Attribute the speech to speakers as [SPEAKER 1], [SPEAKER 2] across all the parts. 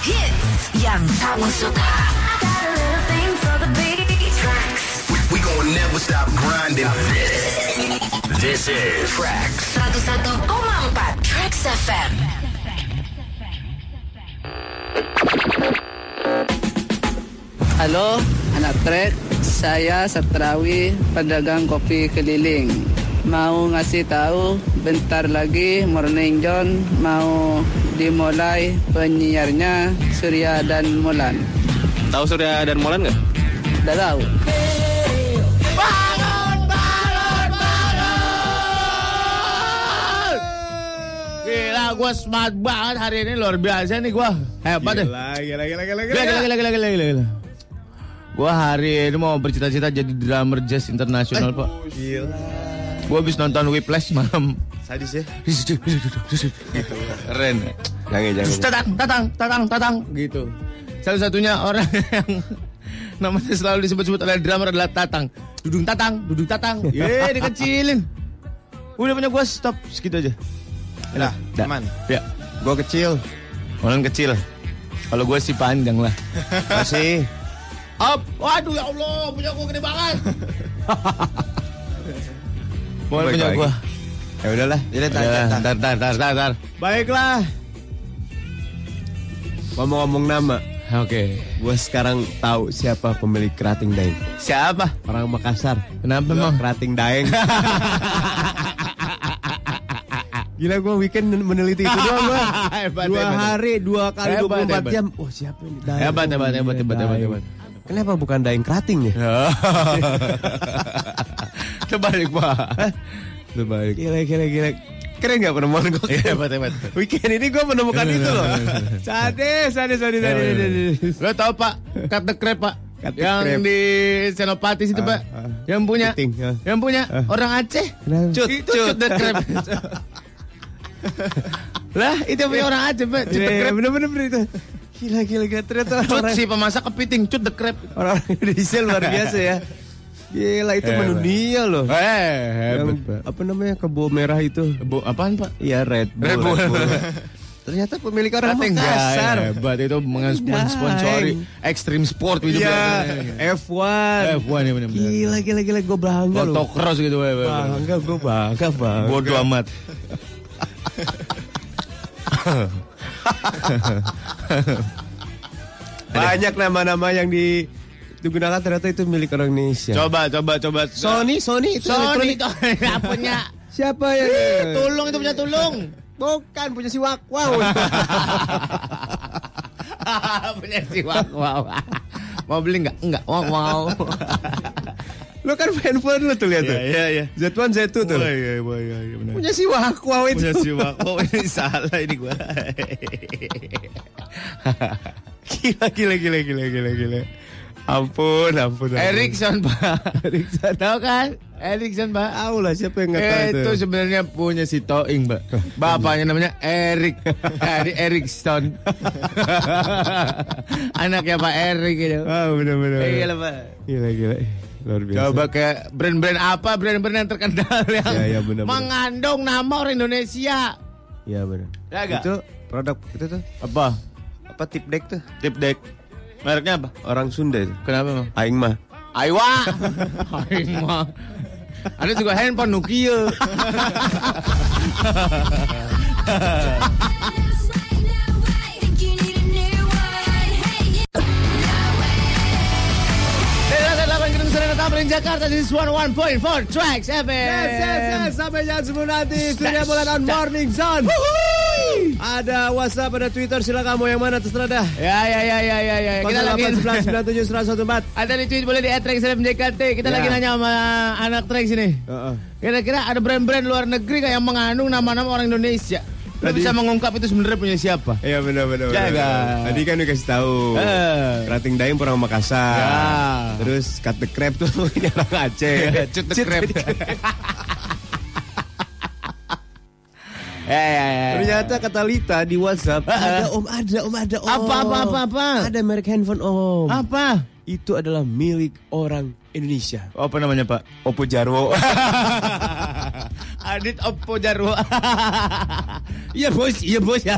[SPEAKER 1] Hits yang kamu suka.
[SPEAKER 2] We gonna never stop grinding. This, this is Tracks.
[SPEAKER 1] 101,4 Tracks FM.
[SPEAKER 3] Halo, anak trek. Saya Satrawi, pedagang kopi keliling. Mau ngasih tahu, bentar lagi Morning John mau dimulai penyiarnya Surya dan Mulan.
[SPEAKER 4] Tahu Surya dan Molan nggak?
[SPEAKER 3] Udah tahu?
[SPEAKER 5] Gila, gue smart banget hari ini luar biasa nih gue hebat deh.
[SPEAKER 4] Gila, gila, gila, gila,
[SPEAKER 5] Gila, gila, gila, gila, gila, gila, gila. Gue hari ini mau bercita-cita jadi drummer jazz internasional pak.
[SPEAKER 4] Eh, Gila.
[SPEAKER 5] Gue habis nonton Whiplash malam.
[SPEAKER 4] Sadis ya. Keren. Jangan,
[SPEAKER 5] Terus tatang, tatang, tatang, tatang gitu. Satu-satunya orang yang namanya selalu disebut-sebut oleh drummer adalah Tatang. Dudung Tatang, Dudung Tatang. Ye, dikecilin. Udah punya gue stop segitu aja.
[SPEAKER 4] Nah,
[SPEAKER 5] Dah.
[SPEAKER 4] aman.
[SPEAKER 5] Ya,
[SPEAKER 4] Gue kecil.
[SPEAKER 5] orang kecil. Kalau gue sih panjang lah.
[SPEAKER 4] Masih.
[SPEAKER 5] Up. Waduh ya Allah, punya gue gede banget. Boleh
[SPEAKER 4] Baik
[SPEAKER 5] punya
[SPEAKER 4] lagi.
[SPEAKER 5] gue.
[SPEAKER 4] Ya udahlah. Jadi tar, tar, tar.
[SPEAKER 5] Tar, tar, tar, tar, tar.
[SPEAKER 4] Baiklah. Ngomong-ngomong nama,
[SPEAKER 5] Oke.
[SPEAKER 4] gue sekarang tahu siapa pemilik kerating daeng.
[SPEAKER 5] Siapa?
[SPEAKER 4] Orang Makassar.
[SPEAKER 5] Kenapa
[SPEAKER 4] Gua
[SPEAKER 5] emang?
[SPEAKER 4] Kerating daeng. Gila gue weekend meneliti itu doang gua.
[SPEAKER 5] Ah, Hebat,
[SPEAKER 4] dua
[SPEAKER 5] hebat.
[SPEAKER 4] hari, dua kali
[SPEAKER 5] Hebat,
[SPEAKER 4] 24
[SPEAKER 5] hebat.
[SPEAKER 4] jam. Wah siapa ini? Daeng.
[SPEAKER 5] Hebat,
[SPEAKER 4] Oh,
[SPEAKER 5] hebat,
[SPEAKER 4] iya,
[SPEAKER 5] hebat, hebat, hebat,
[SPEAKER 4] daeng.
[SPEAKER 5] hebat.
[SPEAKER 4] Kenapa bukan daeng kerating ya?
[SPEAKER 5] Terbalik pak.
[SPEAKER 4] Terbalik. Gila, gila, gila. Keren gak penemuan gue?
[SPEAKER 5] Iya, hebat, hebat.
[SPEAKER 4] Weekend ini gue menemukan itu loh. Sadis, sadis, sadis,
[SPEAKER 5] Iya,
[SPEAKER 4] sadis, sadis.
[SPEAKER 5] Lo tau pak, cut the crab pak.
[SPEAKER 4] Iya, Cut the
[SPEAKER 5] yang
[SPEAKER 4] crab.
[SPEAKER 5] di Senopati situ
[SPEAKER 4] Ah,
[SPEAKER 5] pak,
[SPEAKER 4] ah.
[SPEAKER 5] yang punya,
[SPEAKER 4] Keting, ah.
[SPEAKER 5] yang punya
[SPEAKER 4] Ah.
[SPEAKER 5] orang Aceh.
[SPEAKER 4] Kenapa?
[SPEAKER 5] Cut, itu cut, the crab. lah itu punya orang Aceh pak, cut the crab.
[SPEAKER 4] bener-bener Iya, bener itu. Gila, gila, gila. Ternyata
[SPEAKER 5] Cut
[SPEAKER 4] orang
[SPEAKER 5] si pemasak kepiting, cut the crab.
[SPEAKER 4] orang Indonesia luar biasa ya. Gila, itu
[SPEAKER 5] Hebat.
[SPEAKER 4] mendunia loh.
[SPEAKER 5] Eh,
[SPEAKER 4] Yang, apa namanya kebo merah itu?
[SPEAKER 5] Bu, apaan pak?
[SPEAKER 4] Iya Red Bull.
[SPEAKER 5] Red Bull. iya,
[SPEAKER 4] Ternyata pemilik orang
[SPEAKER 5] Rating
[SPEAKER 4] Makassar.
[SPEAKER 5] Ya, hebat itu mengensponsori Extreme Sport gitu
[SPEAKER 4] Iya,
[SPEAKER 5] Pak.
[SPEAKER 4] F1.
[SPEAKER 5] F1 ya bener-bener.
[SPEAKER 4] Gila, gila, gila. Gue bangga loh.
[SPEAKER 5] Motocross gitu Pak.
[SPEAKER 4] Bangga, gue bangga, bangga.
[SPEAKER 5] Bodoh amat.
[SPEAKER 4] Banyak nama-nama yang di digunakan ternyata itu milik orang Indonesia.
[SPEAKER 5] Coba, coba, coba.
[SPEAKER 4] Sony, Sony itu
[SPEAKER 5] Sony
[SPEAKER 4] elektronik.
[SPEAKER 5] itu nggak punya.
[SPEAKER 4] Siapa ya?
[SPEAKER 5] Tulung itu punya tulung.
[SPEAKER 4] Bukan punya si Wak Wow.
[SPEAKER 5] Ah, punya si Wak Wow. Mau beli nggak? Nggak. Wak Wow.
[SPEAKER 4] Lo kan fanfare lo tuh lihat tuh.
[SPEAKER 5] iya.
[SPEAKER 4] Z1 Z2 tuh.
[SPEAKER 5] iya, iya, iya, benar.
[SPEAKER 4] Punya si Wak Wow itu.
[SPEAKER 5] Punya si Wak Wow ini salah ini gua.
[SPEAKER 4] Gila, gila, gila, gila, gila, gila. Ampun, ampun. ampun.
[SPEAKER 5] Erikson Pak.
[SPEAKER 4] Erikson.
[SPEAKER 5] Tahu kan? Erikson Pak.
[SPEAKER 4] Tahu lah siapa yang nggak tahu Eh, itu.
[SPEAKER 5] itu sebenarnya punya si Toing, Mbak. Bapaknya namanya Erik dari Erikson. Anaknya Pak Erik gitu.
[SPEAKER 4] Ah, benar benar. benar.
[SPEAKER 5] Iya, Pak.
[SPEAKER 4] Gila, gila. Luar biasa.
[SPEAKER 5] Coba ke brand-brand apa brand-brand yang terkenal yang
[SPEAKER 4] Ya, ya, benar-benar.
[SPEAKER 5] mengandung nama orang Indonesia.
[SPEAKER 4] Iya, benar.
[SPEAKER 5] Ya, nggak?
[SPEAKER 4] Itu produk itu tuh
[SPEAKER 5] Apa?
[SPEAKER 4] apa tip deck tuh?
[SPEAKER 5] Tip deck. Mereknya apa?
[SPEAKER 4] Orang Sunda itu.
[SPEAKER 5] Kenapa, Bang?
[SPEAKER 4] Aing mah.
[SPEAKER 5] Aiwa. Aing mah. Ada juga handphone Nokia. Dari lantai 8 Gedung Serena Tamrin Jakarta This is 101.4 Tracks FM
[SPEAKER 4] Yes, yes, yes. Sampai jam 10 nanti. Surya Bulan on Morning Zone. Ada WhatsApp, ada Twitter. Silakan mau yang mana terserah dah.
[SPEAKER 5] Ya ya ya ya ya ya Kita lagi
[SPEAKER 4] 0811
[SPEAKER 5] Ada di tweet boleh di @trax JKT Kita
[SPEAKER 4] Ya. Uh-uh.
[SPEAKER 5] lagi nanya sama anak Trax ini Kira-kira ada brand-brand luar negeri kayak yang mengandung nama-nama orang Indonesia Lu
[SPEAKER 4] Tadi-
[SPEAKER 5] bisa mengungkap itu sebenarnya punya siapa
[SPEAKER 4] Iya benar benar. benar,
[SPEAKER 5] Jaga.
[SPEAKER 4] benar. Tadi kan udah kasih tahu.
[SPEAKER 5] Eh.
[SPEAKER 4] Kerating Daim orang Makassar.
[SPEAKER 5] Ya.
[SPEAKER 4] Terus cut the crab tuh ini orang Aceh.
[SPEAKER 5] Cut the crab Ya ya ya
[SPEAKER 4] Ternyata kata Lita di WhatsApp
[SPEAKER 5] Eh, eh.
[SPEAKER 4] ada Om ada Om ada Om.
[SPEAKER 5] Apa, apa, apa, apa?
[SPEAKER 4] Ada merek handphone Om.
[SPEAKER 5] Apa?
[SPEAKER 4] Itu adalah milik orang Indonesia.
[SPEAKER 5] Apa namanya pak?
[SPEAKER 4] Oppo Jarwo.
[SPEAKER 5] Adit Oppo Jarwo. Iya bos, iya bos ya.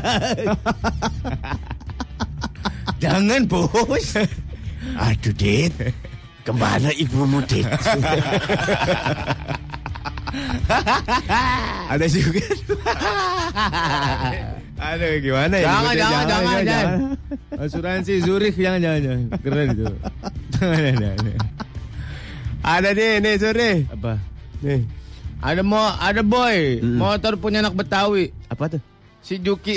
[SPEAKER 5] Jangan bos.
[SPEAKER 4] Aduh, Dit. Kemana ibumu, Dit?
[SPEAKER 6] Ada juga. Aduh gimana ya?
[SPEAKER 5] Jangan,
[SPEAKER 6] nyebutnya?
[SPEAKER 5] jangan, jangan,
[SPEAKER 6] Asuransi Zurich jangan jangan jangan. Keren itu. Jangan, jangan, jangan. Ada nih nih Zuri. Apa? Nih.
[SPEAKER 5] Ada mo, ada boy, motor punya anak Betawi.
[SPEAKER 6] Apa tuh?
[SPEAKER 5] Si Juki.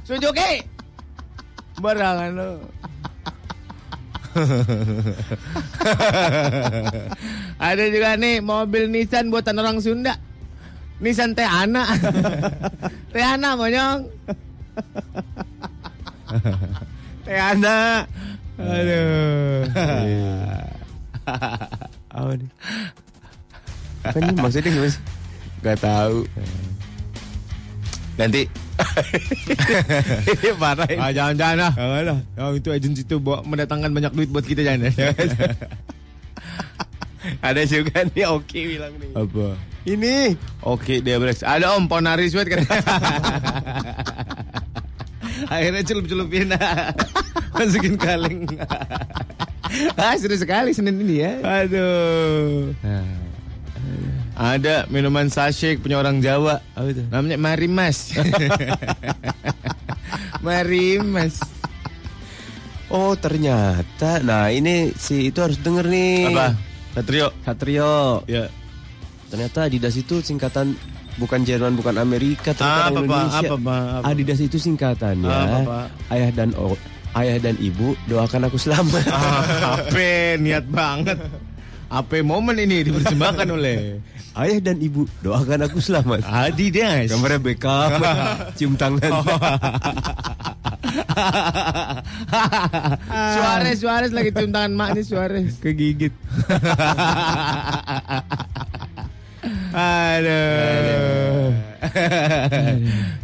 [SPEAKER 5] si Juki. Barangan lo. ada juga nih mobil Nissan buatan orang Sunda. Nissan Tehana. Tehana monyong.
[SPEAKER 6] Teana. Aduh. Apa nih? Apa nih maksudnya gimana sih?
[SPEAKER 4] Gak tahu. Nanti Iya,
[SPEAKER 6] Parah ini.
[SPEAKER 5] Ah, jangan-jangan lah.
[SPEAKER 6] Jangan lah.
[SPEAKER 5] Oh, itu agensi itu bawa- mendatangkan banyak duit buat kita jangan.
[SPEAKER 4] ada juga nih Oki bilang nih.
[SPEAKER 6] Apa?
[SPEAKER 4] Ini
[SPEAKER 5] Oke, dia breaks. Ada Om Ponari Sweat kan. Akhirnya celup-celupin. Masukin kaleng. ah, seru sekali Senin ini ya.
[SPEAKER 6] Aduh.
[SPEAKER 5] Ah. Ada minuman sachet punya orang Jawa.
[SPEAKER 6] Apa tuh?
[SPEAKER 5] Namanya Marimas. Marimas.
[SPEAKER 4] Oh ternyata Nah ini si itu harus denger nih
[SPEAKER 5] Apa? Satrio.
[SPEAKER 4] Satrio
[SPEAKER 5] Ya.
[SPEAKER 4] Ternyata Adidas itu singkatan Bukan Jerman bukan Amerika
[SPEAKER 5] Ah, Apa,
[SPEAKER 4] Ternyata orang
[SPEAKER 5] Pak?
[SPEAKER 4] Indonesia
[SPEAKER 5] Apa, Pak? Apa? Ah,
[SPEAKER 4] Adidas itu singkatannya
[SPEAKER 5] Apa, Pak?
[SPEAKER 4] Ayah dan o, Ayah dan ibu doakan aku selamat
[SPEAKER 5] Ah. Ape niat banget. Ape momen ini dipersembahkan oleh
[SPEAKER 4] Ayah dan ibu doakan aku selamat
[SPEAKER 5] Ah, Adidas.
[SPEAKER 4] Gambarnya backup Cium tangan
[SPEAKER 5] Oh. Ah. Suarez, Suarez lagi cium tangan maknya Suarez.
[SPEAKER 6] Kegigit. Aduh.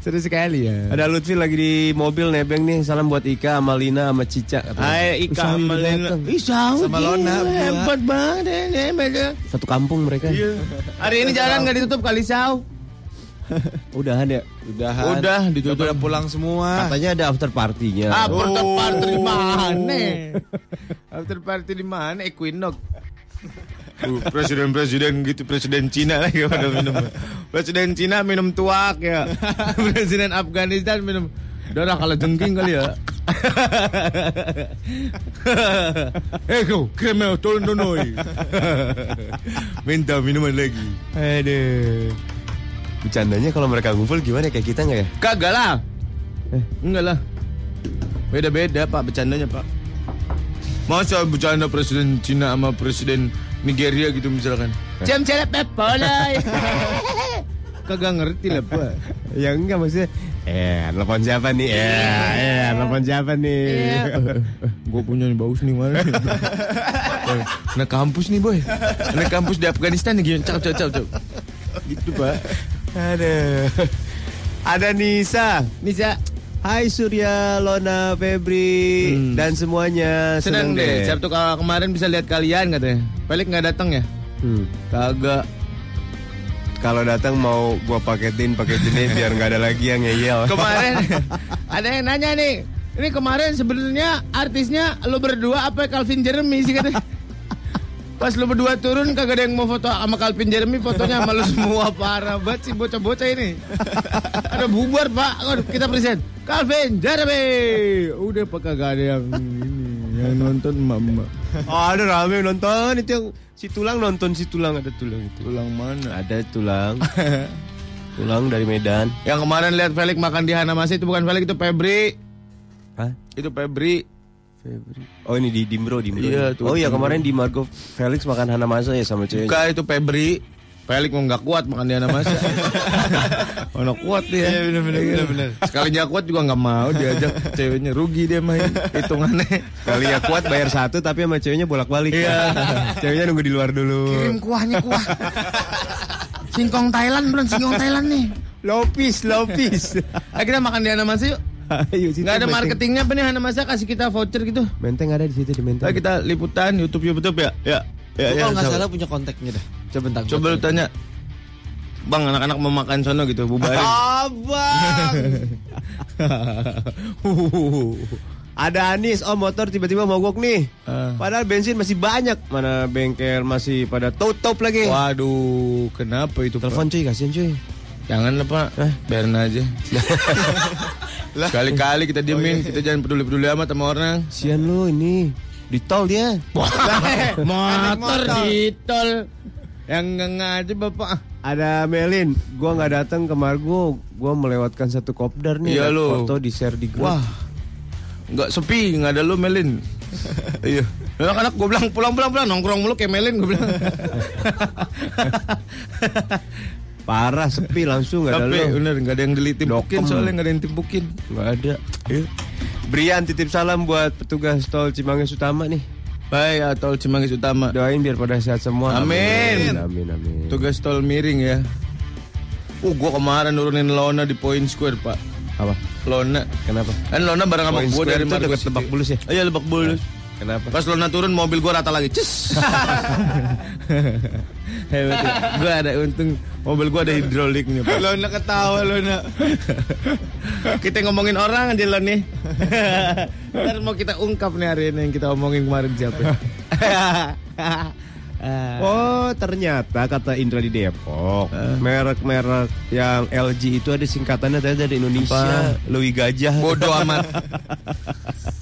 [SPEAKER 5] Seru sekali ya.
[SPEAKER 4] Ada Lutfi lagi di mobil nebeng nih Salam buat Ika, Malina, sama Cica katanya.
[SPEAKER 5] Hai Ika
[SPEAKER 4] Sambil
[SPEAKER 5] Melena.
[SPEAKER 4] datang.
[SPEAKER 5] Ih, jauh
[SPEAKER 4] Sama
[SPEAKER 5] dia.
[SPEAKER 4] Lona, Bu.
[SPEAKER 5] Hebat banget ya, ini, mereka.
[SPEAKER 4] Satu kampung mereka
[SPEAKER 5] Iya. Hari ini jalan nggak ditutup kali Sau.
[SPEAKER 4] Udahan ya? Udahan
[SPEAKER 5] Udah ditutup.
[SPEAKER 6] Udah pulang semua.
[SPEAKER 4] Katanya ada after partinya.
[SPEAKER 5] Ah, after party di mana? After party di mana? Equinox. presiden-presiden gitu presiden Cina lagi pada minum presiden Cina minum tuak ya presiden Afghanistan minum darah kalau jengking kali ya Ego, Eh, kremel, turun donoi. Minta minuman lagi.
[SPEAKER 6] Aduh.
[SPEAKER 4] Bercandanya kalau mereka ngumpul gimana kayak kita nggak ya?
[SPEAKER 5] Kagak lah. Enggak lah. Beda-beda pak bercandanya pak. Masa bercanda presiden Cina sama presiden Nigeria gitu misalkan. Jam celep polai. Kagak ngerti lah pak.
[SPEAKER 4] Ya enggak maksudnya. Eh, telepon siapa nih? Eh, eh, telepon siapa nih?
[SPEAKER 5] Gue Eh, punya nih baus nih mana? Anak kampus nih boy. Anak kampus di Afghanistan nih gini. Cap cap cap cap. Gitu pak.
[SPEAKER 4] Aduh. Ada Nisa.
[SPEAKER 5] Nisa.
[SPEAKER 4] Hai Surya, Lona, Febri
[SPEAKER 5] Hmm.
[SPEAKER 4] dan semuanya.
[SPEAKER 5] Seneng deh.
[SPEAKER 4] Senang
[SPEAKER 5] Sabtu ke- kemarin bisa lihat kalian katanya. Pelik nggak datang ya?
[SPEAKER 4] Hmm.
[SPEAKER 5] Kagak.
[SPEAKER 4] Kalau datang mau gua paketin paketinnya biar nggak ada lagi yang ngeyel.
[SPEAKER 5] kemarin ada yang nanya nih ini kemarin sebenarnya artisnya lo berdua apa Calvin Jeremy sih katanya pas lo berdua turun kagak ada yang mau foto sama Calvin Jeremy fotonya sama lo semua parah banget sih bocah-bocah ini ada bubar pak Aduh, kita present Calvin Jeremy udah pak kagak ada yang ini yang nonton mama
[SPEAKER 4] Oh, ada rame nonton itu yang si tulang nonton si tulang ada tulang itu.
[SPEAKER 5] pulang mana
[SPEAKER 4] Ada tulang. tulang dari Medan.
[SPEAKER 5] yang kemarin lihat Felix makan di Hanamasi itu bukan Felix itu Febri
[SPEAKER 4] Hah?
[SPEAKER 5] itu Febri
[SPEAKER 4] Febri. Oh ini di Dimbro, Dimbro.
[SPEAKER 5] Iya, tuh.
[SPEAKER 4] oh iya kemarin di Margo Felix makan Hanamasa ya sama ceweknya.
[SPEAKER 5] Bukan itu Febri. Felix mau nggak kuat makan dia nama saya. Mana kuat dia. Iya benar benar. Sekali dia kuat juga nggak mau diajak ceweknya rugi dia main hitungannya.
[SPEAKER 4] Kali ya kuat bayar satu tapi sama ceweknya bolak-balik. Iya. ceweknya nunggu di luar dulu.
[SPEAKER 5] Kirim kuahnya kuah. Singkong Thailand belum singkong Thailand nih.
[SPEAKER 4] Lopis, lopis. ya?
[SPEAKER 5] Ayo kita makan di Hanamasa yuk.
[SPEAKER 4] Ayo, situ
[SPEAKER 5] Nggak ada
[SPEAKER 4] menteng.
[SPEAKER 5] marketingnya apa nih Hanamasa kasih kita voucher gitu.
[SPEAKER 4] Menteng ada di situ di Menteng.
[SPEAKER 5] Ayo kita liputan YouTube YouTube ya. Ya. Ya, ya,
[SPEAKER 7] Gua kalau nggak
[SPEAKER 5] sahabat.
[SPEAKER 7] salah punya kontaknya dah. Coba bentar.
[SPEAKER 5] Coba lu tanya. Bang, anak-anak mau makan sono gitu, bubarin.
[SPEAKER 4] Abang. Ada Anis, oh motor tiba-tiba mogok nih.
[SPEAKER 5] Eh.
[SPEAKER 4] Padahal bensin masih banyak. Mana bengkel masih pada top-top lagi.
[SPEAKER 5] Waduh, kenapa itu?
[SPEAKER 8] Telepon cuy, kasihan cuy.
[SPEAKER 5] Janganlah Pak, eh, biarin aja. Kali-kali kita diemin, kita jangan peduli-peduli amat sama orang.
[SPEAKER 8] Kasihan lu ini. Di tol dia.
[SPEAKER 5] eh. motor di tol. Yang ngaji bapak.
[SPEAKER 4] Ada Melin, gua nggak datang ke Margo, gua melewatkan satu kopdar nih.
[SPEAKER 5] Iya,
[SPEAKER 4] Ada
[SPEAKER 5] lu.
[SPEAKER 4] Foto di share di grup.
[SPEAKER 5] Wah, nggak sepi, nggak ada lu Melin. iya. Anak-anak gue bilang pulang-pulang pulang nongkrong mulu kayak Melin gue bilang.
[SPEAKER 4] parah sepi langsung nggak ada
[SPEAKER 5] Tapi
[SPEAKER 4] lu.
[SPEAKER 5] bener nggak ada yang ditimpukin
[SPEAKER 4] Dokem.
[SPEAKER 5] soalnya nggak ada yang timpukin.
[SPEAKER 4] Nggak ada. Iya. Brian titip salam buat petugas tol Cimanggis Utama nih.
[SPEAKER 5] Baik atau Cimanggis Utama.
[SPEAKER 4] Doain biar pada sehat semua.
[SPEAKER 5] Amin.
[SPEAKER 4] Amin amin.
[SPEAKER 5] Tugas tol miring ya. Uh, gua kemarin nurunin Lona di Point Square, Pak.
[SPEAKER 4] Apa?
[SPEAKER 5] Lona.
[SPEAKER 4] Kenapa?
[SPEAKER 5] Kan Lona bareng sama
[SPEAKER 4] Point
[SPEAKER 5] gua
[SPEAKER 4] Square
[SPEAKER 5] dari
[SPEAKER 4] itu
[SPEAKER 5] Margo
[SPEAKER 4] dekat
[SPEAKER 5] City.
[SPEAKER 4] Lebak Bulus ya?
[SPEAKER 5] Iya, Lebak Bulus.
[SPEAKER 4] Kenapa?
[SPEAKER 5] Pas Lona turun mobil gua rata lagi. Cis. Hebat. ya. Gua ada untung mobil gua ada hidroliknya, Pak. Lona ketawa Lona. kita ngomongin orang aja Lon nih. Ntar mau kita ungkap nih hari ini yang kita omongin kemarin siapa. Iya,
[SPEAKER 4] Oh ternyata kata Indra di Depok merek-merek yang LG itu ada singkatannya ternyata dari Indonesia Louis Gajah
[SPEAKER 5] Ah. Bodoh amat.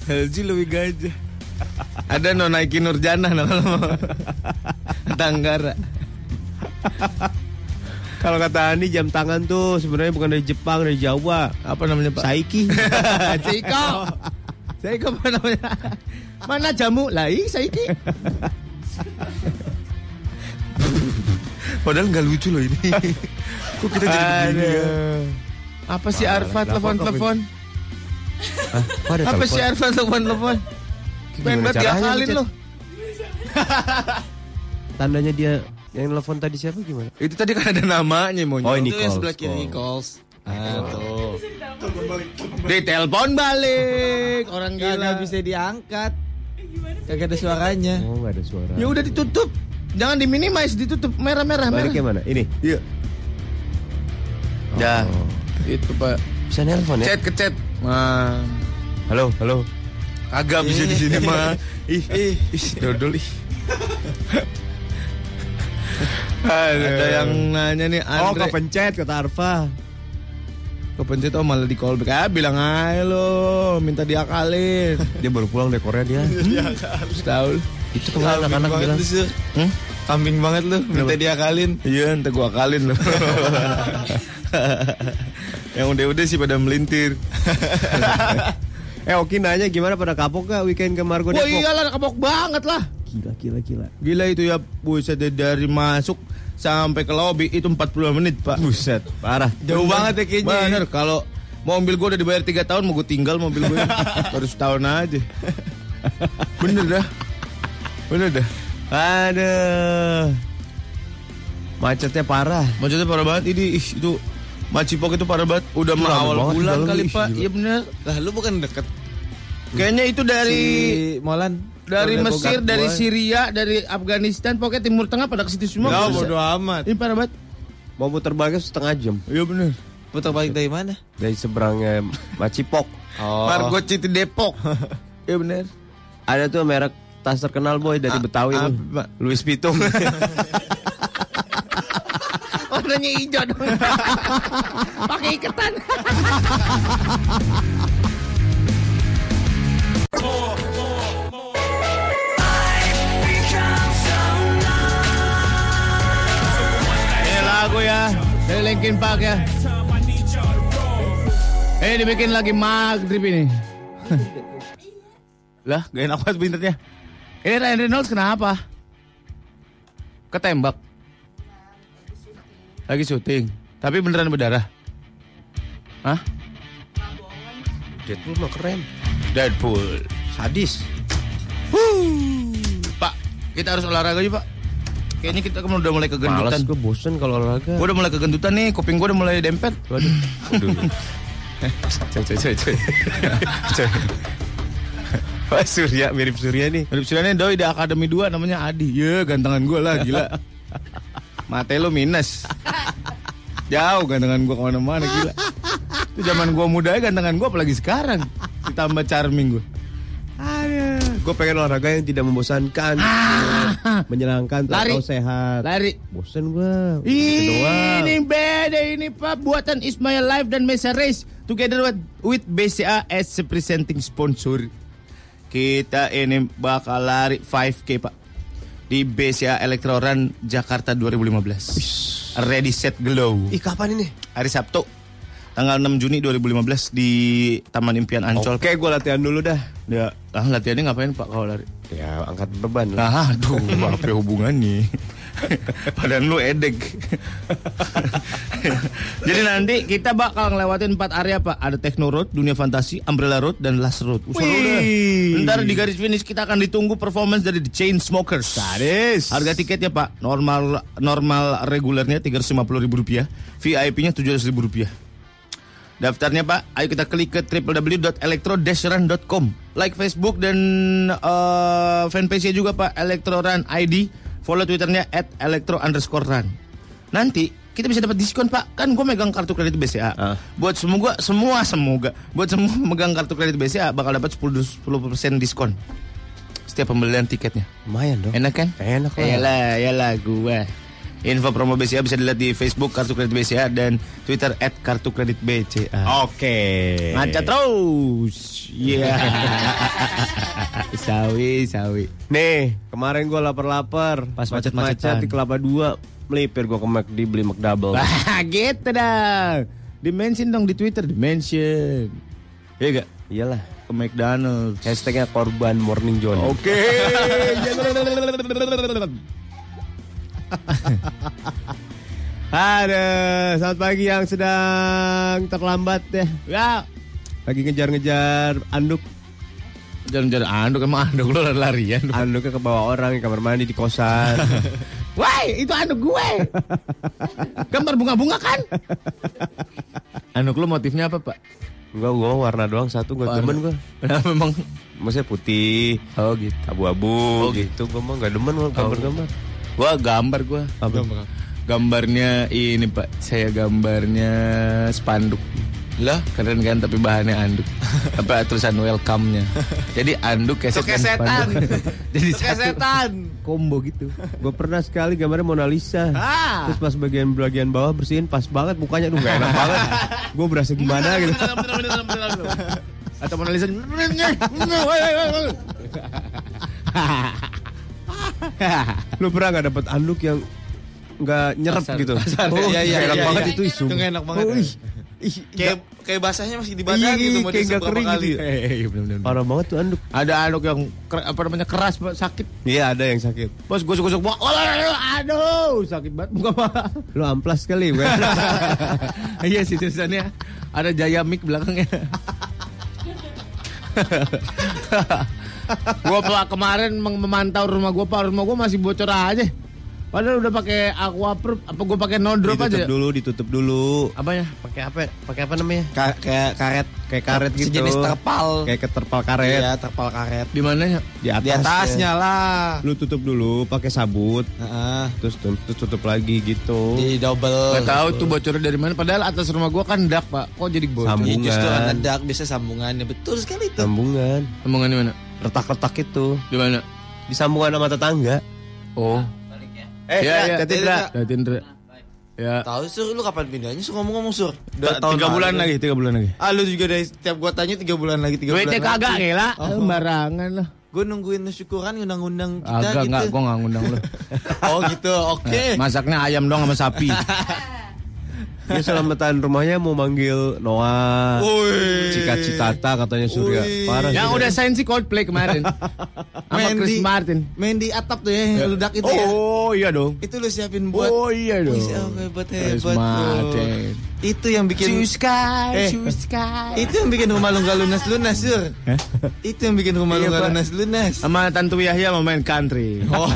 [SPEAKER 5] LG lebih gajah. Ada no naikin Nurjana no, kalau mau. Tanggara.
[SPEAKER 4] kalau kata Andi jam tangan tuh sebenarnya bukan dari Jepang dari Jawa
[SPEAKER 5] Apa namanya Pak?
[SPEAKER 4] Saiki
[SPEAKER 5] Saiko. Saiko apa namanya? Mana jamu? Lah ih Saiki. Padahal nggak lucu loh ini. Kok kita jadi begini ya? Apa sih Arfa telepon-telepon?
[SPEAKER 4] Ah,
[SPEAKER 8] Kok ada
[SPEAKER 5] Apa
[SPEAKER 8] telepon?
[SPEAKER 5] sih Arfa telepon-telepon? Pengen
[SPEAKER 8] Gimana
[SPEAKER 5] banget
[SPEAKER 8] caranya
[SPEAKER 5] diakalin
[SPEAKER 8] mencet?
[SPEAKER 5] loh.
[SPEAKER 4] tandanya dia yang nelfon tadi siapa gimana
[SPEAKER 5] Itu tadi kan ada namanya monyet.
[SPEAKER 8] Oh, ini
[SPEAKER 5] Itu yang
[SPEAKER 8] calls,
[SPEAKER 5] sebelah kiri
[SPEAKER 8] calls.
[SPEAKER 5] calls. Ah, tuh. Ditelepon balik. Orang
[SPEAKER 9] Gak
[SPEAKER 5] gila.
[SPEAKER 9] bisa diangkat. Kagak ada suaranya.
[SPEAKER 4] oh nggak ada suara
[SPEAKER 5] Ya udah ditutup. Jangan diminimis, ditutup merah-merah merah.
[SPEAKER 4] baliknya mana ini
[SPEAKER 5] Iya. Ya. Itu Pak.
[SPEAKER 8] Bisa nelpon ya?
[SPEAKER 5] Chat ke chat. Nah.
[SPEAKER 8] Halo, halo.
[SPEAKER 5] Agak bisa di sini mah. Ih, ih, ih, dodol ih. Ada yang nanya nih
[SPEAKER 4] oh
[SPEAKER 5] Andre.
[SPEAKER 4] kepencet kata Arfa
[SPEAKER 5] Kepencet oh malah di call back ah, bilang aja lo minta diakalin Hmm.
[SPEAKER 8] Dia baru pulang dari Korea dia.
[SPEAKER 5] setahun
[SPEAKER 8] Itu kemarin anak-anak bilang.
[SPEAKER 5] hmm? kambing banget lu minta diakalin iya minta gua akalin lo yang udah-udah sih pada melintir
[SPEAKER 4] eh Oki nanya gimana pada kapok gak weekend ke Margo
[SPEAKER 5] wah
[SPEAKER 4] Depok
[SPEAKER 5] iyalah kebok banget lah
[SPEAKER 4] gila gila gila
[SPEAKER 5] gila itu ya buset deh, dari masuk sampai ke lobby itu 40 menit pak
[SPEAKER 4] buset parah
[SPEAKER 5] jauh banget ya kayaknya bener kalau mobil gua udah dibayar 3 tahun mau gua tinggal mobil gua baru setahun aja bener dah bener dah
[SPEAKER 4] aduh macetnya parah
[SPEAKER 5] Macetnya parah banget ini ih, itu Macipok itu parah banget udah mah awal
[SPEAKER 8] banget
[SPEAKER 5] bulan
[SPEAKER 8] di dalam,
[SPEAKER 5] kali
[SPEAKER 8] ih,
[SPEAKER 5] pak
[SPEAKER 8] gila.
[SPEAKER 5] iya bener
[SPEAKER 9] Lah lu bukan deket
[SPEAKER 5] kayaknya itu dari
[SPEAKER 9] di Molan.
[SPEAKER 5] dari
[SPEAKER 9] Kalau
[SPEAKER 5] Mesir
[SPEAKER 9] Depok,
[SPEAKER 5] dari
[SPEAKER 9] boy.
[SPEAKER 5] Syria dari Afghanistan pokoknya Timur Tengah pada ke situ semua Iya,
[SPEAKER 4] Ya,
[SPEAKER 5] Buset.
[SPEAKER 4] bodo amat.
[SPEAKER 5] ini parah banget
[SPEAKER 4] Mau putar baliknya setengah jam
[SPEAKER 5] iya bener
[SPEAKER 9] Putar balik dari mana?
[SPEAKER 8] Dari seberangnya Macipok.
[SPEAKER 5] oh. Margo City Depok iya bener
[SPEAKER 4] Ada tuh merek tas terkenal boy dari Betawi tuh.
[SPEAKER 5] apa?
[SPEAKER 4] Louis Pitung.
[SPEAKER 5] warnanya Oh, hijau dong pakai iketan Ini lagu ya dari Linkin Park ya Eh dibikin lagi maghrib ini Lah gak enak banget bintangnya Ini Eh, Ryan Reynolds kenapa? Ketembak lagi syuting. Tapi beneran berdarah. Hah?
[SPEAKER 8] Deadpool mah keren.
[SPEAKER 5] Deadpool.
[SPEAKER 8] Sadis.
[SPEAKER 5] Pak, kita harus olahraga yuk, Pak. Kayaknya kita kan udah mulai kegendutan.
[SPEAKER 8] Malas gue bosen kalau olahraga.
[SPEAKER 5] Gue udah mulai kegendutan nih, kuping gue udah mulai dempet.
[SPEAKER 8] Waduh. Waduh.
[SPEAKER 5] Cek, cek, cek, cek.
[SPEAKER 8] Pak Surya, mirip Surya nih.
[SPEAKER 5] Mirip silannya doi di Akademi 2 namanya Adi. Ye, gantengan gue lah, gila. Mate lo minus. Jauh gantengan gue kemana-mana gila. Itu zaman gue muda ya gantengan gue apalagi sekarang. Ditambah charming gue.
[SPEAKER 4] Gue pengen olahraga yang tidak membosankan, Ah. menyenangkan, tak
[SPEAKER 5] Lari.
[SPEAKER 4] tahu sehat.
[SPEAKER 5] Lari.
[SPEAKER 4] Bosen Gitu gue.
[SPEAKER 5] Ini beda ini Pak buatan Ismail Live dan Mesa Race together with, with BCA as a presenting sponsor. Kita ini bakal lari 5K Pak di BCA Electro Run Jakarta 2015. Ready set glow.
[SPEAKER 4] Ih kapan ini?
[SPEAKER 5] Hari Sabtu tanggal 6 Juni 2015 di Taman Impian Ancol.
[SPEAKER 4] Oke, gue latihan dulu dah.
[SPEAKER 5] Ya, ah, latihannya ngapain Pak kalau lari?
[SPEAKER 4] Ya angkat beban lah.
[SPEAKER 5] Nah, aduh, apa hubungannya? Padahal lu edek. Jadi nanti kita bakal ngelewatin empat area pak. Ada Techno Road, Dunia Fantasi, Umbrella Road, dan Last Road. Uh, seru dah. Ntar di garis finish kita akan ditunggu performance dari The Chainsmokers.
[SPEAKER 4] Aris.
[SPEAKER 5] Harga tiketnya pak, normal normal regulernya 350 ribu rupiah, VIP-nya 700 ribu rupiah. Daftarnya pak, ayo kita klik ke www.electro-run.com Like Facebook dan eh, fanpage-nya juga pak, Electro Run ID Follow Twitternya at electro underscore run Nanti kita bisa dapat diskon pak, kan gue megang kartu kredit BCA
[SPEAKER 4] Ah.
[SPEAKER 5] Buat semoga, semua semoga Buat semua megang kartu kredit BCA bakal dapat 10%, 10% diskon Setiap pembelian tiketnya
[SPEAKER 4] Lumayan dong.
[SPEAKER 5] Enak kan?
[SPEAKER 4] Enak Eh, lah.
[SPEAKER 5] Yalah, yalah gue. Info promo BCA bisa dilihat di Facebook Kartu Kredit BCA dan Twitter at Kartu Kredit BCA.
[SPEAKER 4] Oke.
[SPEAKER 5] Ngaca terus. Iya. sawi, sawi.
[SPEAKER 4] Nih, kemarin gue lapar-lapar. Pas macet-macet
[SPEAKER 5] macet-macetan.
[SPEAKER 4] di Kelapa 2, melipir gue ke McD beli McDouble.
[SPEAKER 5] Wah, gitu dong. Dimention dong di Twitter, dimension. Iya gak?
[SPEAKER 4] Iyalah.
[SPEAKER 5] Ke McDonald's.
[SPEAKER 4] Hashtagnya korban morning zone.
[SPEAKER 5] Oke.
[SPEAKER 4] Aduh, selamat pagi yang sedang terlambat ya.
[SPEAKER 5] Ya.
[SPEAKER 4] Lagi ngejar-ngejar anduk.
[SPEAKER 5] Jangan-jangan anduk emang anduk lo lari-larian.
[SPEAKER 4] Anduknya ke bawah orang di kamar mandi di kosan.
[SPEAKER 5] Woi, itu anduk gue. Gambar bunga-bunga kan? Anduk Anu lu motifnya apa, Pak?
[SPEAKER 4] Enggak, gua warna doang satu gua demen gua.
[SPEAKER 5] Nah, memang
[SPEAKER 4] Maksudnya putih,
[SPEAKER 5] Oh, gitu.
[SPEAKER 4] abu-abu gitu. Gua mah enggak demen gua gambar-gambar.
[SPEAKER 5] Gua Oh, gambar gua. Gambarnya ini, Pak. Saya gambarnya spanduk. Lah, keren kan tapi bahannya anduk. Apa tulisan welcome-nya. Jadi anduk keset dan
[SPEAKER 6] Kesetan.
[SPEAKER 5] spanduk. Jadi satu
[SPEAKER 6] Kesetan.
[SPEAKER 5] combo gitu.
[SPEAKER 4] Gue pernah sekali gambarnya Mona Lisa.
[SPEAKER 5] Ah.
[SPEAKER 4] Terus pas bagian bagian bawah bersihin pas banget mukanya aduh gak enak banget. Gue berasa gimana
[SPEAKER 5] Iya,
[SPEAKER 4] gitu.
[SPEAKER 5] Atau Mona Lisa.
[SPEAKER 4] Lu pernah gak dapet anduk yang nggak nyerap
[SPEAKER 5] Kasar.
[SPEAKER 4] gitu?
[SPEAKER 5] Kasar.
[SPEAKER 4] Oh,
[SPEAKER 5] Iya,
[SPEAKER 4] nggak
[SPEAKER 5] iya,
[SPEAKER 4] enak
[SPEAKER 5] iya,
[SPEAKER 4] banget
[SPEAKER 6] iya.
[SPEAKER 4] itu isu.
[SPEAKER 6] Itu nggak enak banget,
[SPEAKER 4] Oh,
[SPEAKER 6] ya.
[SPEAKER 4] ih, ih,
[SPEAKER 6] Kayak
[SPEAKER 4] nggak-
[SPEAKER 6] kayak basahnya masih di
[SPEAKER 4] Iya,
[SPEAKER 6] badan
[SPEAKER 4] iya,
[SPEAKER 6] gitu mau
[SPEAKER 4] kayak
[SPEAKER 6] diisep
[SPEAKER 4] nggak
[SPEAKER 6] berapa
[SPEAKER 4] kering
[SPEAKER 6] kali.
[SPEAKER 4] gitu ya.
[SPEAKER 5] Eh,
[SPEAKER 4] Parah banget tuh anduk.
[SPEAKER 5] Ada anduk yang ker- apa namanya keras, Pak, sakit.
[SPEAKER 4] Iya ada yang sakit.
[SPEAKER 5] Bos gosok-gosok wah, wah, wah, wah, aduh sakit banget muka Pak.
[SPEAKER 4] Lu amplas kali gue.
[SPEAKER 5] Iya sih tulisannya ada Jaya Mik belakangnya. gua pelak kemarin mem- memantau rumah gua, Pak. Rumah gua masih bocor aja. Padahal udah pakai aquaproof, apa gua pakai no drop
[SPEAKER 4] ditutup
[SPEAKER 5] aja? ya?
[SPEAKER 4] dulu, ditutup dulu.
[SPEAKER 5] Apa ya?
[SPEAKER 6] Pakai apa? Pakai apa namanya?
[SPEAKER 4] Ka- kayak karet, kayak karet gitu.
[SPEAKER 6] Sejenis terpal.
[SPEAKER 4] Kayak keterpal karet
[SPEAKER 6] Iya, terpal karet.
[SPEAKER 5] Di mananya?
[SPEAKER 4] di atas. iya.
[SPEAKER 6] Di atasnya lah.
[SPEAKER 4] Lu tutup dulu pakai sabut,
[SPEAKER 6] Heeh.
[SPEAKER 4] terus tu- terus tutup lagi gitu.
[SPEAKER 7] Iya,
[SPEAKER 6] Di double.
[SPEAKER 5] Gak tahu itu bocornya dari mana. Padahal atas rumah gua kan dak, Pak. Kok jadi bocor?
[SPEAKER 4] Sambung.
[SPEAKER 6] Iya justru
[SPEAKER 4] Sambungan.
[SPEAKER 6] kan ada biasa sambungannya betul sekali itu.
[SPEAKER 4] Sambungan,
[SPEAKER 5] Sambungan di mana?
[SPEAKER 4] retak-retak itu.
[SPEAKER 5] Di mana?
[SPEAKER 4] Di sambungan sama tetangga.
[SPEAKER 5] Oh.
[SPEAKER 4] Eh,
[SPEAKER 5] Ya, ya,
[SPEAKER 6] Tetindra.
[SPEAKER 5] Dari Indra. Ya.
[SPEAKER 6] Tahu sur lu kapan pindahnya sur ngomong-ngomong sur.
[SPEAKER 4] T- tiga bulan lagi, tiga bulan lagi.
[SPEAKER 6] Ah lu juga dari setiap gua tanya tiga bulan lagi tiga bulan.
[SPEAKER 5] Duitnya kagak gila.
[SPEAKER 6] Oh.
[SPEAKER 5] Sembarangan lah.
[SPEAKER 6] Gue nungguin syukuran undang-undang kita
[SPEAKER 5] Agak
[SPEAKER 6] gitu.
[SPEAKER 5] enggak, gua enggak ngundang lu. Nah,
[SPEAKER 6] Oh gitu, oke.
[SPEAKER 5] Masaknya ayam dong sama sapi.
[SPEAKER 4] Dia selamatan rumahnya mau manggil Noah.
[SPEAKER 7] Oh,
[SPEAKER 6] Woi.
[SPEAKER 4] Cika Citata katanya Surya.
[SPEAKER 6] Wih.
[SPEAKER 4] Parah.
[SPEAKER 5] Yang
[SPEAKER 4] sih.
[SPEAKER 5] udah sign si Coldplay kemarin. Sama
[SPEAKER 6] Main
[SPEAKER 5] Chris
[SPEAKER 6] di-
[SPEAKER 5] Martin.
[SPEAKER 6] Main di atap tuh ya, yang ledak itu ya.
[SPEAKER 5] Oh iya dong.
[SPEAKER 6] Itu lu siapin buat
[SPEAKER 5] oh iya dong.
[SPEAKER 6] Wih, siapa hebat
[SPEAKER 5] Chris
[SPEAKER 6] hebat tuh.
[SPEAKER 5] Martin.
[SPEAKER 6] Itu yang bikin Eh.
[SPEAKER 5] Sky,
[SPEAKER 6] itu yang bikin rumah lu nggak lunas lunas sur.
[SPEAKER 4] Eh?
[SPEAKER 6] Itu yang bikin rumah lu
[SPEAKER 5] Iya,
[SPEAKER 6] nggak
[SPEAKER 5] Pak.
[SPEAKER 6] lunas lunas.
[SPEAKER 5] Sama Tantu Yahya mau main country.
[SPEAKER 6] Oh.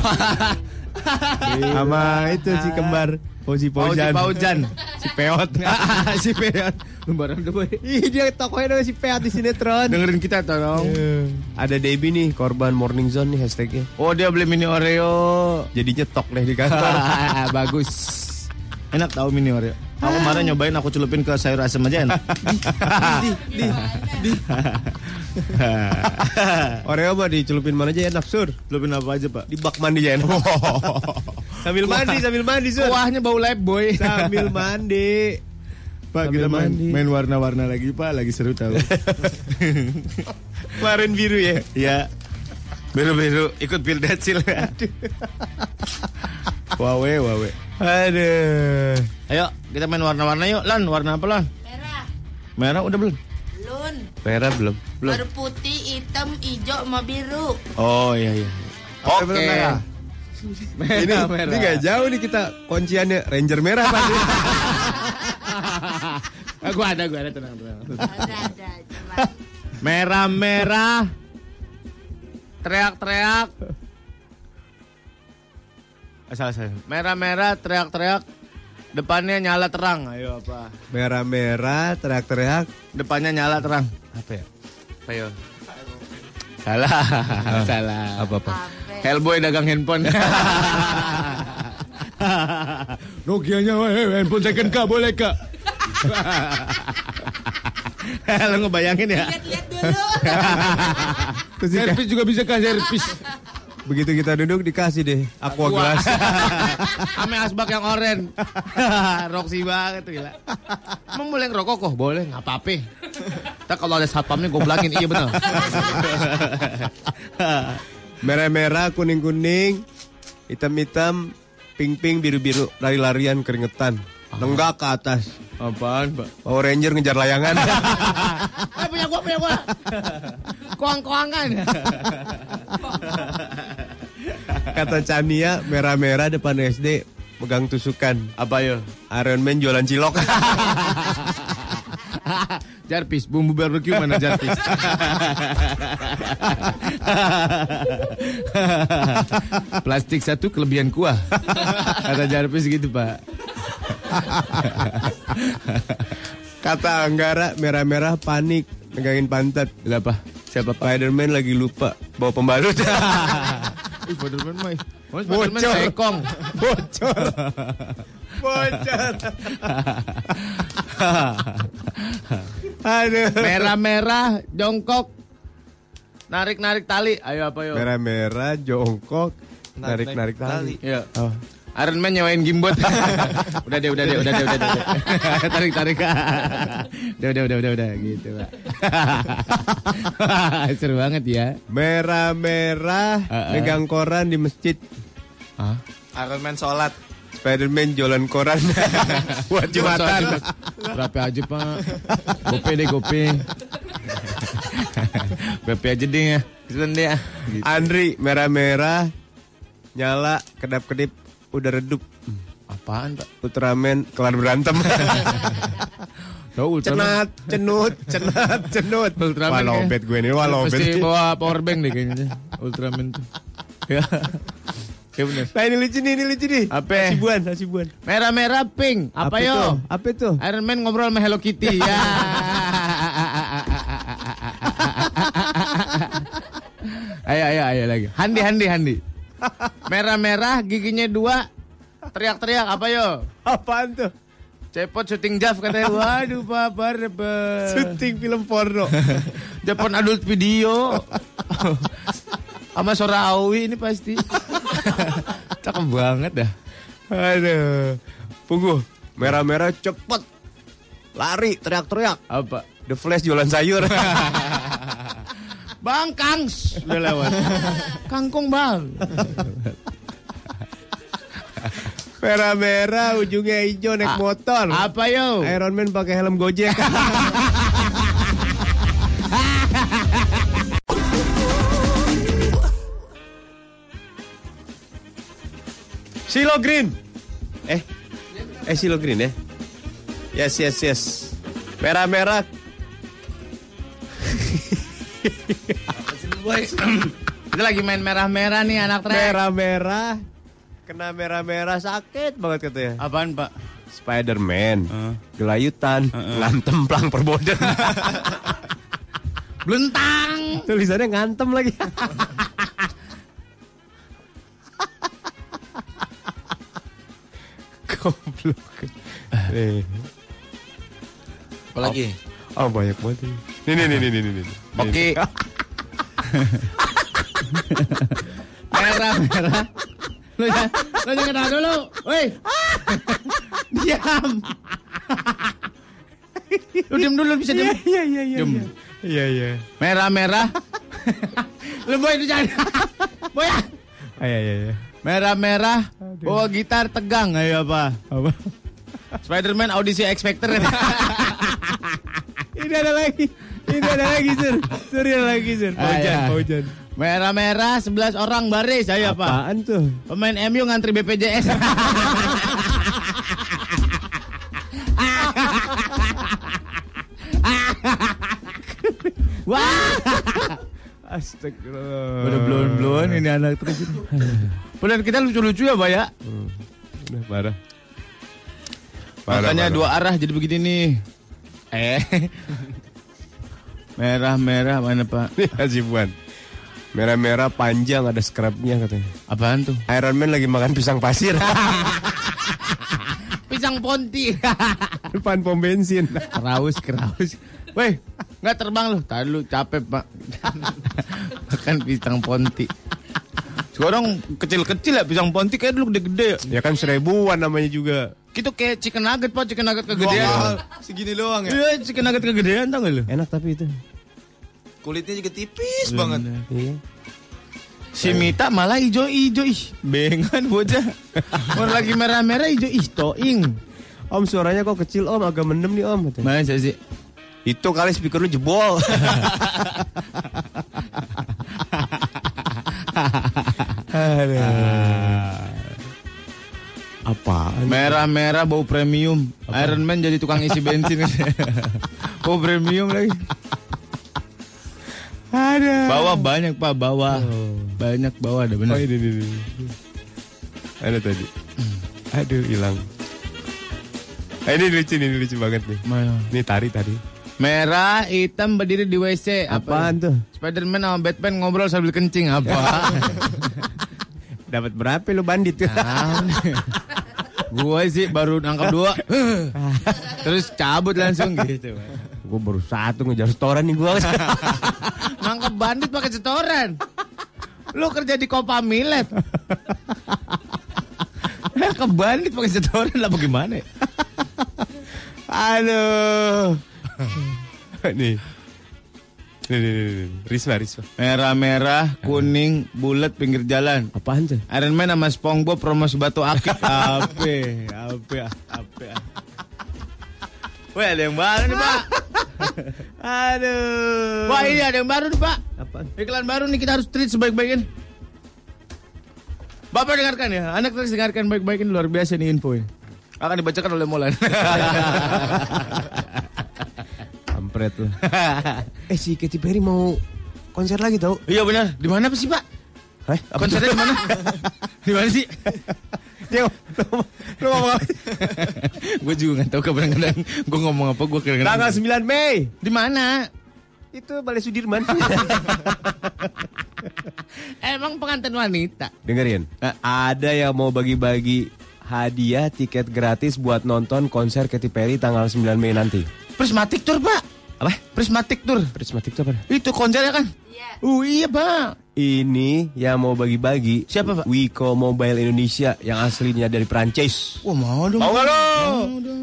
[SPEAKER 4] sama itu si kembar Iya. Fauzi
[SPEAKER 5] Paujan.
[SPEAKER 4] Paujan.
[SPEAKER 5] Paujan.
[SPEAKER 4] Si Peot. Ah,
[SPEAKER 5] si Peot. Lembaran tuh boy.
[SPEAKER 4] Ih, dia tokohnya namanya si Peot di sinetron. Iya.
[SPEAKER 5] Dengerin kita tolong.
[SPEAKER 4] Ada Debbie nih, korban Morning Zone nih hashtagnya.
[SPEAKER 5] Oh dia beli mini Oreo.
[SPEAKER 4] Jadi nyetok deh di kantor.
[SPEAKER 5] Bagus. Enak tahu mini Oreo. Aku kemarin
[SPEAKER 4] Ah.
[SPEAKER 5] nyobain aku celupin ke sayur asem aja enak.
[SPEAKER 4] Oreo mah dicelupin mana aja enak sur.
[SPEAKER 5] Celupin apa aja, Pak?
[SPEAKER 4] Di bak mandi aja enak. sambil mandi, sambil mandi sur.
[SPEAKER 5] Kuahnya bau lab boy.
[SPEAKER 4] Sambil mandi.
[SPEAKER 5] Pak,
[SPEAKER 4] Sambil
[SPEAKER 5] kita main,
[SPEAKER 4] mandi.
[SPEAKER 5] main warna-warna lagi, Pak. Lagi seru tahu.
[SPEAKER 4] Kemarin biru ya.
[SPEAKER 5] ya. Biru-biru ikut Pildacil. wawe, wawe.
[SPEAKER 4] Aduh.
[SPEAKER 5] Ayo, kita main warna-warna yuk. Lan, warna apa, Lan?
[SPEAKER 1] Merah,
[SPEAKER 5] Merah udah belum?
[SPEAKER 1] lun,
[SPEAKER 4] Merah belum.
[SPEAKER 5] Belum.
[SPEAKER 1] baru putih, hitam, hijau, sama biru.
[SPEAKER 5] Oh, iya iya. Oke.
[SPEAKER 4] ini ini gak jauh nih kita kunciannya Ranger merah pasti.
[SPEAKER 5] Aku ada, gua ada tenang, tenang.
[SPEAKER 1] Ada, ada, coba.
[SPEAKER 5] Merah-merah. Teriak-teriak. Eh, salah, salah. Merah-merah, teriak-teriak. Depannya nyala terang. Ayo apa?
[SPEAKER 4] Merah-merah ya. teriak-teriak.
[SPEAKER 5] Depannya nyala terang.
[SPEAKER 4] Apa ya?
[SPEAKER 5] Ayo. Salah, salah.
[SPEAKER 4] Apa-apa.
[SPEAKER 1] Apa?
[SPEAKER 5] Hellboy dagang handphone. Nokianya eh, handphone second kak boleh kak. Lo ngebayangin ya?
[SPEAKER 1] Lihat-lihat dulu.
[SPEAKER 4] Terus dika-
[SPEAKER 5] Servis juga bisa kak servis.
[SPEAKER 4] begitu kita duduk dikasih deh aqua glass.
[SPEAKER 5] Ame asbak yang oren. Roksi banget gila. Emang boleh ngerokok kok? Boleh, nggak apa-apa. Kita kalau ada satpamnya goblangin, iya bener.
[SPEAKER 4] Merah-merah, kuning-kuning, hitam-hitam, pink-pink, biru-biru, lari-larian keringetan. Nenggak ke atas.
[SPEAKER 5] Apaan, Pak?
[SPEAKER 4] Power Ranger ngejar layangan.
[SPEAKER 5] Eh, punya gua, punya gua. Koang-koangan.
[SPEAKER 4] Kata Chania, merah-merah depan SD pegang tusukan.
[SPEAKER 5] Apa yo?
[SPEAKER 4] Iron Man jualan cilok.
[SPEAKER 5] Jarvis, bumbu barbecue mana Jarvis? Plastik satu kelebihan kuah. Kata Jarvis gitu pak.
[SPEAKER 4] Kata Anggara, merah-merah panik megangin pantat.
[SPEAKER 5] Kenapa?
[SPEAKER 4] Siapa Spider-Man lagi lupa bawa pembalut.
[SPEAKER 5] Spiderman mah. Oh,
[SPEAKER 4] Spiderman
[SPEAKER 5] sekong.
[SPEAKER 4] Bocor. Bocor. Aduh.
[SPEAKER 5] Merah-merah, jongkok. Narik-narik tali. Ayo apa yo?
[SPEAKER 4] Merah-merah jongkok narik-narik tali.
[SPEAKER 5] Iya. Iron Man nyewain gimbot. udah deh, udah deh, udah deh, udah deh. tarik, tarik. udah, udah, udah, udah, udah gitu, Pak. Seru banget ya.
[SPEAKER 4] Merah-merah
[SPEAKER 5] Uh-uh.
[SPEAKER 4] megang koran di masjid.
[SPEAKER 5] Hah?
[SPEAKER 7] Iron Man sholat.
[SPEAKER 4] Spiderman jualan koran buat jumatan.
[SPEAKER 5] Berapa aja, Pak? Gope deh, gope. Gope aja deh ya. Kesulitan deh ya. Gitu.
[SPEAKER 4] Andri merah-merah nyala kedap-kedip udah redup.
[SPEAKER 5] Apaan, Pak?
[SPEAKER 4] Ultraman kelar berantem.
[SPEAKER 5] Tahu Ultraman.
[SPEAKER 4] cenat, cenut, cenat, cenut.
[SPEAKER 5] Ultraman
[SPEAKER 4] Wah
[SPEAKER 5] ya.
[SPEAKER 4] lobet gue ini, wah lobet.
[SPEAKER 5] Pasti bawa power bank deh kayaknya. Ultraman tuh. Ya. Ya bener.
[SPEAKER 4] Nah ini lucu nih, ini lucu nih.
[SPEAKER 5] Apa?
[SPEAKER 4] Hasibuan, hasibuan.
[SPEAKER 5] Merah-merah pink. Apa,
[SPEAKER 7] Oh.
[SPEAKER 5] yo?
[SPEAKER 4] tuh? Apa tuh?
[SPEAKER 5] Iron Man ngobrol sama Hello Kitty ya. ayo ayo ayo lagi. Handi handi handi. Merah-merah giginya dua. Teriak-teriak apa yo?
[SPEAKER 4] Apaan tuh?
[SPEAKER 5] Cepot syuting Jaf katanya. Waduh babar
[SPEAKER 4] Syuting film porno.
[SPEAKER 5] Jepun adult video. Sama suara Awi ini pasti. Cakep banget dah.
[SPEAKER 4] Aduh. Punggu. Merah-merah cepet. Lari, teriak-teriak.
[SPEAKER 5] Apa?
[SPEAKER 4] The Flash jualan sayur.
[SPEAKER 5] Bang Kangs udah lewat. Kangkung bang.
[SPEAKER 4] Merah-merah, ujungnya
[SPEAKER 5] Ah.
[SPEAKER 4] hijau naik motor.
[SPEAKER 5] Apa yo?
[SPEAKER 4] Iron Man pakai helm Gojek. Silo Green. Eh. Eh Silo Green ya. Yes, yes, yes. Merah-merah.
[SPEAKER 5] Kita lagi main merah-merah nih anak trek.
[SPEAKER 4] Merah-merah. Kena merah-merah sakit banget katanya.
[SPEAKER 5] Apaan pak?
[SPEAKER 4] Spider-Man.
[SPEAKER 5] Eh.
[SPEAKER 4] Gelayutan, ngantem plang perboden.
[SPEAKER 5] Belentang.
[SPEAKER 4] Tulisannya ngantem lagi. Goblok. Eh,
[SPEAKER 7] Apalagi?
[SPEAKER 4] Oh banyak banget ini. Nih nih nih nih nih nih. nih.
[SPEAKER 5] Oke. merah, merah. Lu jangan, lu jangan ketawa dulu. Woi. diam. lu diam dulu bisa diam.
[SPEAKER 4] Iya iya iya.
[SPEAKER 5] Diem.
[SPEAKER 4] Iya iya.
[SPEAKER 5] Merah, merah. lu boy lu jangan. boy. ah.
[SPEAKER 4] Iya iya iya.
[SPEAKER 5] Merah, merah. Bawa gitar tegang ayo apa?
[SPEAKER 4] Apa?
[SPEAKER 5] Spiderman audisi X Factor.
[SPEAKER 4] Ini ada lagi. Ini ada lagi sur. Sur ini ada lagi sur. Paujan
[SPEAKER 5] Ah, iya.
[SPEAKER 4] paujan.
[SPEAKER 5] Merah-merah 11 orang baris ayo apa?
[SPEAKER 4] Oh, Apaan tuh?
[SPEAKER 5] Pemain MU ngantri BPJS. Wah,
[SPEAKER 4] Astagfirullah.
[SPEAKER 5] udah belum belum ini anak terus. Padahal kita lucu-lucu ya, Pak ya.
[SPEAKER 4] Udah parah.
[SPEAKER 5] Makanya dua arah jadi begini nih. Eh. Merah-merah mana, Pak?
[SPEAKER 4] Nih Hajibuan. Merah-merah panjang ada scrubnya katanya.
[SPEAKER 5] Apaan tuh?
[SPEAKER 4] Iron Man lagi makan pisang pasir
[SPEAKER 5] Pisang ponti.
[SPEAKER 4] depan pom bensin.
[SPEAKER 5] Keraus, keraus. Weh, nggak terbang lu. Tadi lu capek, Pak. Makan pisang ponti. Sekarang kecil-kecil ya pisang ponti kayak dulu gede-gede ya.
[SPEAKER 4] Ya kan seribuan namanya juga.
[SPEAKER 5] Itu kayak chicken nugget, Pak. Chicken nugget
[SPEAKER 4] ya.
[SPEAKER 5] kegedean.
[SPEAKER 7] Doang, segini doang ya.
[SPEAKER 5] Iya, chicken nugget kegedean tau gak lu?
[SPEAKER 4] Enak tapi itu.
[SPEAKER 7] Kulitnya juga tipis banget.
[SPEAKER 4] Iya.
[SPEAKER 5] Si Mita malah ijo-ijo ih. Bengan bocah. Orang lagi merah-merah ijo ih toing.
[SPEAKER 4] Om suaranya kok kecil om agak mendem nih om katanya.
[SPEAKER 5] Masa sih?
[SPEAKER 4] Itu kali speaker lu jebol. Ah. Apa?
[SPEAKER 5] Merah-merah bau premium. Iron Man jadi tukang isi bensin. bau premium lagi.
[SPEAKER 4] Ada.
[SPEAKER 5] Bawah banyak, Pak, bawah. Banyak bawah ada
[SPEAKER 4] Oh
[SPEAKER 5] benar.
[SPEAKER 4] ini, ini, ini. Ada tadi. Aduh hilang. Ah, ini lucu nih, ini lucu banget nih. Ini tari tadi.
[SPEAKER 5] Merah, hitam berdiri di WC.
[SPEAKER 4] Apaan tuh?
[SPEAKER 5] Spiderman sama Batman ngobrol sambil kencing apa?
[SPEAKER 4] Dapat berapa lu bandit?
[SPEAKER 5] Gue sih baru nangkap dua. Terus cabut langsung gitu.
[SPEAKER 4] gue baru satu ngejar setoran nih gue.
[SPEAKER 5] Nangkap bandit pakai setoran. Lu kerja di Kopa Milet. Nangkap bandit pakai setoran lah bagaimana? ya? Aduh.
[SPEAKER 4] nih. Nih, nih, nih, nih. Risma, Risma.
[SPEAKER 5] Merah-merah, kuning, bulat pinggir jalan.
[SPEAKER 4] Apaan tuh?
[SPEAKER 5] Iron Man sama SpongeBob promos batu akik. Ape, ape, ape. Wah ada yang baru nih pak.
[SPEAKER 4] Aduh.
[SPEAKER 5] Wah ini ada yang baru nih pak.
[SPEAKER 4] Apaan?
[SPEAKER 5] Iklan baru nih kita harus treat sebaik-baiknya. Bapak dengarkan ya, anak terus dengarkan baik-baik ini luar biasa nih info ini. Akan dibacakan oleh Molan.
[SPEAKER 4] Kampret lu. eh si Katy Perry mau konser lagi tau?
[SPEAKER 5] iya benar. Di mana sih pak?
[SPEAKER 4] Hah?
[SPEAKER 5] Konsernya di mana? di mana sih?
[SPEAKER 4] Dia lu mau apa?
[SPEAKER 5] gue juga nggak tahu kadang-kadang gue ngomong apa gitu. gue
[SPEAKER 4] Tanggal
[SPEAKER 5] kadang-kadang.
[SPEAKER 4] 9 Mei.
[SPEAKER 5] Di mana?
[SPEAKER 4] Itu Balai Sudirman.
[SPEAKER 5] Emang pengantin wanita.
[SPEAKER 4] Dengerin. Eh, Ada yang mau bagi-bagi hadiah tiket gratis buat nonton konser Katy Perry tanggal 9 Mei nanti.
[SPEAKER 5] Prismatik tour pak.
[SPEAKER 4] Apa?
[SPEAKER 5] Prismatik tour.
[SPEAKER 4] Prismatik itu apa?
[SPEAKER 5] Itu konsernya kan?
[SPEAKER 1] Iya.
[SPEAKER 5] Oh iya pak.
[SPEAKER 4] Ini yang mau bagi-bagi
[SPEAKER 5] Siapa, Pak?
[SPEAKER 4] Wiko Mobile Indonesia yang aslinya dari Perancis.
[SPEAKER 5] Wah Oh, mau dong.
[SPEAKER 4] Mau nggak lo?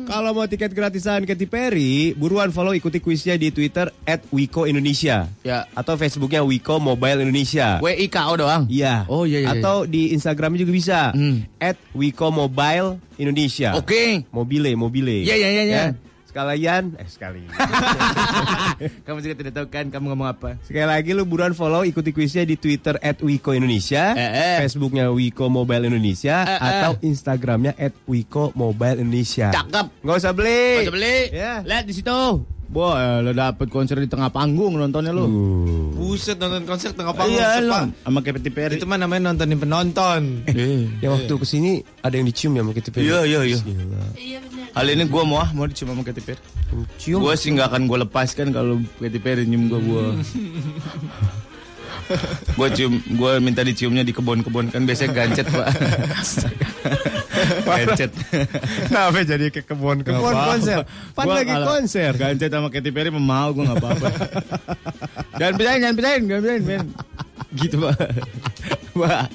[SPEAKER 4] Kalau mau tiket gratisan Katy Perry, buruan follow ikuti kuisnya di Twitter @wiko_indonesia
[SPEAKER 5] Ya.
[SPEAKER 4] atau Facebooknya Wiko Mobile Indonesia.
[SPEAKER 5] WIKO doang.
[SPEAKER 4] Iya.
[SPEAKER 5] Oh iya iya. iya.
[SPEAKER 4] Atau di Instagramnya juga bisa.
[SPEAKER 5] Hmm.
[SPEAKER 4] @wiko Mobile Indonesia.
[SPEAKER 5] Oke.
[SPEAKER 4] Mobile, mobile.
[SPEAKER 5] Iya, iya, iya, iya.
[SPEAKER 4] Ya. Sekalian, eh sekali.
[SPEAKER 5] Kamu juga tidak tahu kan kamu ngomong apa?
[SPEAKER 4] Sekali lagi lu buruan follow ikuti kuisnya di Twitter @wiko_indonesia,
[SPEAKER 5] Eh, eh.
[SPEAKER 4] Facebooknya Wiko Mobile Indonesia,
[SPEAKER 5] Eh, eh.
[SPEAKER 4] atau Instagramnya @wiko Mobile Indonesia.
[SPEAKER 5] Cakep.
[SPEAKER 4] Nggak usah beli.
[SPEAKER 5] Bisa beli.
[SPEAKER 4] Iya.
[SPEAKER 5] Lihat di situ. Boy, lo dapet konser di tengah panggung nontonnya lo.
[SPEAKER 7] Buset nonton konser tengah panggung
[SPEAKER 5] iya lo.
[SPEAKER 7] sepak.
[SPEAKER 5] Sama Katy Perry.
[SPEAKER 7] Itu mah namanya nontonin penonton.
[SPEAKER 4] Ya waktu kesini ada yang dicium ya sama kita
[SPEAKER 5] Iya, iya, iya.
[SPEAKER 4] Gila.
[SPEAKER 1] Iya benar.
[SPEAKER 5] Hal ini gue mau ah, mau dicium sama Katy Perry.
[SPEAKER 6] Iya.
[SPEAKER 4] Cium.
[SPEAKER 6] Hmm.
[SPEAKER 5] Gue sih nggak akan gue lepaskan kalau Katy Perry nyium gue. Gue Gue cium, gue minta diciumnya di kebun-kebun kan biasanya gancet pak. gancet.
[SPEAKER 4] Kenapa jadi ke kebun? Kebun
[SPEAKER 6] apa-apa.
[SPEAKER 4] konser. Pan
[SPEAKER 6] Gua
[SPEAKER 4] lagi
[SPEAKER 6] kalah.
[SPEAKER 4] konser.
[SPEAKER 6] Eh, Gancet sama Katy Perry memau gue gak apa-apa. jangan pindahin, jangan pindahin, jangan pindahin, men. Gitu, Pak. Pak.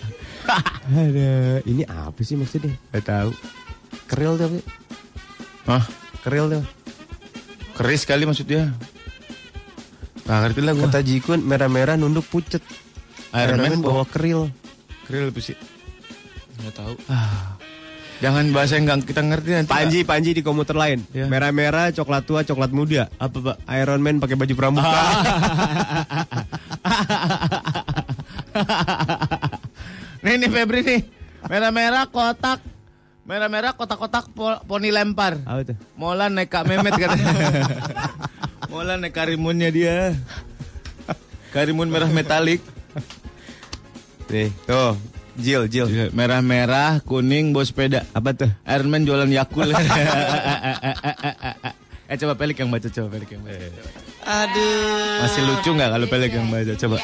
[SPEAKER 4] Ada, ini apa sih maksudnya?
[SPEAKER 5] Gak tahu.
[SPEAKER 4] Keril tuh apa?
[SPEAKER 5] Hah?
[SPEAKER 4] Keril tuh.
[SPEAKER 5] Keris kali maksudnya.
[SPEAKER 4] Nah,
[SPEAKER 5] Gak ngerti lah gue.
[SPEAKER 4] Kata Jikun merah-merah nunduk pucet. kan
[SPEAKER 5] Iron Man bawa
[SPEAKER 4] keril.
[SPEAKER 5] keril apa sih? Gak tahu. Jangan bahasa yang gak kita ngerti nanti.
[SPEAKER 4] Panji, Panji di komuter lain.
[SPEAKER 5] Iya.
[SPEAKER 4] Merah-merah, coklat tua, coklat muda. Apa pak? Ah. Iron Man pakai baju pramuka.
[SPEAKER 5] nih nih Febri nih. Merah-merah kotak. Merah-merah kotak-kotak po- poni lempar.
[SPEAKER 4] Apa tuh?
[SPEAKER 5] Molan naik Kak Memet katanya. Molan naik karimunnya dia. Karimun merah metalik.
[SPEAKER 4] Nih, tuh. Jil, Jil.
[SPEAKER 5] Merah-merah, kuning, bawa sepeda.
[SPEAKER 4] Apa tuh?
[SPEAKER 5] Iron Man jualan Yakul. eh coba pelik yang baca, coba pelik yang
[SPEAKER 4] Eh.
[SPEAKER 5] baca.
[SPEAKER 7] Aduh.
[SPEAKER 5] Masih lucu nggak kalau pelik yang baca? Coba.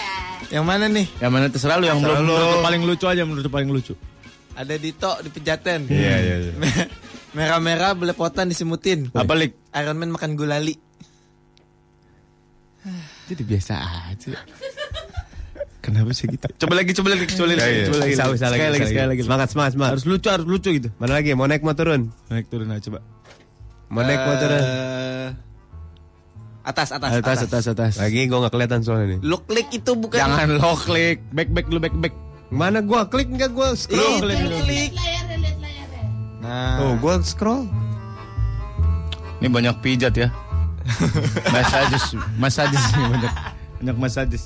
[SPEAKER 7] Yang mana nih?
[SPEAKER 5] Yang mana iya, terserah lu yang belum menurut lu paling lucu aja menurut lu paling lucu. Hmm.
[SPEAKER 7] Ada di tok di pejaten.
[SPEAKER 4] Iya, iya, iya.
[SPEAKER 7] Merah-merah belepotan disemutin.
[SPEAKER 5] Apa lik?
[SPEAKER 7] Iron Man makan gulali.
[SPEAKER 5] Jadi biasa aja. Kenapa sih gitu? Iya, Coba lagi, coba lagi, coba lagi, coba lagi.
[SPEAKER 4] Iya, Bisa, bisa
[SPEAKER 5] sekali lagi, sekali lagi.
[SPEAKER 4] Semangat, semangat, semangat.
[SPEAKER 5] Harus lucu, harus lucu gitu.
[SPEAKER 4] Mana lagi? Mau naik mau turun?
[SPEAKER 5] Naik turun aja coba.
[SPEAKER 4] Mau naik mau turun?
[SPEAKER 7] Eh, atas, atas, atas.
[SPEAKER 5] Atas, atas, atas.
[SPEAKER 4] Lagi gue gak kelihatan soalnya nih.
[SPEAKER 7] Look click itu bukan.
[SPEAKER 5] Jangan lo klik, back back lu back back.
[SPEAKER 4] Mana gue klik nggak gue
[SPEAKER 7] Look
[SPEAKER 4] scroll?
[SPEAKER 7] click.
[SPEAKER 1] Layarnya, lihat layarnya.
[SPEAKER 7] Nah.
[SPEAKER 4] Oh, gue scroll.
[SPEAKER 5] Ini banyak pijat ya. Masajis, masajis ini banyak. Banyak masajis.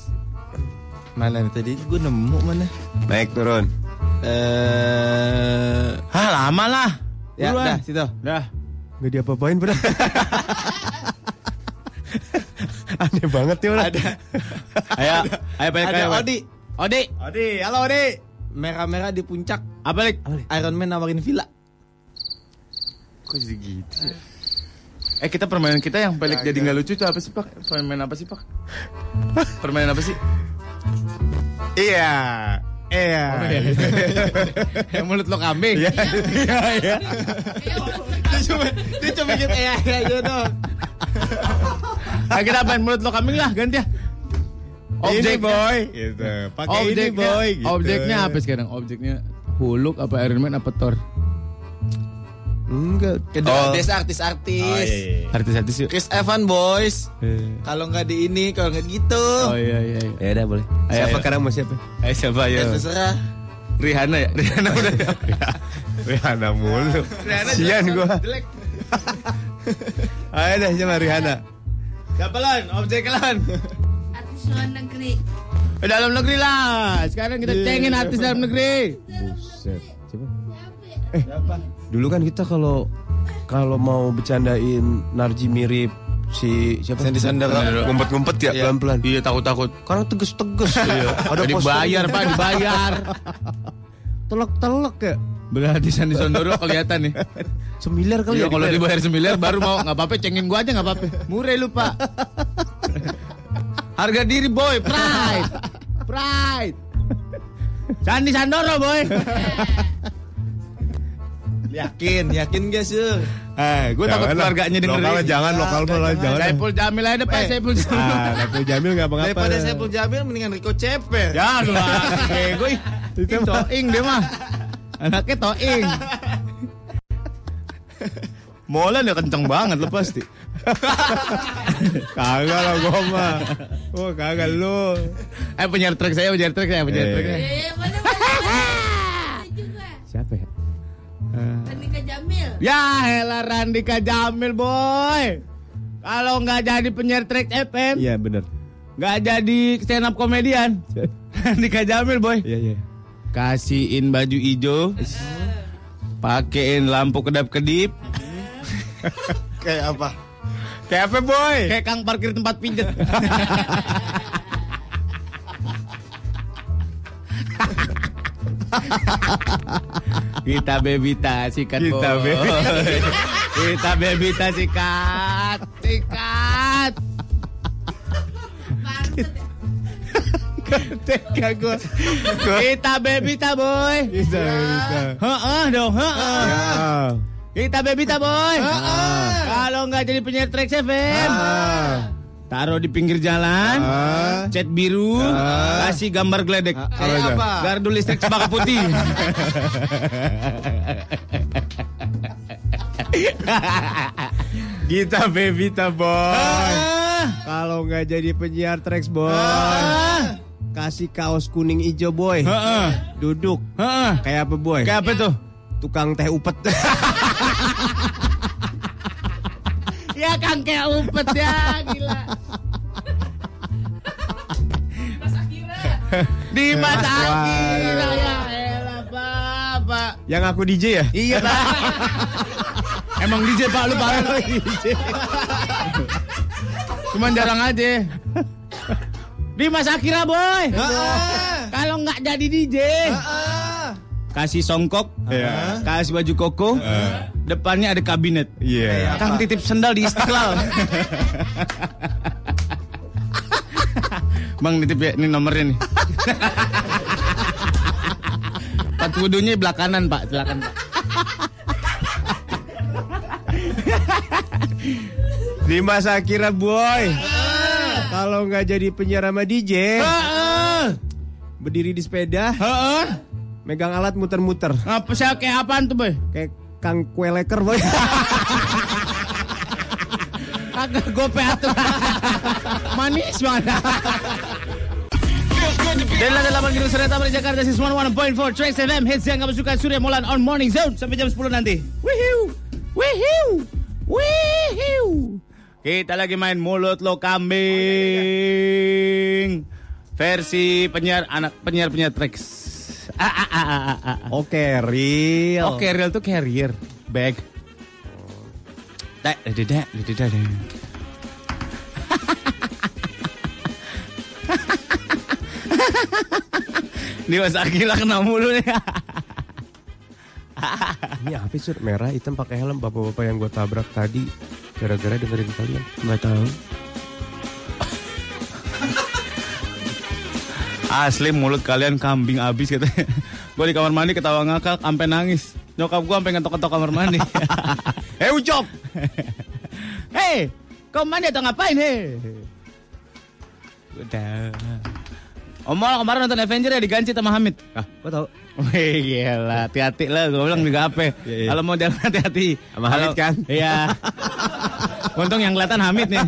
[SPEAKER 7] Mana nih tadi? Gue nemu mana?
[SPEAKER 4] Naik turun.
[SPEAKER 7] Eh,
[SPEAKER 5] Hah, ah, lama lah.
[SPEAKER 7] ya
[SPEAKER 5] Buruan.
[SPEAKER 7] dah situ.
[SPEAKER 5] Dah.
[SPEAKER 4] Gak diapa-apain bener. Aneh banget ya orang. Ada.
[SPEAKER 5] Ayo, ayo balik
[SPEAKER 7] Ada
[SPEAKER 5] ayo. balik.
[SPEAKER 7] Odi.
[SPEAKER 5] Odi. Odi, halo Odi.
[SPEAKER 7] Merah-merah di puncak.
[SPEAKER 5] Apa lik?
[SPEAKER 7] Iron Man nawarin villa.
[SPEAKER 5] Kok jadi gitu ya? Eh kita permainan kita yang pelik jadi nggak lucu itu apa sih pak? Permainan apa sih pak? Permainan apa sih?
[SPEAKER 4] Iya. Iya.
[SPEAKER 5] yang mulut lo kambing.
[SPEAKER 7] Dia cuma dia cuma gitu ya ya gitu doang.
[SPEAKER 5] Nah, kita apain mulut lo kambing lah ganti ya.
[SPEAKER 4] Ini
[SPEAKER 5] Objeknya-
[SPEAKER 4] boy. Gitu. Pakai ini
[SPEAKER 5] objeknya,
[SPEAKER 4] boy. Gitu.
[SPEAKER 5] objeknya apa sekarang? Objeknya Huluk apa Iron Man apa Thor?
[SPEAKER 4] Enggak.
[SPEAKER 7] Kedua
[SPEAKER 4] Oh.
[SPEAKER 7] desa artis-artis.
[SPEAKER 4] Oh, iya, iya.
[SPEAKER 5] Artis-artis yuk.
[SPEAKER 7] Chris Evan boys.
[SPEAKER 4] Eh,
[SPEAKER 7] Kalau nggak di ini, kalau nggak gitu.
[SPEAKER 5] Oh iya iya. iya.
[SPEAKER 4] Ya udah boleh.
[SPEAKER 5] Ayo.
[SPEAKER 4] Siapa sekarang mau siapa?
[SPEAKER 5] Ayo siapa
[SPEAKER 7] Ya
[SPEAKER 5] ayo?
[SPEAKER 7] terserah.
[SPEAKER 5] Rihanna ya. Rihanna udah.
[SPEAKER 4] Rihanna mulu. Sian gue. Ayo deh sama Rihanna.
[SPEAKER 5] Gapelan, objek lan.
[SPEAKER 1] Artis luar negeri.
[SPEAKER 5] Dalam negeri lah. Sekarang kita cengin artis dalam negeri.
[SPEAKER 4] Buset. Coba. Eh, dulu kan kita kalau kalau mau bercandain Narji mirip si siapa? Sandy
[SPEAKER 5] Sandoro.
[SPEAKER 4] Ngumpet-ngumpet ya pelan-pelan.
[SPEAKER 5] Iya takut-takut.
[SPEAKER 4] Karena tegas-tegas.
[SPEAKER 5] Ada dibayar pak, dibayar.
[SPEAKER 4] telak-telak ya.
[SPEAKER 5] Berarti Sandi Sondoro kelihatan nih.
[SPEAKER 4] Semilir kali
[SPEAKER 5] Iya
[SPEAKER 4] ya.
[SPEAKER 5] kalau
[SPEAKER 4] dibayar.
[SPEAKER 5] dibayar sembilan baru mau nggak apa-apa cengin gua aja nggak apa-apa. Murah lu pak. Harga diri boy, pride, pride. Sandi Sandoro boy.
[SPEAKER 7] Yakin, yakin gak sur?
[SPEAKER 5] Eh, gue
[SPEAKER 4] Jangan
[SPEAKER 5] takut
[SPEAKER 4] lah.
[SPEAKER 5] keluarganya dengerin.
[SPEAKER 4] Lokal jangan, lokal malah jangan.
[SPEAKER 5] Saiful Jamil aja deh, Pak Saiful Jamil.
[SPEAKER 4] Ah, Saiful Jamil nggak apa-apa.
[SPEAKER 7] Daripada saya Jamil mendingan Rico Ceper.
[SPEAKER 5] Ya lu ah, bego ih. Itu toing dia mah. Anaknya toing. Molan ya kenceng banget lo pasti.
[SPEAKER 4] Kagak lah gua mah. Oh, kagak lu.
[SPEAKER 5] Eh penyiar truk saya, penyiar truk saya, penyiar
[SPEAKER 4] Eh.
[SPEAKER 5] truk saya.
[SPEAKER 1] Eh, mana mana. Ini juga.
[SPEAKER 4] Siapa ya?
[SPEAKER 1] Panika Jamil.
[SPEAKER 5] Ya elah Randika Jamil boy. Kalau nggak jadi penyiar trek FM,
[SPEAKER 4] Iya, benar.
[SPEAKER 5] nggak jadi stand up komedian. Randika Jamil boy.
[SPEAKER 4] Iya, iya.
[SPEAKER 5] Kasihin baju hijau. Pakein lampu kedap-kedip.
[SPEAKER 7] Kayak apa?
[SPEAKER 4] Kayak apa, boy?
[SPEAKER 5] Kayak kang parkir tempat pijet. Kita bebita sikat
[SPEAKER 4] Kita
[SPEAKER 5] boy.
[SPEAKER 4] bebita.
[SPEAKER 5] Kita bebita sikat Sikat
[SPEAKER 1] Pantet ya.
[SPEAKER 5] Tega gue. Kita baby ta boy. Ya.
[SPEAKER 4] Bisa, bisa.
[SPEAKER 5] Heeh dong, heeh.
[SPEAKER 4] Ah.
[SPEAKER 5] Kita baby ta boy. Kalau nggak jadi penyiar Trax FM. Taruh di pinggir jalan.
[SPEAKER 4] Ah.
[SPEAKER 5] Cat biru,
[SPEAKER 4] Ah.
[SPEAKER 5] kasih gambar geledek.
[SPEAKER 4] apa itu?
[SPEAKER 5] Gardu listrik cempaka putih.
[SPEAKER 4] Kita Bebita Boy.
[SPEAKER 5] Ah.
[SPEAKER 4] Kalau nggak jadi penyiar Trax Boy,
[SPEAKER 5] Ah.
[SPEAKER 4] kasih kaos kuning ijo Boy.
[SPEAKER 5] Heeh.
[SPEAKER 4] Duduk
[SPEAKER 5] Heeh.
[SPEAKER 4] kayak apa Boy?
[SPEAKER 5] Kayak apa tuh?
[SPEAKER 4] Tukang teh upet.
[SPEAKER 5] Ya Kang kayak upet ya, gila. Di Eh, Mas Akira ya, elah Pak, Pak.
[SPEAKER 4] Yang aku DJ ya?
[SPEAKER 5] Iya Pak. Emang DJ Pak lu Pak. Cuman jarang aja. Di Mas Akira boy. Kalau nggak jadi DJ. Kasih songkok,
[SPEAKER 4] Iya.
[SPEAKER 5] kasih baju koko, depannya ada kabinet.
[SPEAKER 4] Iya.
[SPEAKER 5] Kang titip sendal di Istiqlal. Bang titip ya, ini nomornya nih. Pak wudunya belakangan pak, silakan pak.
[SPEAKER 4] Di masa Akira Boy. Kalau nggak jadi penyiar sama DJ,
[SPEAKER 5] Heeh,
[SPEAKER 4] berdiri di sepeda,
[SPEAKER 5] heeh.
[SPEAKER 4] megang alat muter-muter.
[SPEAKER 5] Apa sih kayak apaan tuh boy?
[SPEAKER 4] Kayak Kang Kue Leker Boy.
[SPEAKER 5] Agak gope atuh. Manis banget. Dari lantai 8 Gedung Serata Mari Jakarta Sis 101.4 Trax FM Hits yang kamu suka Surya Molan on Morning Zone Sampai jam 10 nanti Wihiu Wihiu Wihiu Kita lagi main mulut lo kambing Versi penyiar anak penyiar-penyiar Trax Ah, ah, ah, ah, ah, ah.
[SPEAKER 4] Oke, real.
[SPEAKER 5] Oh, carrier tuh carrier. Bag. Dek, dedek, dedek, dedek. Ini Mas Akila kena mulu nih.
[SPEAKER 4] Ini apa sih merah hitam pakai helm bapak-bapak yang gue tabrak tadi gara-gara dengerin kalian? Nggak tahu.
[SPEAKER 5] Asli mulut kalian kambing abis katanya. Gue di kamar mandi ketawa ngakak sampai nangis. Nyokap gue sampai ngetok-ngetok kamar mandi. Hei Ucok. Hei, kau mandi atau ngapain hei? Udah. Omol kemarin nonton Avenger ya diganti sama Hamid.
[SPEAKER 4] Ah, gue tahu.
[SPEAKER 5] Wih gila, hati-hati lah gue bilang juga apa
[SPEAKER 4] Iya, iya.
[SPEAKER 5] Kalau mau jalan hati-hati
[SPEAKER 4] Sama Hamid,
[SPEAKER 5] Kalau-
[SPEAKER 4] kan?
[SPEAKER 5] Iya Untung yang kelihatan Hamid nih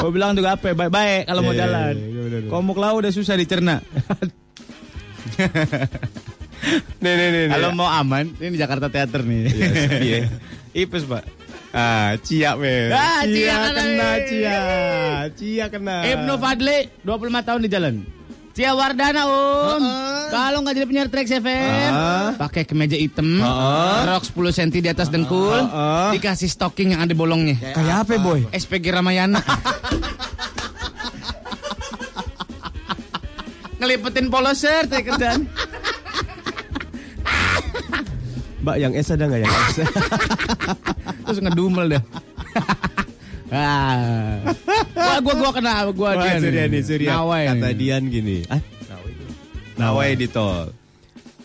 [SPEAKER 5] Gue bilang juga apa ya, baik-baik kalau mau
[SPEAKER 4] Iya, iya,
[SPEAKER 5] jalan
[SPEAKER 4] iya, iya, bener, bener.
[SPEAKER 5] Komuk lau udah susah dicerna
[SPEAKER 4] Nih nih nih. nih.
[SPEAKER 5] Kalau mau aman, ini di Jakarta Teater nih
[SPEAKER 4] Iya, sepi ya.
[SPEAKER 5] Ipes pak
[SPEAKER 4] Ah, cia men.
[SPEAKER 5] Ah, cia kena. Eh,
[SPEAKER 4] kena, cia, cia kena.
[SPEAKER 5] Ibnu Fadli 25 tahun di jalan. Cia Wardana Om. Kalau nggak jadi penyiar Trax FM,
[SPEAKER 4] Heeh.
[SPEAKER 5] pakai kemeja hitam, rok 10 cm di atas dengkul,
[SPEAKER 4] Heeh.
[SPEAKER 5] dikasih stocking yang ada bolongnya.
[SPEAKER 4] Kayak apa boy?
[SPEAKER 5] SPG Ramayana. Ngelipetin poloser teh kerjaan.
[SPEAKER 4] Mbak yang es ada nggak yang es?
[SPEAKER 5] Terus ngedumel dah. Ah. Wah, gua gua kena gua
[SPEAKER 4] Wah, Suryani, Surya.
[SPEAKER 5] Nawai.
[SPEAKER 4] Kata Dian gini. Ah, Nawai di tol.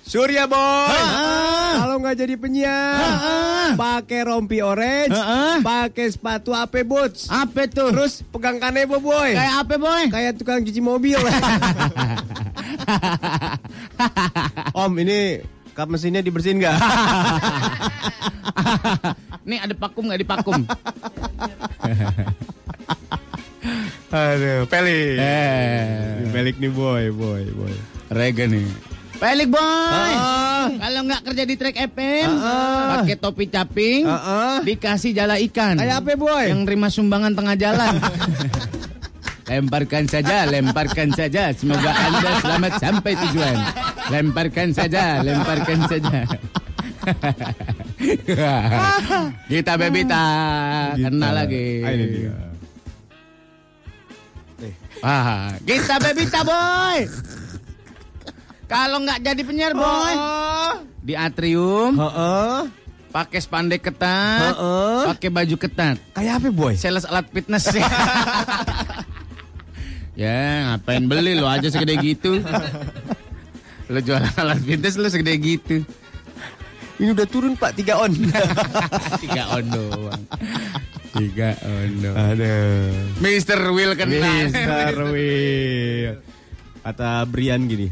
[SPEAKER 4] Surya boy.
[SPEAKER 5] Ah.
[SPEAKER 4] Kalau nggak jadi penyiar,
[SPEAKER 5] Ah.
[SPEAKER 4] pakai rompi orange,
[SPEAKER 5] Heeh.
[SPEAKER 4] pakai sepatu AP boots,
[SPEAKER 5] Apa tuh?
[SPEAKER 4] terus pegang kanebo boy.
[SPEAKER 5] Kayak apa boy?
[SPEAKER 4] Kayak tukang cuci mobil. Om, ini kap mesinnya dibersihin nggak?
[SPEAKER 5] Nih ada pakum nggak di pakum?
[SPEAKER 4] Aduh, pelik.
[SPEAKER 5] Eh.
[SPEAKER 4] Pelik nih boy, boy, boy.
[SPEAKER 5] Rega nih. Pelik boy.
[SPEAKER 4] Ah.
[SPEAKER 5] Kalau nggak kerja di trek FM, pakai topi caping,
[SPEAKER 4] Heeh.
[SPEAKER 5] dikasih jala ikan.
[SPEAKER 4] Ah, Kayak apa boy?
[SPEAKER 5] Yang terima sumbangan tengah jalan. lemparkan saja, lemparkan saja. Semoga Anda selamat sampai tujuan. Lemparkan saja, lemparkan saja. Kita bebita kena lagi.
[SPEAKER 4] Ah, ini dia.
[SPEAKER 5] Ah, kita bebita boy. Kalau nggak jadi penyiar boy, di atrium
[SPEAKER 7] Oh.
[SPEAKER 4] Heeh.
[SPEAKER 5] pakai spandek ketat,
[SPEAKER 4] Heeh.
[SPEAKER 5] pakai baju ketat,
[SPEAKER 4] Kayak apa boy?
[SPEAKER 5] sales alat fitness. Ya ngapain beli lo aja segede gitu Lo jualan alat vintage lo segede gitu
[SPEAKER 4] Ini udah turun pak, tiga on.
[SPEAKER 5] Tiga on doang
[SPEAKER 4] tiga on. Aduh.
[SPEAKER 5] Mister Will kena
[SPEAKER 4] Mister Will. Kata Brian gini.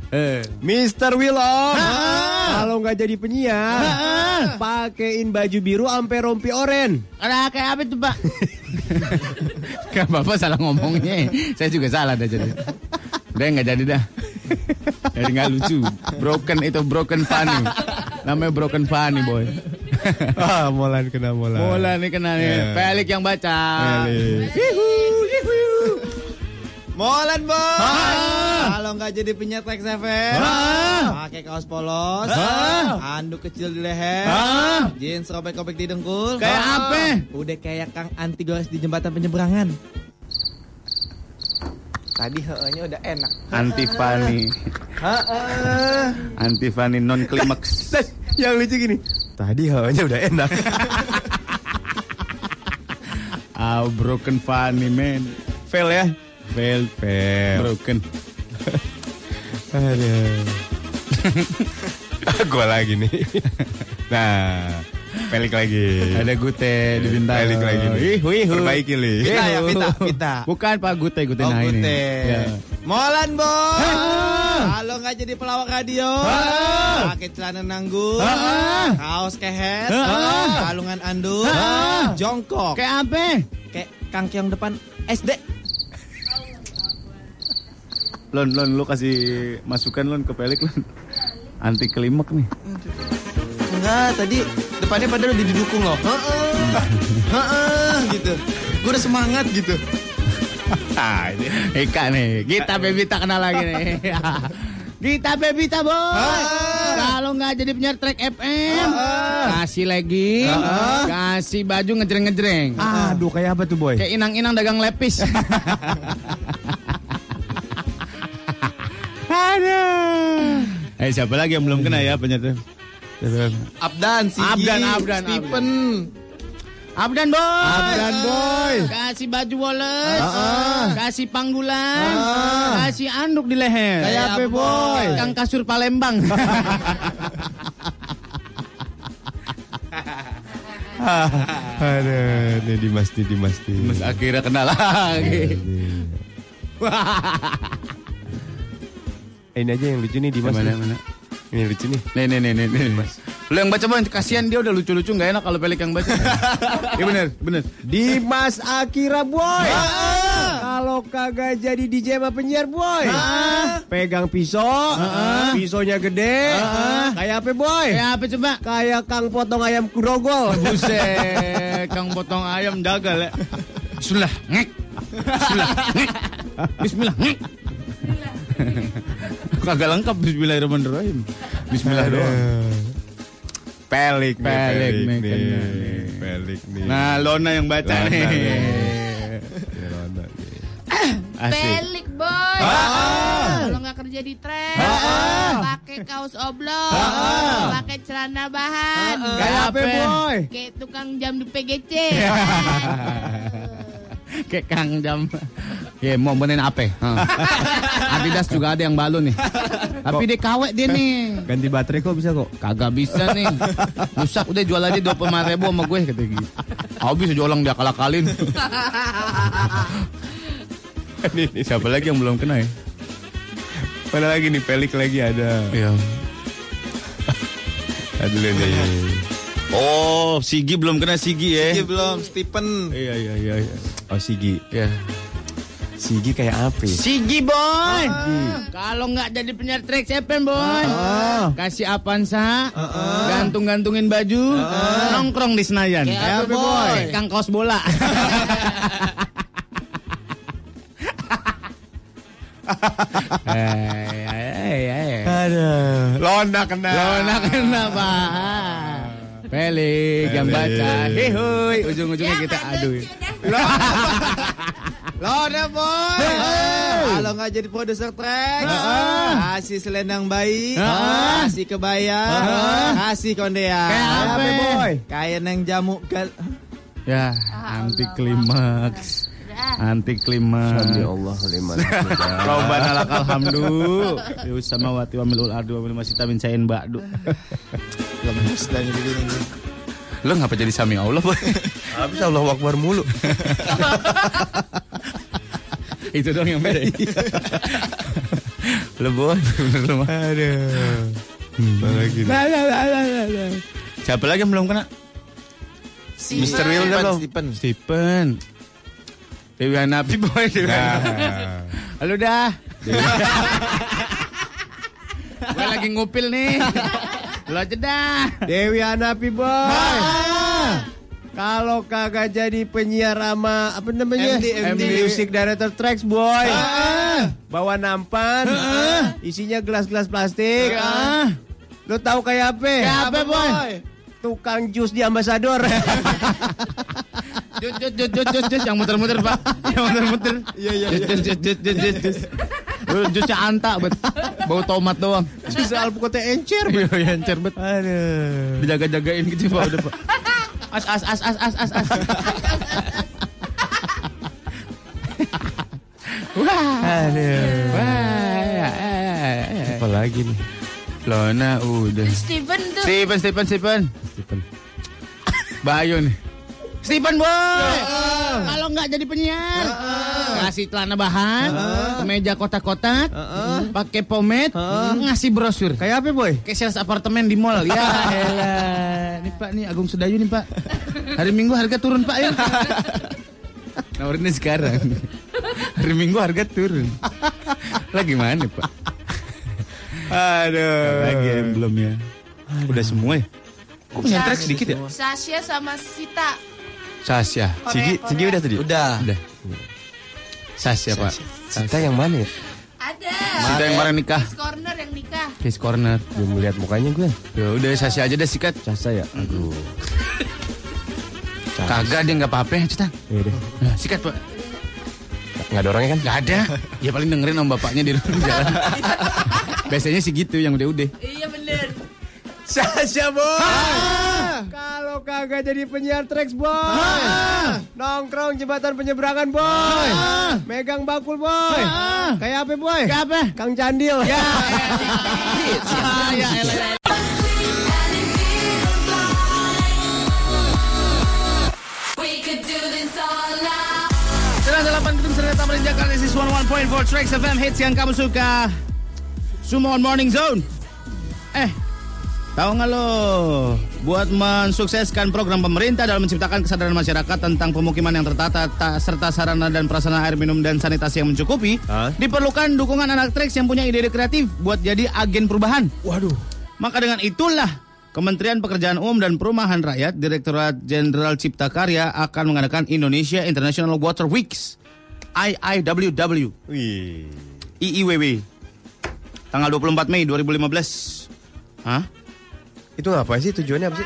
[SPEAKER 4] Mister Will Ah. om. Eh. Kalau nggak jadi penyiar, pakein baju biru ampe rompi oren.
[SPEAKER 5] Ada kayak apa tuh pak? Kan bapak salah ngomongnya Saya juga salah dah jadi Udah nggak jadi dah Jadi nggak lucu Broken itu broken funny Namanya broken funny boy
[SPEAKER 4] ah, molan kena molan.
[SPEAKER 5] Bola nih kena nih
[SPEAKER 4] Ya.
[SPEAKER 5] Pelik yang baca
[SPEAKER 4] Elit.
[SPEAKER 7] Molen bos.
[SPEAKER 5] Ah.
[SPEAKER 7] Kalau nggak jadi penyiar Trax FM, pakai kaos polos,
[SPEAKER 5] Ah.
[SPEAKER 7] anduk kecil di leher, jeans robek-robek di dengkul.
[SPEAKER 5] Kayak
[SPEAKER 7] Ah.
[SPEAKER 5] apa?
[SPEAKER 7] Udah kayak Kang Anti Gores di jembatan penyeberangan. Tadi heehnya udah enak.
[SPEAKER 5] Anti funny
[SPEAKER 7] Heeh.
[SPEAKER 5] Anti funny non klimaks
[SPEAKER 4] Dan yang lucu gini. Tadi hawanya udah enak.
[SPEAKER 5] Ah broken funny man
[SPEAKER 4] fail ya. Fail, fail.
[SPEAKER 5] Broken
[SPEAKER 4] Aduh. Gue lagi nih. Nah, pelik lagi.
[SPEAKER 5] Ada gute di bintang
[SPEAKER 4] Pelik lagi nih.
[SPEAKER 5] Ih, wih, hu.
[SPEAKER 4] Perbaiki li.
[SPEAKER 7] Vita ya, Vita, Vita.
[SPEAKER 5] Bukan Pak Gute, Gute
[SPEAKER 7] Oh,
[SPEAKER 5] nah ini.
[SPEAKER 7] Gute.
[SPEAKER 5] Ya. Ah.
[SPEAKER 7] Molan bos. Kalau nggak jadi pelawak radio,
[SPEAKER 4] Ah.
[SPEAKER 7] pakai celana nanggung,
[SPEAKER 5] Ah.
[SPEAKER 7] kaos kehet, kalungan anduk,
[SPEAKER 5] Ah.
[SPEAKER 7] jongkok,
[SPEAKER 5] Kayak apa?
[SPEAKER 7] kayak Kang Keong depan SD.
[SPEAKER 5] Lon, Lon, lu kasih masukan Lon ke pelik Lon. Anti klimak nih.
[SPEAKER 7] Enggak, tadi depannya padahal udah didukung loh. Heeh. Heeh gitu. Gue udah semangat gitu.
[SPEAKER 5] Ah, ini Ah. Eka nih. Gita Bebita kenal lagi nih. Gita Bebita bos. Kalau nggak jadi penyiar track FM, kasih lagi, Ah. kasih baju ngejreng-ngejreng.
[SPEAKER 4] Aduh, kayak apa tuh boy?
[SPEAKER 5] Kayak inang-inang dagang lepis.
[SPEAKER 4] Aduh.
[SPEAKER 5] eh siapa lagi yang belum kena ya penyiar?
[SPEAKER 7] Abdan, Sigi,
[SPEAKER 5] Abdan, Abdan,
[SPEAKER 7] Stephen.
[SPEAKER 5] Abdan Ah, bos.
[SPEAKER 4] Abdan, boy.
[SPEAKER 5] Kasih baju woles. Kasih panggulan. Kasih anduk di leher.
[SPEAKER 7] Kayak apa, boy?
[SPEAKER 5] Kang kasur Palembang.
[SPEAKER 4] Aduh, ini Dimas, ini Dimas, ini.
[SPEAKER 5] Mas akhirnya kenal lagi.
[SPEAKER 4] Eh, Ini aja yang lucu nih Dimas.
[SPEAKER 5] Yang mana,
[SPEAKER 4] nih.
[SPEAKER 5] mana?
[SPEAKER 4] Ini lucu nih.
[SPEAKER 5] Nih nih nih nih nih. Lu yang baca bang, kasihan dia udah lucu-lucu nggak enak kalau pelik yang baca. Iya bener bener.
[SPEAKER 4] Dimas Akira boy. Kalau kagak jadi DJ sama penyiar boy. Ah. Pegang pisau, pisaunya gede. Ah. Kayak apa boy?
[SPEAKER 5] Ya apa coba?
[SPEAKER 4] Kayak Kang potong ayam grogol.
[SPEAKER 5] Buset, kang potong ayam jagal ya. Bismillah, ngek. Bismillah, ngek. Bismillah, ngek. Kagak lengkap Bismillahirrahmanirrahim. Bismillah doang.
[SPEAKER 4] Pelik, nih,
[SPEAKER 5] Iya, Pelik nih,
[SPEAKER 4] nih,
[SPEAKER 5] kena nih.
[SPEAKER 4] pelik nih.
[SPEAKER 5] Nah, Lona yang baca
[SPEAKER 4] Lona
[SPEAKER 5] nih. Iya,
[SPEAKER 4] nih. Ya, Lona nih.
[SPEAKER 5] Asik.
[SPEAKER 1] Pelik boy. Kalau nggak kerja di trek, pakai kaos oblong, pakai celana bahan,
[SPEAKER 5] Kayak apa, Boy?
[SPEAKER 1] kayak tukang jam di PGC.
[SPEAKER 5] Kayak Kang Jam. Ya, mau benerin apa? Hah. Adidas juga ada yang balon nih. Tapi dia kawet dia nih.
[SPEAKER 4] Ganti baterai kok bisa kok?
[SPEAKER 5] Kagak bisa nih. Rusak udah jual aja 25 ribu sama gue kata gitu. Habis aja orang dia kalak-kalin. Siapa lagi yang belum kena ya?
[SPEAKER 4] Mana lagi nih pelik lagi ada.
[SPEAKER 5] Iya.
[SPEAKER 4] Ada nih.
[SPEAKER 5] Oh, Sigi belum kena Sigi ya.
[SPEAKER 7] Dia belum Stephen.
[SPEAKER 4] Iya iya iya. iya. Oh Sigi,
[SPEAKER 5] Iya.
[SPEAKER 4] Sigi kayak apa? ya?
[SPEAKER 5] Sigi boy. Kalau nggak jadi penyiar track FM boy. Kasih Avanza, gantung-gantungin baju, nongkrong di Senayan. Ya.
[SPEAKER 7] apa, Boy?
[SPEAKER 5] Kang kaos bola. Eh, eh, eh, eh.
[SPEAKER 4] Aduh. Lona kena.
[SPEAKER 5] Lona kenapa? Pelik yang
[SPEAKER 4] Pelik.
[SPEAKER 5] baca. Hihuy, ujung-ujungnya kita aduh.
[SPEAKER 7] Lona boy. Kalau nggak jadi produser track, kasih selendang bayi,
[SPEAKER 5] Ah.
[SPEAKER 7] kasih kebaya, kasih kondea.
[SPEAKER 5] Kayak apa?
[SPEAKER 7] Kayak neng jamu gal.
[SPEAKER 5] Ya, anti klimaks. Anti klimaks.
[SPEAKER 4] Allah liman.
[SPEAKER 5] Rabbana lakal hamdu. Yus sama wati wa milul ardu wa milul masita min sayin ba'du.
[SPEAKER 7] Lemes dan gini gini.
[SPEAKER 5] Lo ngapa jadi sami Allah, Boy?
[SPEAKER 4] Habis Allah wakbar mulu.
[SPEAKER 5] Itu doang yang beda. ya? Lo Boy, bener lo mah.
[SPEAKER 4] Lagi.
[SPEAKER 5] Lah, lah, lah, lah, lah, lah. Siapa lagi yang belum kena? Mr. Will udah belum?
[SPEAKER 7] Stephen.
[SPEAKER 5] Stephen. Dewi Hanapi boy Dewi
[SPEAKER 4] Nah.
[SPEAKER 5] Hanapi. Halo dah. Gue lagi ngupil nih. Lo aja dah.
[SPEAKER 4] Dewi Hanapi boy. Kalau kagak jadi penyiar sama apa namanya?
[SPEAKER 7] MD, MD.
[SPEAKER 4] Music Director Tracks boy. Bawa nampan. Isinya gelas-gelas plastik.
[SPEAKER 5] Ah,
[SPEAKER 4] Ah. Lo tahu kayak apa?
[SPEAKER 7] Apa boy?
[SPEAKER 4] Tukang jus di ambasador.
[SPEAKER 5] Jut jut jut jut jut jut yang muter-muter pak. Yang muter-muter. Iya iya. Jut jut jut jut jut jut. Lu jusnya anta bet. Bau tomat doang.
[SPEAKER 4] jus alpukat encer.
[SPEAKER 5] Iya iya encer bet.
[SPEAKER 4] Aduh.
[SPEAKER 5] Dijaga-jagain gitu pak udah pak. As as as as as as as.
[SPEAKER 4] Aduh.
[SPEAKER 5] Wah. ya,
[SPEAKER 4] Apa lagi nih?
[SPEAKER 5] Lona udah.
[SPEAKER 1] Steven tuh.
[SPEAKER 5] Stephen, Stephen, Stephen.
[SPEAKER 4] Stephen.
[SPEAKER 5] Bayu nih. Stephen boy, kalau nggak jadi penyiar, ngasih celana bahan, meja kotak-kotak, pakai pomade, ngasih brosur. Kayak
[SPEAKER 4] Kayak apa boy?
[SPEAKER 5] kayak sales apartemen di mall. Ya elah. Nih Pak nih Agung Sudayu nih Pak. Hari Minggu harga turun Pak ya. Nawarinnya sekarang. Hari Minggu harga turun. Lagi mana Pak?
[SPEAKER 4] Aduh.
[SPEAKER 5] Lagi yang belum ya. Udah semua ya. Kok punya
[SPEAKER 1] Sas-
[SPEAKER 5] track sedikit ya?
[SPEAKER 1] Sasha sama Sita.
[SPEAKER 5] Sasya.
[SPEAKER 1] Korea,
[SPEAKER 5] Sigi,
[SPEAKER 1] Korea.
[SPEAKER 5] Sigi udah tadi?
[SPEAKER 7] Udah.
[SPEAKER 5] Udah. Sasya, Pak.
[SPEAKER 4] Cinta yang mana ya?
[SPEAKER 1] Ada.
[SPEAKER 5] Sita yang kemarin nikah.
[SPEAKER 1] Kids Corner yang nikah.
[SPEAKER 5] Kiss Corner.
[SPEAKER 4] Belum melihat mukanya gue.
[SPEAKER 5] Ya udah Sasya aja deh sikat.
[SPEAKER 4] Casa ya? Aduh.
[SPEAKER 5] Kagak dia nggak apa-apa, Cita.
[SPEAKER 4] Ya deh.
[SPEAKER 5] Nah, sikat, Pak.
[SPEAKER 4] Nggak ada orangnya kan?
[SPEAKER 5] Nggak ada. Ya paling dengerin sama bapaknya di rumah jalan. Biasanya sih gitu yang udah-udah.
[SPEAKER 1] Iya bener.
[SPEAKER 4] Sasha boy. Kalau kagak jadi penyiar tracks boy. Nongkrong jembatan penyeberangan boy. Megang bakul boy. Kayak apa boy? Kayak apa? Kang Candil. Ya.
[SPEAKER 10] We could do this all night.
[SPEAKER 5] 98 Gedung Serena Taman Jakarta This is 101.4 Tracks FM Hits yang kamu suka Sumo on Morning Zone Eh Tahu nggak lo Buat mensukseskan program pemerintah dalam menciptakan kesadaran masyarakat tentang pemukiman yang tertata ta- serta sarana dan prasarana air minum dan sanitasi yang mencukupi,
[SPEAKER 4] Hah?
[SPEAKER 5] diperlukan dukungan anak treks yang punya ide-ide kreatif buat jadi agen perubahan.
[SPEAKER 4] Waduh.
[SPEAKER 5] Maka dengan itulah Kementerian Pekerjaan Umum dan Perumahan Rakyat Direktorat Jenderal Cipta Karya akan mengadakan Indonesia International Water Weeks IIWW
[SPEAKER 4] Wih.
[SPEAKER 5] IIWW tanggal 24 Mei 2015. Hah?
[SPEAKER 4] Itu apa sih tujuannya apa sih?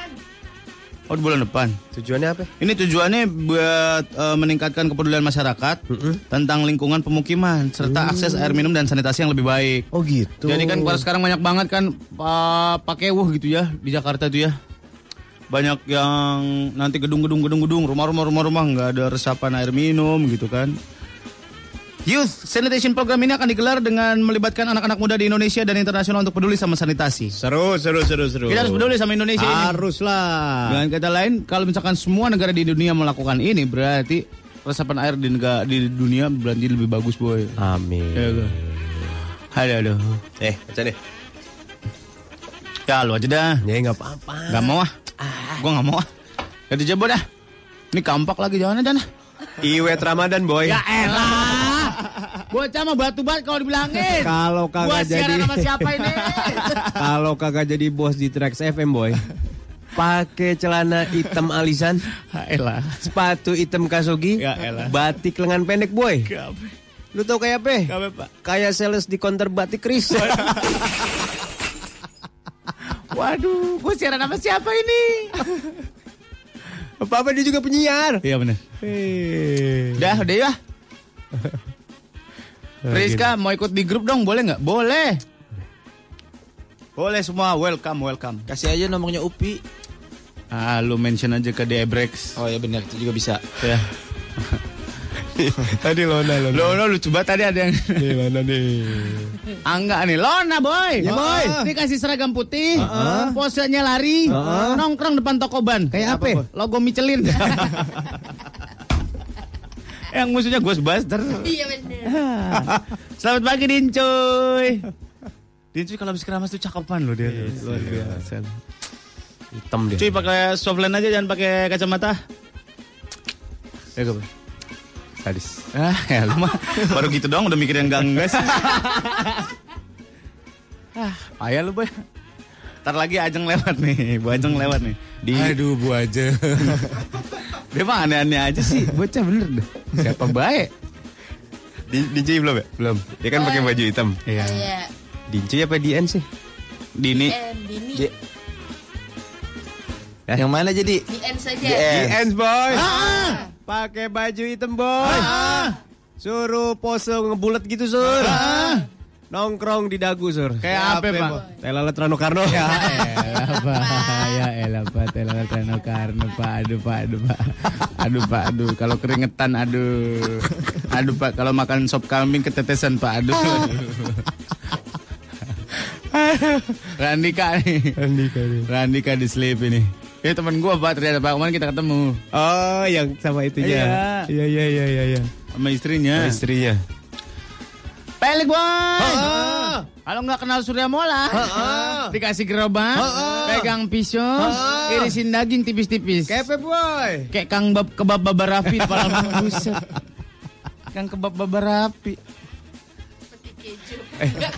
[SPEAKER 5] Oh di bulan depan.
[SPEAKER 4] Tujuannya apa?
[SPEAKER 5] Ini tujuannya buat eh, meningkatkan kepedulian masyarakat tentang lingkungan pemukiman serta akses air minum dan sanitasi yang lebih baik.
[SPEAKER 4] Oh gitu.
[SPEAKER 5] Jadi kan kalau sekarang banyak banget kan uh, pakai wuh gitu ya di Jakarta tuh ya. Banyak yang nanti gedung-gedung gedung-gedung, rumah-rumah rumah-rumah nggak ada resapan air minum gitu kan. Youth Sanitation Program ini akan digelar dengan melibatkan anak-anak muda di Indonesia dan internasional untuk peduli sama sanitasi.
[SPEAKER 4] seru seru seru seru.
[SPEAKER 5] Kita harus peduli sama Indonesia ini.
[SPEAKER 4] Haruslah.
[SPEAKER 5] Dengan kata lain, kalau misalkan semua negara di dunia melakukan ini berarti resapan air di negara di dunia berarti lebih bagus boy. Ya,
[SPEAKER 4] Amin.
[SPEAKER 5] lo. Halo, halo.
[SPEAKER 4] Eh, baca deh.
[SPEAKER 5] Ya lu aja dah.
[SPEAKER 4] Ya nggak apa-apa.
[SPEAKER 5] Gak mau ah. Gue gak mau ah. Ganti jebo dah. Ini kampak lagi jangan aja nah.
[SPEAKER 4] Iwet Ramadan boy.
[SPEAKER 5] Ya elah. Bocah mah batu bat kalau dibilangin.
[SPEAKER 4] Kalau
[SPEAKER 5] Gua
[SPEAKER 4] kagak
[SPEAKER 5] siaran
[SPEAKER 4] jadi
[SPEAKER 5] sama siapa ini?
[SPEAKER 4] Kalau kagak jadi bos di Trax FM boy. Pakai celana hitam alisan,
[SPEAKER 5] Ya elah.
[SPEAKER 4] sepatu hitam kasugi,
[SPEAKER 5] Ya elah.
[SPEAKER 4] batik lengan pendek boy. Lu tau kayak apa?
[SPEAKER 5] Pak.
[SPEAKER 4] Kayak sales di counter batik Kris.
[SPEAKER 5] Waduh, gue siaran sama siapa ini?
[SPEAKER 4] Apa-apa dia juga penyiar.
[SPEAKER 5] Iya bener. Udah, udah ya. Rizka mau ikut di grup dong, boleh nggak? Boleh. Boleh semua, welcome, welcome.
[SPEAKER 7] Kasih aja nomornya Upi.
[SPEAKER 5] Ah, lu mention aja ke Debrex.
[SPEAKER 7] Oh ya benar itu juga bisa.
[SPEAKER 5] Ya.
[SPEAKER 6] Tadi Lona, Lona.
[SPEAKER 5] Lo, lo, lu coba tadi ada yang
[SPEAKER 6] Nih, mana nih?
[SPEAKER 5] Angga nih, Lona boy.
[SPEAKER 7] Ya, boy.
[SPEAKER 5] Ini kasih seragam putih, posenya lari, nongkrong depan toko ban.
[SPEAKER 7] Kayak apa, Boy?
[SPEAKER 5] Logo Michelin. yang musuhnya Ghostbuster.
[SPEAKER 1] Iya bener.
[SPEAKER 5] Selamat pagi Dincuy. Dincuy kalau habis keramas tuh cakepan loh dia. Luar biasa.
[SPEAKER 6] Hitam dia.
[SPEAKER 5] Cuy pakai softline aja jangan pakai kacamata. Ya gue.
[SPEAKER 6] Sadis.
[SPEAKER 5] Ah, ya lu mah baru gitu dong udah mikirin gang guys. Ayah Ah, lu boy. Ntar lagi Ajeng lewat nih, Bu Ajeng lewat nih. Di
[SPEAKER 6] Aduh, bu aja.
[SPEAKER 5] dia mah aneh-aneh aja sih, bocah bener dah. Siapa baik?
[SPEAKER 6] Di, DJ belum ya? Belum. Dia kan pakai baju hitam.
[SPEAKER 5] Iya.
[SPEAKER 1] Iya.
[SPEAKER 6] DJ apa DN sih?
[SPEAKER 5] Dini.
[SPEAKER 1] Eh, Dini.
[SPEAKER 7] Di- Yang mana jadi?
[SPEAKER 1] Di N saja.
[SPEAKER 4] Ends boy.
[SPEAKER 6] Ah,
[SPEAKER 4] Pakai baju hitam boy. Suruh pose ngebulet gitu sur.
[SPEAKER 6] Ah,
[SPEAKER 4] Nongkrong di dagu sur.
[SPEAKER 5] Kayak apa, Pak?
[SPEAKER 4] Telalat Rano Karno.
[SPEAKER 6] Iya, eh.
[SPEAKER 5] elah pak, ya elah pak, telah Rano Karno pak, aduh pak, aduh pak, aduh pak, aduh, kalau keringetan aduh, aduh pak, kalau makan sop kambing ketetesan pak, aduh. Randika nih,
[SPEAKER 4] Andika nih.
[SPEAKER 5] Randika di sleep ini. Ya teman gua pak, ternyata pak kemarin kita ketemu
[SPEAKER 4] Oh, yang sama itunya.
[SPEAKER 5] Iya.
[SPEAKER 4] Iya iya iya iya. iya.
[SPEAKER 5] sama istrinya.
[SPEAKER 6] Istrinya.
[SPEAKER 5] Pelik boy. Kalau nggak kenal Surya Mola, dikasih gerobak, pegang pisau, irisin daging tipis-tipis.
[SPEAKER 4] Kepe boy.
[SPEAKER 5] Kayak Kang Bab kebab Baba Rafi kepala buset. Kang kebab Baba Rafi.
[SPEAKER 1] Seperti keju.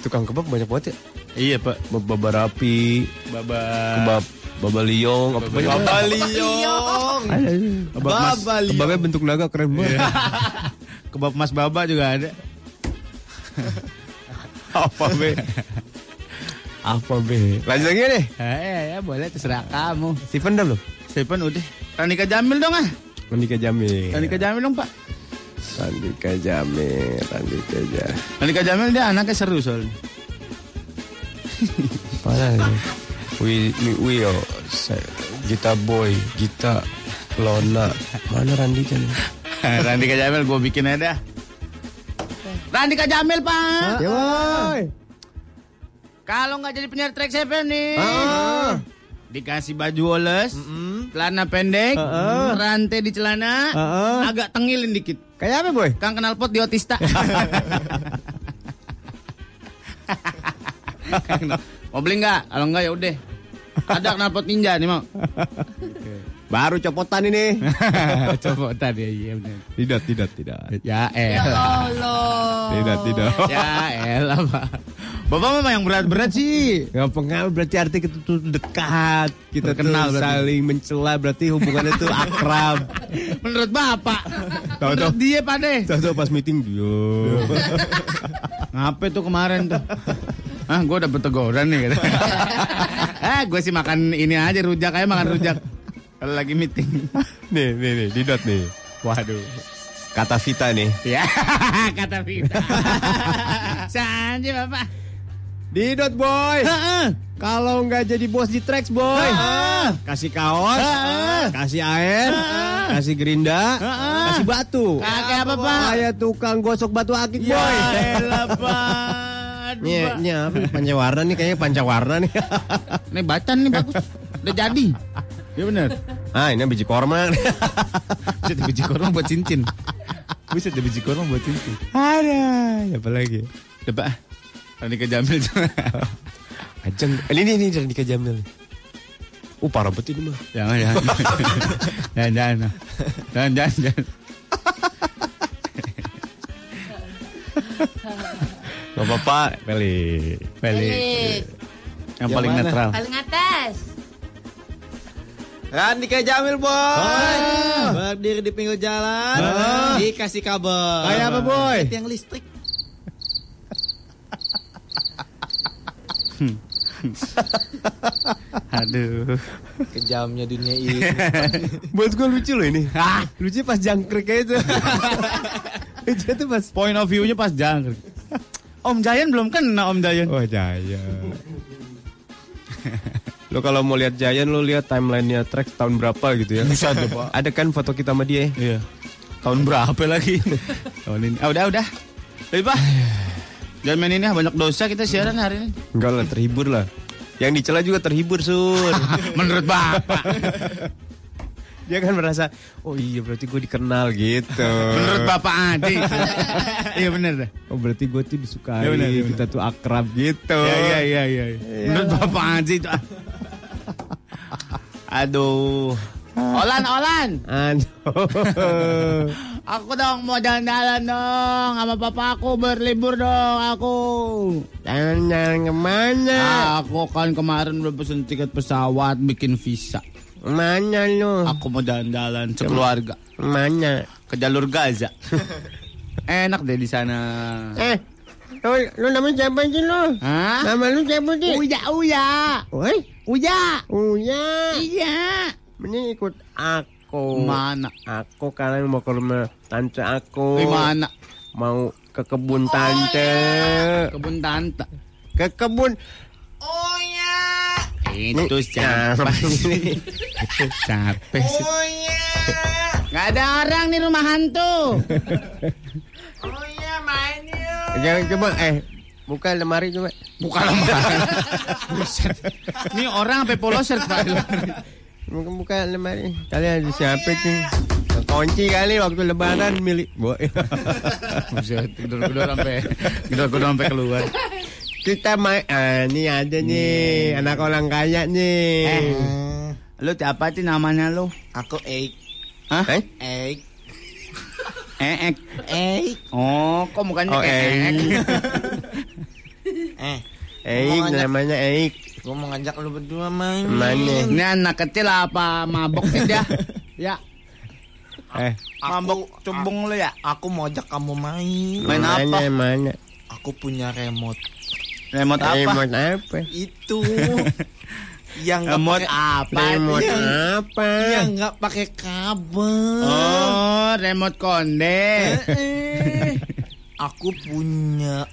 [SPEAKER 6] Tukang kebab banyak banget ya?
[SPEAKER 5] Iya, Pak.
[SPEAKER 6] Bab baba rapi,
[SPEAKER 5] Baba
[SPEAKER 6] kebab baba liong, apa banyak banget.
[SPEAKER 4] Liong.
[SPEAKER 6] Ada. Kebab mas.
[SPEAKER 4] Baba liong.
[SPEAKER 6] Kebabnya bentuk naga keren banget.
[SPEAKER 4] Iya.
[SPEAKER 5] kebab Mas Baba juga ada.
[SPEAKER 6] apa be? apa be? Lanjut lagi deh.
[SPEAKER 5] Eh, ya, boleh terserah kamu.
[SPEAKER 6] Steven dah belum?
[SPEAKER 5] Stephen udah. Tanika Jamil dong ah.
[SPEAKER 6] Andika Jamil.
[SPEAKER 5] Tanika Jamil dong, Pak.
[SPEAKER 6] Andika Jamil. Andika Jamil.
[SPEAKER 5] Tanika Jamil dia anaknya seru soalnya.
[SPEAKER 6] Parah ya. Wi, wi, wi, yo. Gita Boy, Gita, Lona. Mana Randika
[SPEAKER 4] kan?
[SPEAKER 6] nih?
[SPEAKER 5] Randika Jamil gue bikin aja dah. Randika
[SPEAKER 6] Ah,
[SPEAKER 5] Jamil, Pak.
[SPEAKER 4] Ya boy.
[SPEAKER 5] Kalau nggak jadi penyiar track FM nih. Ah. Dikasih baju oles, celana pendek, rantai di celana,
[SPEAKER 4] Heeh.
[SPEAKER 5] agak tengilin dikit.
[SPEAKER 4] Kayak apa boy?
[SPEAKER 5] Kang kenal pot di otista. Kang kenal- mau beli nggak? Kalau nggak ya udah. Ada kenal pot ninja nih mau.
[SPEAKER 4] Baru copotan ini.
[SPEAKER 5] Coba tadi ya bener.
[SPEAKER 6] Tidak, tidak, tidak.
[SPEAKER 5] Ya
[SPEAKER 1] Ya
[SPEAKER 5] elah.
[SPEAKER 1] Allah.
[SPEAKER 6] Tidak, tidak.
[SPEAKER 5] Ya elah pak. Bapak mama yang berat-berat sih.
[SPEAKER 4] Gak pengaruh berarti arti kita tuh dekat, kita
[SPEAKER 5] Terkenal
[SPEAKER 4] tuh
[SPEAKER 5] berarti.
[SPEAKER 4] saling mencela berarti hubungannya tuh akrab.
[SPEAKER 5] Menurut bapak.
[SPEAKER 6] Tahu,
[SPEAKER 5] Menurut dia pak deh.
[SPEAKER 6] Tahu-tahu pas meeting, yo.
[SPEAKER 5] Ngapain tuh kemarin tuh? Ah, gue dapet teguran nih. Gitu. ah, gue sih makan ini aja rujak aja makan rujak. Kalau lagi meeting.
[SPEAKER 6] nih, nih, nih, Didot nih.
[SPEAKER 5] Waduh.
[SPEAKER 6] Kata Vita nih.
[SPEAKER 5] Ya, kata Vita. Sanji bapak.
[SPEAKER 4] Didot boy, kalau nggak jadi bos di Trax boy, kasih kaos, kasih air, kasih gerinda, kasih batu.
[SPEAKER 5] Kakek apa pak?
[SPEAKER 4] Saya tukang gosok batu akik
[SPEAKER 5] Ya,
[SPEAKER 4] boy.
[SPEAKER 5] elah pak. Aduh,
[SPEAKER 4] Ini
[SPEAKER 5] Pak.
[SPEAKER 4] ini apa? Pancawarna nih kayaknya pancawarna nih.
[SPEAKER 5] Ini bacan nih bagus. Udah jadi. Ya bener.
[SPEAKER 4] ah ini biji korma.
[SPEAKER 5] Bisa biji korma buat cincin.
[SPEAKER 6] Bisa ada biji korma buat itu.
[SPEAKER 4] Ada, apa lagi?
[SPEAKER 5] Udah pak. Ini kejamil.
[SPEAKER 6] Ajeng. Ini, ini, ini Randika Jamil. Uh, parah banget ini mah.
[SPEAKER 5] Jangan, jangan. jangan, jangan. Jangan, jangan, jangan.
[SPEAKER 6] Gak apa-apa, Peli.
[SPEAKER 1] Pelik.
[SPEAKER 5] Yang, paling netral.
[SPEAKER 1] Paling atas.
[SPEAKER 7] Randika Jamil boy. Berdiri di pinggir jalan, Ah. dikasih kabel.
[SPEAKER 4] Kayak apa boy?
[SPEAKER 7] Tiang listrik.
[SPEAKER 5] Aduh.
[SPEAKER 7] Kejamnya dunia ini.
[SPEAKER 4] Buat gue lucu loh ini. Lucu pas jangkrik aja tuh. lucu tuh pas.
[SPEAKER 5] Point of view-nya pas jangkrik. Oh, Om Jayan belum kena Om Jayan.
[SPEAKER 6] Oh, jaya.
[SPEAKER 4] Lo kalau mau lihat Giant lo lihat timelinenya track tahun berapa gitu ya.
[SPEAKER 5] Bisa tuh, Pak.
[SPEAKER 4] Ada kan foto kita sama dia?
[SPEAKER 5] Iya. Tahun berapa lagi? Tahun ini. Ah, udah, udah. Lebih, Pak. Jangan main ini, ah, banyak dosa kita siaran hari ini.
[SPEAKER 4] Enggak lah, terhibur lah. Yang dicela juga terhibur, Sur.
[SPEAKER 5] Menurut Bapak.
[SPEAKER 4] Dia kan merasa, oh iya berarti gue dikenal gitu.
[SPEAKER 5] Menurut Bapak Adi. Iya bener dah.
[SPEAKER 4] Oh berarti gue tuh disukai,
[SPEAKER 5] Ya benar, ya
[SPEAKER 4] kita tuh akrab gitu.
[SPEAKER 5] Iya, iya, iya, iya. Menurut Bapak Adi itu. ah. Aduh. Olan, Olan.
[SPEAKER 4] Aduh.
[SPEAKER 5] Aku dong mau jalan-jalan dong sama papaku berlibur dong aku.
[SPEAKER 4] Jangan kemana?
[SPEAKER 5] Aku kan kemarin udah pesen tiket pesawat bikin visa.
[SPEAKER 4] Mana lo?
[SPEAKER 5] Aku mau jalan-jalan sekeluarga
[SPEAKER 4] Mana?
[SPEAKER 5] ke jalur Gaza. Enak deh di sana.
[SPEAKER 4] Eh, lo, lo namanya siapa sih lo?
[SPEAKER 5] Ah. Hah?
[SPEAKER 4] Nama lu siapa sih?
[SPEAKER 5] Uya, Uya.
[SPEAKER 4] Woi,
[SPEAKER 5] Uya.
[SPEAKER 4] Uya.
[SPEAKER 5] Iya.
[SPEAKER 4] Mending ikut aku.
[SPEAKER 5] Mana?
[SPEAKER 4] Aku kalian mau ke rumah tante aku.
[SPEAKER 5] Di mana?
[SPEAKER 4] Mau ke kebun tante.
[SPEAKER 5] Kebun tante. iya.
[SPEAKER 4] Ke kebun.
[SPEAKER 5] Itu siapa sih? Siapa sih? Gak ada orang di rumah hantu.
[SPEAKER 4] Jangan coba eh buka lemari coba.
[SPEAKER 5] Bukan lemari. Buset. Ini orang sampai polos shirt Pak.
[SPEAKER 4] Buka, buka lemari. Kalian ada siapa sih? Kunci kali waktu lebaran milik gua.
[SPEAKER 5] Buset, gedor-gedor sampai gedor-gedor sampai keluar.
[SPEAKER 4] Kita main ah, ini ada nih anak orang kaya nih.
[SPEAKER 5] Hmm. Eh. Lu siapa sih namanya lu?
[SPEAKER 7] Aku Eik.
[SPEAKER 5] Hah?
[SPEAKER 4] Eh?
[SPEAKER 7] Eik.
[SPEAKER 5] Eek.
[SPEAKER 7] Eik.
[SPEAKER 5] Oh, kok mukanya
[SPEAKER 4] Oh,
[SPEAKER 5] kayak
[SPEAKER 4] Eik.
[SPEAKER 5] Eek?
[SPEAKER 7] Eh,
[SPEAKER 4] Eik
[SPEAKER 7] Mau ngajak-
[SPEAKER 4] namanya Eik.
[SPEAKER 7] gue mau ngajak lu berdua main.
[SPEAKER 5] Hmm.
[SPEAKER 4] Mana?
[SPEAKER 5] Ini anak kecil apa mabok sih dia? Ya,
[SPEAKER 4] Eh,
[SPEAKER 5] mabok cembung lu ya.
[SPEAKER 7] Aku mau ajak kamu main.
[SPEAKER 5] Main apa?
[SPEAKER 4] Mana, mana?
[SPEAKER 7] Aku punya remote.
[SPEAKER 5] Remote apa?
[SPEAKER 4] Remote apa?
[SPEAKER 7] Itu. yang nggak
[SPEAKER 5] Remote
[SPEAKER 7] pakai-
[SPEAKER 5] apa?
[SPEAKER 4] Remote
[SPEAKER 7] Yang-
[SPEAKER 4] apa?
[SPEAKER 7] yang nggak pakai kabel.
[SPEAKER 5] Oh, remote konde.
[SPEAKER 7] Eh, Aku punya.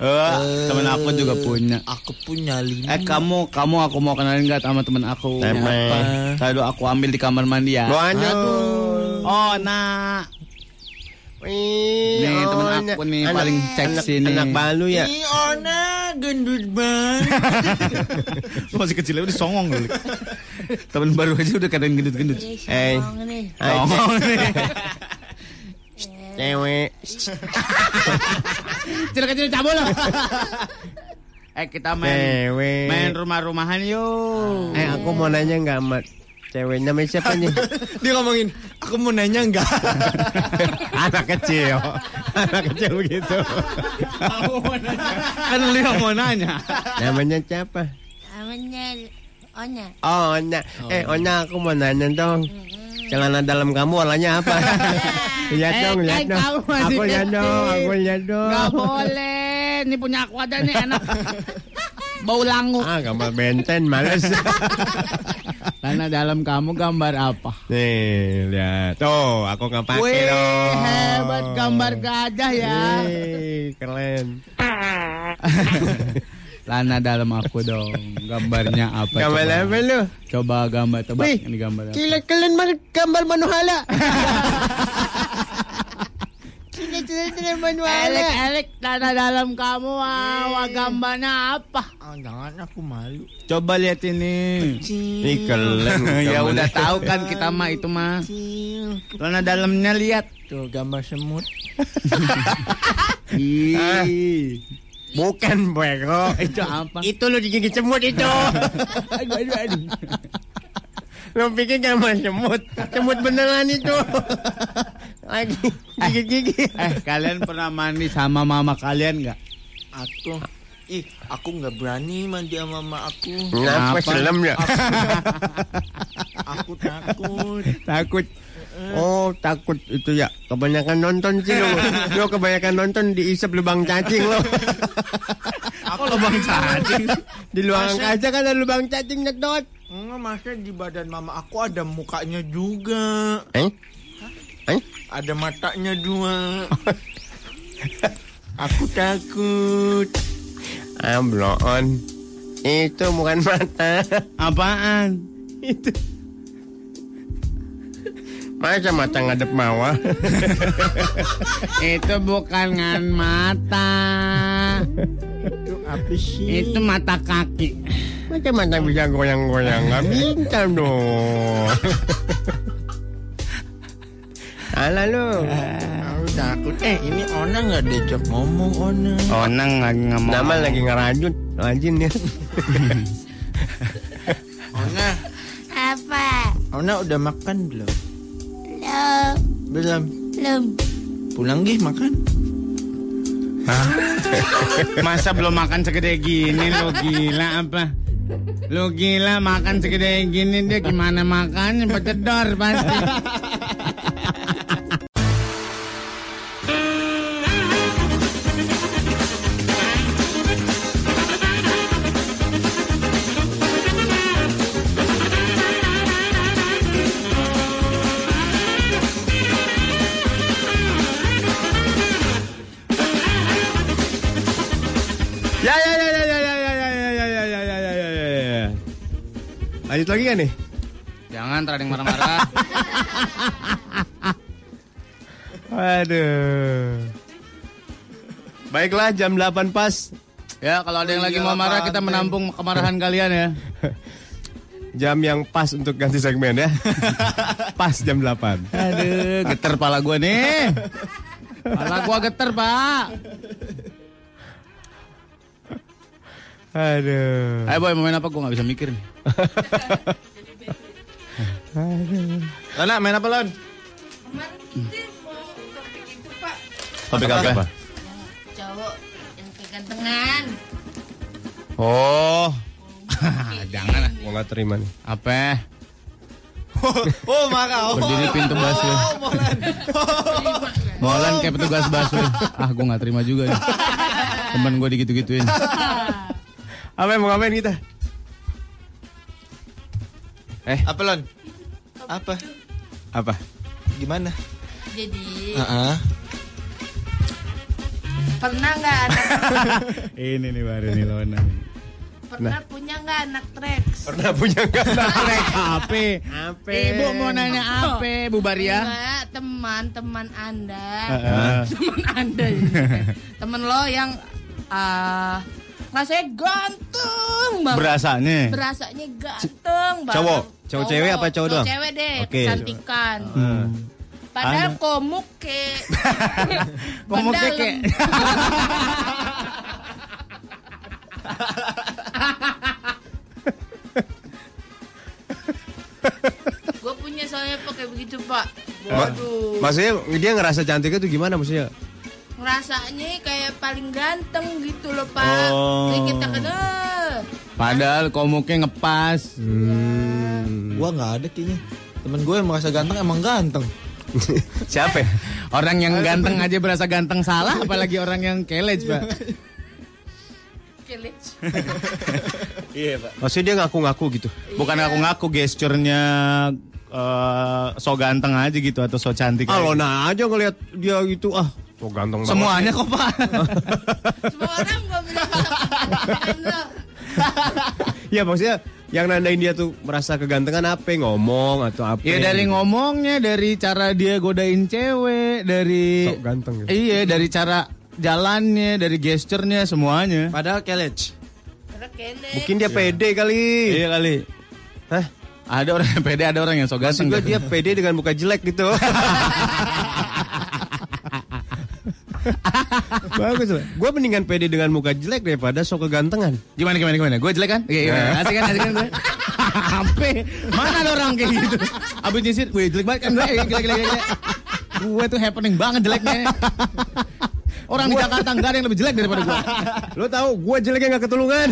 [SPEAKER 7] eh,
[SPEAKER 5] Oh, temen aku juga punya.
[SPEAKER 7] Aku punya lima.
[SPEAKER 5] Eh kamu, kamu aku mau kenalin gak sama temen aku?
[SPEAKER 4] Temen.
[SPEAKER 5] Apa? Tadi aku ambil di kamar mandi ya.
[SPEAKER 4] Waduh.
[SPEAKER 5] Oh, nah.
[SPEAKER 4] Nih,
[SPEAKER 5] Nih, temen aku nih, paling seksi nih.
[SPEAKER 4] oh, Anak balu ya.
[SPEAKER 7] Ih, Ona oh, nah, gendut banget.
[SPEAKER 5] Lu masih kecil aja udah songong lu. temen baru aja udah kadang gendut-gendut.
[SPEAKER 1] Iya,
[SPEAKER 4] Eh, Hai,
[SPEAKER 5] Songong nih.
[SPEAKER 4] cewek.
[SPEAKER 5] Kecil-kecil cabul lu. eh, kita main
[SPEAKER 4] Cewek.
[SPEAKER 5] main rumah-rumahan yuk.
[SPEAKER 4] Eh, aku mau nanya nggak sama cewek namanya siapa nih?
[SPEAKER 7] Dia ngomongin, aku mau nanya enggak?
[SPEAKER 4] Anak kecil. Anak kecil begitu.
[SPEAKER 5] kan lu yang mau nanya.
[SPEAKER 4] Namanya siapa?
[SPEAKER 1] Namanya Onya.
[SPEAKER 4] Oh, Onya. Eh, Onya aku mau nanya dong. Celana dalam kamu warnanya apa? lihat
[SPEAKER 5] Eh,
[SPEAKER 4] dong,
[SPEAKER 5] kan
[SPEAKER 4] lihat dong.
[SPEAKER 5] kamu masih
[SPEAKER 4] Aku lihat
[SPEAKER 5] kecil.
[SPEAKER 4] dong, aku lihat dong.
[SPEAKER 5] Gak boleh. Ini punya aku aja nih enak. Bau langu.
[SPEAKER 4] Ah, gambar benten, males.
[SPEAKER 5] Karena dalam kamu gambar apa?
[SPEAKER 4] Nih, lihat. Tuh, aku nggak pakai
[SPEAKER 5] Wih,
[SPEAKER 4] dong.
[SPEAKER 5] hebat gambar gajah ya.
[SPEAKER 4] Wih, keren.
[SPEAKER 5] Lana dalam aku dong. Gambarnya apa?
[SPEAKER 4] Gambar
[SPEAKER 5] coba?
[SPEAKER 4] apa lu?
[SPEAKER 5] Coba gambar tebak
[SPEAKER 4] Wih,
[SPEAKER 5] ini gambar apa?
[SPEAKER 4] Gila kalian mar- gambar manuhala.
[SPEAKER 5] Elek, elek, lana dalam kamu, wah, wah, gambarnya apa?
[SPEAKER 7] Ah, jangan aku malu.
[SPEAKER 5] Coba lihat ini.
[SPEAKER 4] Nih keren.
[SPEAKER 5] ya
[SPEAKER 4] gambar.
[SPEAKER 5] udah tahu kan kita mah itu mah. Lana dalamnya lihat.
[SPEAKER 7] Tuh gambar semut.
[SPEAKER 5] Ih,
[SPEAKER 4] Bukan bego.
[SPEAKER 5] itu apa?
[SPEAKER 4] itu lu digigit semut itu.
[SPEAKER 5] Aduh, aduh, aduh.
[SPEAKER 4] lu pikir gambar semut. Semut beneran itu. Lagi gigit-gigit.
[SPEAKER 5] Eh, kalian pernah mandi sama mama kalian nggak?
[SPEAKER 7] Aku Ih, aku nggak berani mandi sama mama aku.
[SPEAKER 4] Kenapa
[SPEAKER 5] Kenapa?
[SPEAKER 4] serem ya?
[SPEAKER 7] Aku takut.
[SPEAKER 4] takut. Oh takut itu ya Kebanyakan nonton sih lo Lo kebanyakan nonton diisep lubang cacing lo
[SPEAKER 5] Aku lubang cacing.
[SPEAKER 4] Di lubang aja kan ada lubang cacing nyedot
[SPEAKER 7] Enggak, maksudnya di badan mama aku ada mukanya juga.
[SPEAKER 4] Eh? Eh?
[SPEAKER 7] Ada matanya dua. aku takut.
[SPEAKER 4] Ah, bloon. Itu bukan mata.
[SPEAKER 5] Apaan?
[SPEAKER 4] Itu. Masa mata ngadep bawah?
[SPEAKER 5] Itu bukan ngan mata.
[SPEAKER 4] Itu apa sih?
[SPEAKER 5] Itu mata kaki.
[SPEAKER 4] Masa mata bisa goyang-goyang? Gak bisa dong. Salah lu.
[SPEAKER 7] Aku takut. Eh, ini Ona nggak diajak ngomong Ona.
[SPEAKER 5] Onang Oh, lagi ngomong.
[SPEAKER 4] Nama lagi ngerajut. Rajin ya.
[SPEAKER 7] Ona,
[SPEAKER 1] Apa?
[SPEAKER 7] Ona udah makan belum?
[SPEAKER 1] Belum.
[SPEAKER 7] Belum.
[SPEAKER 1] Belum.
[SPEAKER 7] Pulang gih makan.
[SPEAKER 5] Masa belum makan segede gini lo gila apa? Lo gila makan segede gini dia gimana makannya pecedor pasti.
[SPEAKER 4] Ya ya ya ya ya ya ya ya ya ya ya ya ya ya ya ya. Lanjut lagi kan nih?
[SPEAKER 5] Jangan trading marah-marah.
[SPEAKER 4] Aduh. Baiklah jam 8 pas.
[SPEAKER 5] ya kalau ada yang lagi mau marah kita menampung kemarahan kalian ya.
[SPEAKER 4] Jam yang pas untuk ganti segmen ya. pas jam 8.
[SPEAKER 5] Aduh, geter pala gua nih. Pala gua geter, Pak.
[SPEAKER 4] Aduh.
[SPEAKER 5] Ayo boy, mau main apa gua nggak bisa mikir nih.
[SPEAKER 11] Lona main apa Lon?
[SPEAKER 4] Topik apa?
[SPEAKER 1] Cowok yang kegantengan.
[SPEAKER 4] Oh,
[SPEAKER 5] Jangan ah.
[SPEAKER 4] gua nggak terima nih.
[SPEAKER 5] apa?
[SPEAKER 11] Oh marah. Oh,
[SPEAKER 5] Berdiri pintu busway. Molan kayak petugas busway. Ah, gua nggak terima juga nih. Temen gua digitu-gituin.
[SPEAKER 4] Apa yang mau ngapain kita?
[SPEAKER 11] Apa Lon? Apa?
[SPEAKER 4] Apa?
[SPEAKER 11] Gimana?
[SPEAKER 1] Jadi
[SPEAKER 7] Ah,
[SPEAKER 11] Heeh.
[SPEAKER 1] pernah nggak anak
[SPEAKER 5] Ini nih baru nih Lona.
[SPEAKER 1] pernah punya nggak anak treks?
[SPEAKER 4] Pernah punya nggak?
[SPEAKER 5] Trek HP. Ibu mau nanya apa, Bu Baria?
[SPEAKER 1] Enggak, teman-teman Anda. Teman Anda ya. Temen lo yang ah, rasanya ganteng banget.
[SPEAKER 5] Berasanya.
[SPEAKER 1] Berasanya ganteng banget.
[SPEAKER 4] Cowok? Cowok cewek apa cowok doang?
[SPEAKER 1] cewek deh,
[SPEAKER 4] Oke. Hmm. Anu-
[SPEAKER 1] kecantikan. Padahal komuk ke.
[SPEAKER 5] Komuk ke-
[SPEAKER 1] Padahal- Gue punya soalnya pakai begitu, Pak. Waduh.
[SPEAKER 4] Maksudnya dia ngerasa cantik itu gimana maksudnya?
[SPEAKER 1] ngerasanya kayak paling ganteng gitu loh pak
[SPEAKER 4] Oh.
[SPEAKER 1] Kayak kita kan "Eh,
[SPEAKER 5] Padahal komuknya ngepas.
[SPEAKER 11] Gua nggak ada kayaknya. Temen gue yang merasa ganteng emang ganteng.
[SPEAKER 4] Siapa? ya?
[SPEAKER 5] Orang yang ganteng aja berasa ganteng salah, apalagi orang yang kelej, Pak.
[SPEAKER 1] kelec
[SPEAKER 4] Maksudnya dia ngaku-ngaku gitu.
[SPEAKER 5] Bukan aku ngaku gesturnya eh, so ganteng aja gitu atau so cantik.
[SPEAKER 4] Ah,
[SPEAKER 5] aja.
[SPEAKER 4] Lona aja ngelihat dia gitu ah. So ganteng banget.
[SPEAKER 5] Semuanya kok, Pak.
[SPEAKER 1] semua orang gua bilang "Kan lo."
[SPEAKER 4] Ya maksudnya yang nandain dia tuh merasa kegantengan apa Iya, ngomong atau apa?
[SPEAKER 5] ya dari ngomongnya, dari cara dia godain cewek, dari
[SPEAKER 4] Sok ganteng gitu.
[SPEAKER 5] Iya, dari cara jalannya, dari gesturnya semuanya.
[SPEAKER 11] Padahal college.
[SPEAKER 1] Karena kelec
[SPEAKER 4] Mungkin dia pede kali.
[SPEAKER 5] Iya kali.
[SPEAKER 4] Hah?
[SPEAKER 5] Ada orang yang pede, ada orang yang so
[SPEAKER 4] Maksud
[SPEAKER 5] ganteng.
[SPEAKER 4] gue
[SPEAKER 5] gitu.
[SPEAKER 4] dia pede dengan muka jelek gitu. Bagus loh. Gue mendingan pede dengan muka jelek daripada sok kegantengan.
[SPEAKER 5] Gimana gimana gimana? Gue jelek kan? Iya, iya.
[SPEAKER 4] Nah.
[SPEAKER 5] Asik kan, asik kan gue. Ampe. Mana ada orang kayak gitu? Abis nyisir, gue jelek banget kan? Gue gila gila gila. gila. Gue tuh happening banget jeleknya. Orang di Jakarta nggak ada yang lebih jelek daripada gue.
[SPEAKER 4] Lo tahu gue jeleknya nggak ketulungan.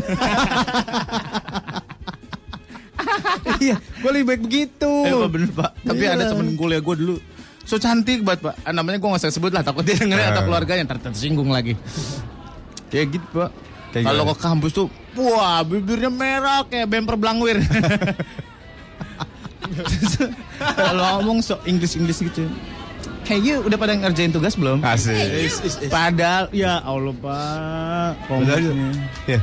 [SPEAKER 4] iya, gue lebih baik begitu. Iya.
[SPEAKER 5] Eh, Pak, bener pak. Tapi ada temen kuliah gue dulu So cantik banget pak Ah, Namanya gue gak usah sebut lah Takut dia dengerin
[SPEAKER 4] Eh.
[SPEAKER 5] atau keluarganya Ntar tersinggung lagi Kayak gitu pak
[SPEAKER 4] Kayak
[SPEAKER 5] Kalau
[SPEAKER 4] gimana?
[SPEAKER 5] ke kampus tuh Wah bibirnya merah Kayak bemper belangwir Kalau ngomong so Inggris-Inggris gitu Hey you udah pada ngerjain tugas belum?
[SPEAKER 4] Ah. Asik.
[SPEAKER 5] Padahal ya Allah pak
[SPEAKER 4] Padahal-
[SPEAKER 5] Komuknya.
[SPEAKER 4] Iya.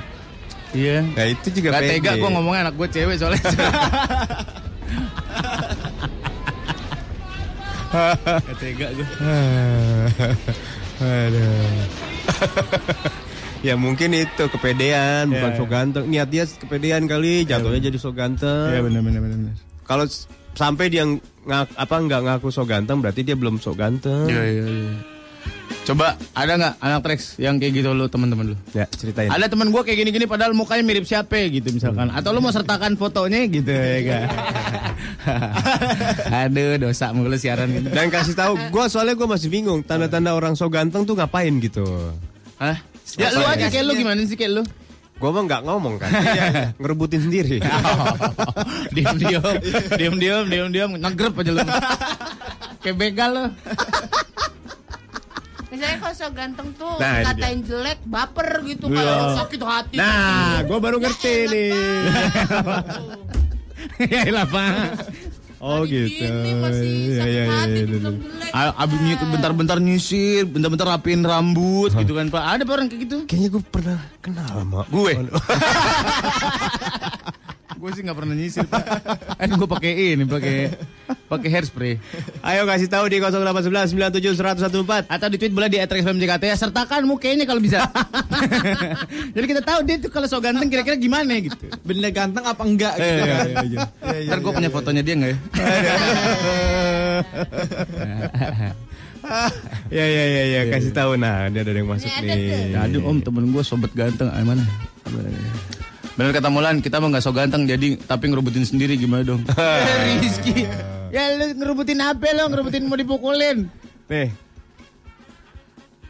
[SPEAKER 5] Iya.
[SPEAKER 6] Nah itu juga
[SPEAKER 5] Gak
[SPEAKER 6] pendek.
[SPEAKER 5] tega gue ngomongnya anak gue cewek soalnya. Gak tega gue.
[SPEAKER 6] Aduh. ya mungkin itu kepedean, bukan
[SPEAKER 5] Ya,
[SPEAKER 6] so
[SPEAKER 5] ya.
[SPEAKER 6] ganteng. Niat dia kepedean kali, jatuhnya jadi so ganteng.
[SPEAKER 5] Iya benar benar benar. benar.
[SPEAKER 6] Kalau s- sampai dia ngak, apa nggak ngaku so ganteng, berarti dia belum so ganteng.
[SPEAKER 5] Iya iya iya. Coba ada nggak anak Trax yang kayak gitu lu teman-teman lu?
[SPEAKER 6] Ya ceritain.
[SPEAKER 5] Ada teman gue kayak gini-gini padahal mukanya mirip siapa gitu misalkan. Atau lu mau sertakan fotonya gitu ya kan? Aduh dosa mulu siaran gitu.
[SPEAKER 6] Dan kasih tahu, gue soalnya gue masih bingung tanda-tanda orang so ganteng tuh ngapain gitu.
[SPEAKER 5] Hah? Ya lu aja kayak lu gimana sih kayak lu?
[SPEAKER 6] Gue mah nggak ngomong kan, Iya, ngerebutin sendiri.
[SPEAKER 5] diem diem diem diem diem diem ngegrep aja lu kayak begal lo
[SPEAKER 1] Misalnya kalau so ganteng tuh
[SPEAKER 6] Nah, itu
[SPEAKER 1] katain jelek, baper gitu kayak orang sakit hati.
[SPEAKER 6] Nah, gue baru
[SPEAKER 1] Ya
[SPEAKER 6] ngerti
[SPEAKER 1] elah,
[SPEAKER 6] nih.
[SPEAKER 1] Bang.
[SPEAKER 5] ya lah pak
[SPEAKER 6] Oh
[SPEAKER 1] Hari
[SPEAKER 6] gitu.
[SPEAKER 1] Ini masih
[SPEAKER 6] Iya,
[SPEAKER 1] sakit
[SPEAKER 6] iya,
[SPEAKER 1] hati,
[SPEAKER 6] iya, iya,
[SPEAKER 1] dibilang
[SPEAKER 6] iya.
[SPEAKER 1] jelek. Nah,
[SPEAKER 5] abis nyut- bentar-bentar nyisir bentar-bentar rapiin rambut gitu kan pak ada apa orang kayak gitu
[SPEAKER 6] Kayaknya gue pernah kenal sama
[SPEAKER 5] gue gue sih nggak pernah nyisir pak kan gue pakai ini pakai pakai hairspray
[SPEAKER 6] Ayo kasih tahu di 0811 97114.
[SPEAKER 5] atau di tweet boleh di @rexfmjkt ya sertakan mukanya kalau bisa jadi kita tahu dia tuh kalau so ganteng kira-kira gimana gitu
[SPEAKER 7] Bener ganteng apa
[SPEAKER 5] Eh,
[SPEAKER 7] enggak gitu.
[SPEAKER 5] iya, iya, iya. Ntar gue punya fotonya dia nggak ya?
[SPEAKER 6] Ya ya ya ya kasih tahu nah dia ada yang masuk
[SPEAKER 1] Ini ada
[SPEAKER 4] iya.
[SPEAKER 6] nih.
[SPEAKER 5] Ya, aduh om temen gue sobat ganteng ah, mana? Bener kata Mulan kita mah nggak so ganteng jadi tapi ngerebutin sendiri gimana dong? Eh, Rizky ya lu ngerebutin apa lo ngerebutin mau dipukulin?
[SPEAKER 6] Nih.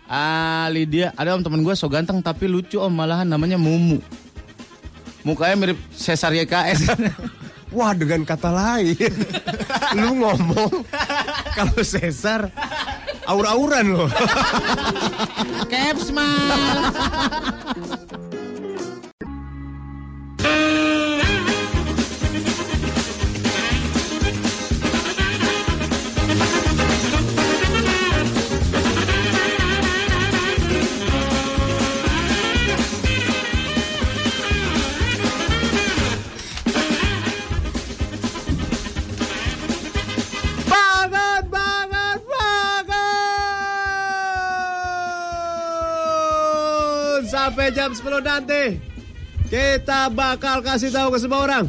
[SPEAKER 5] Ah Lydia ada om temen gue so ganteng tapi lucu om malahan namanya Mumu. Mukanya mirip Cesar YKS.
[SPEAKER 6] Wah dengan kata lain Lu ngomong Kalau Cesar Aur-auran loh
[SPEAKER 5] Caps mal.
[SPEAKER 4] Bangun, bangun, bangun! Sampai jam 10 nanti kita bakal kasih tahu ke semua orang.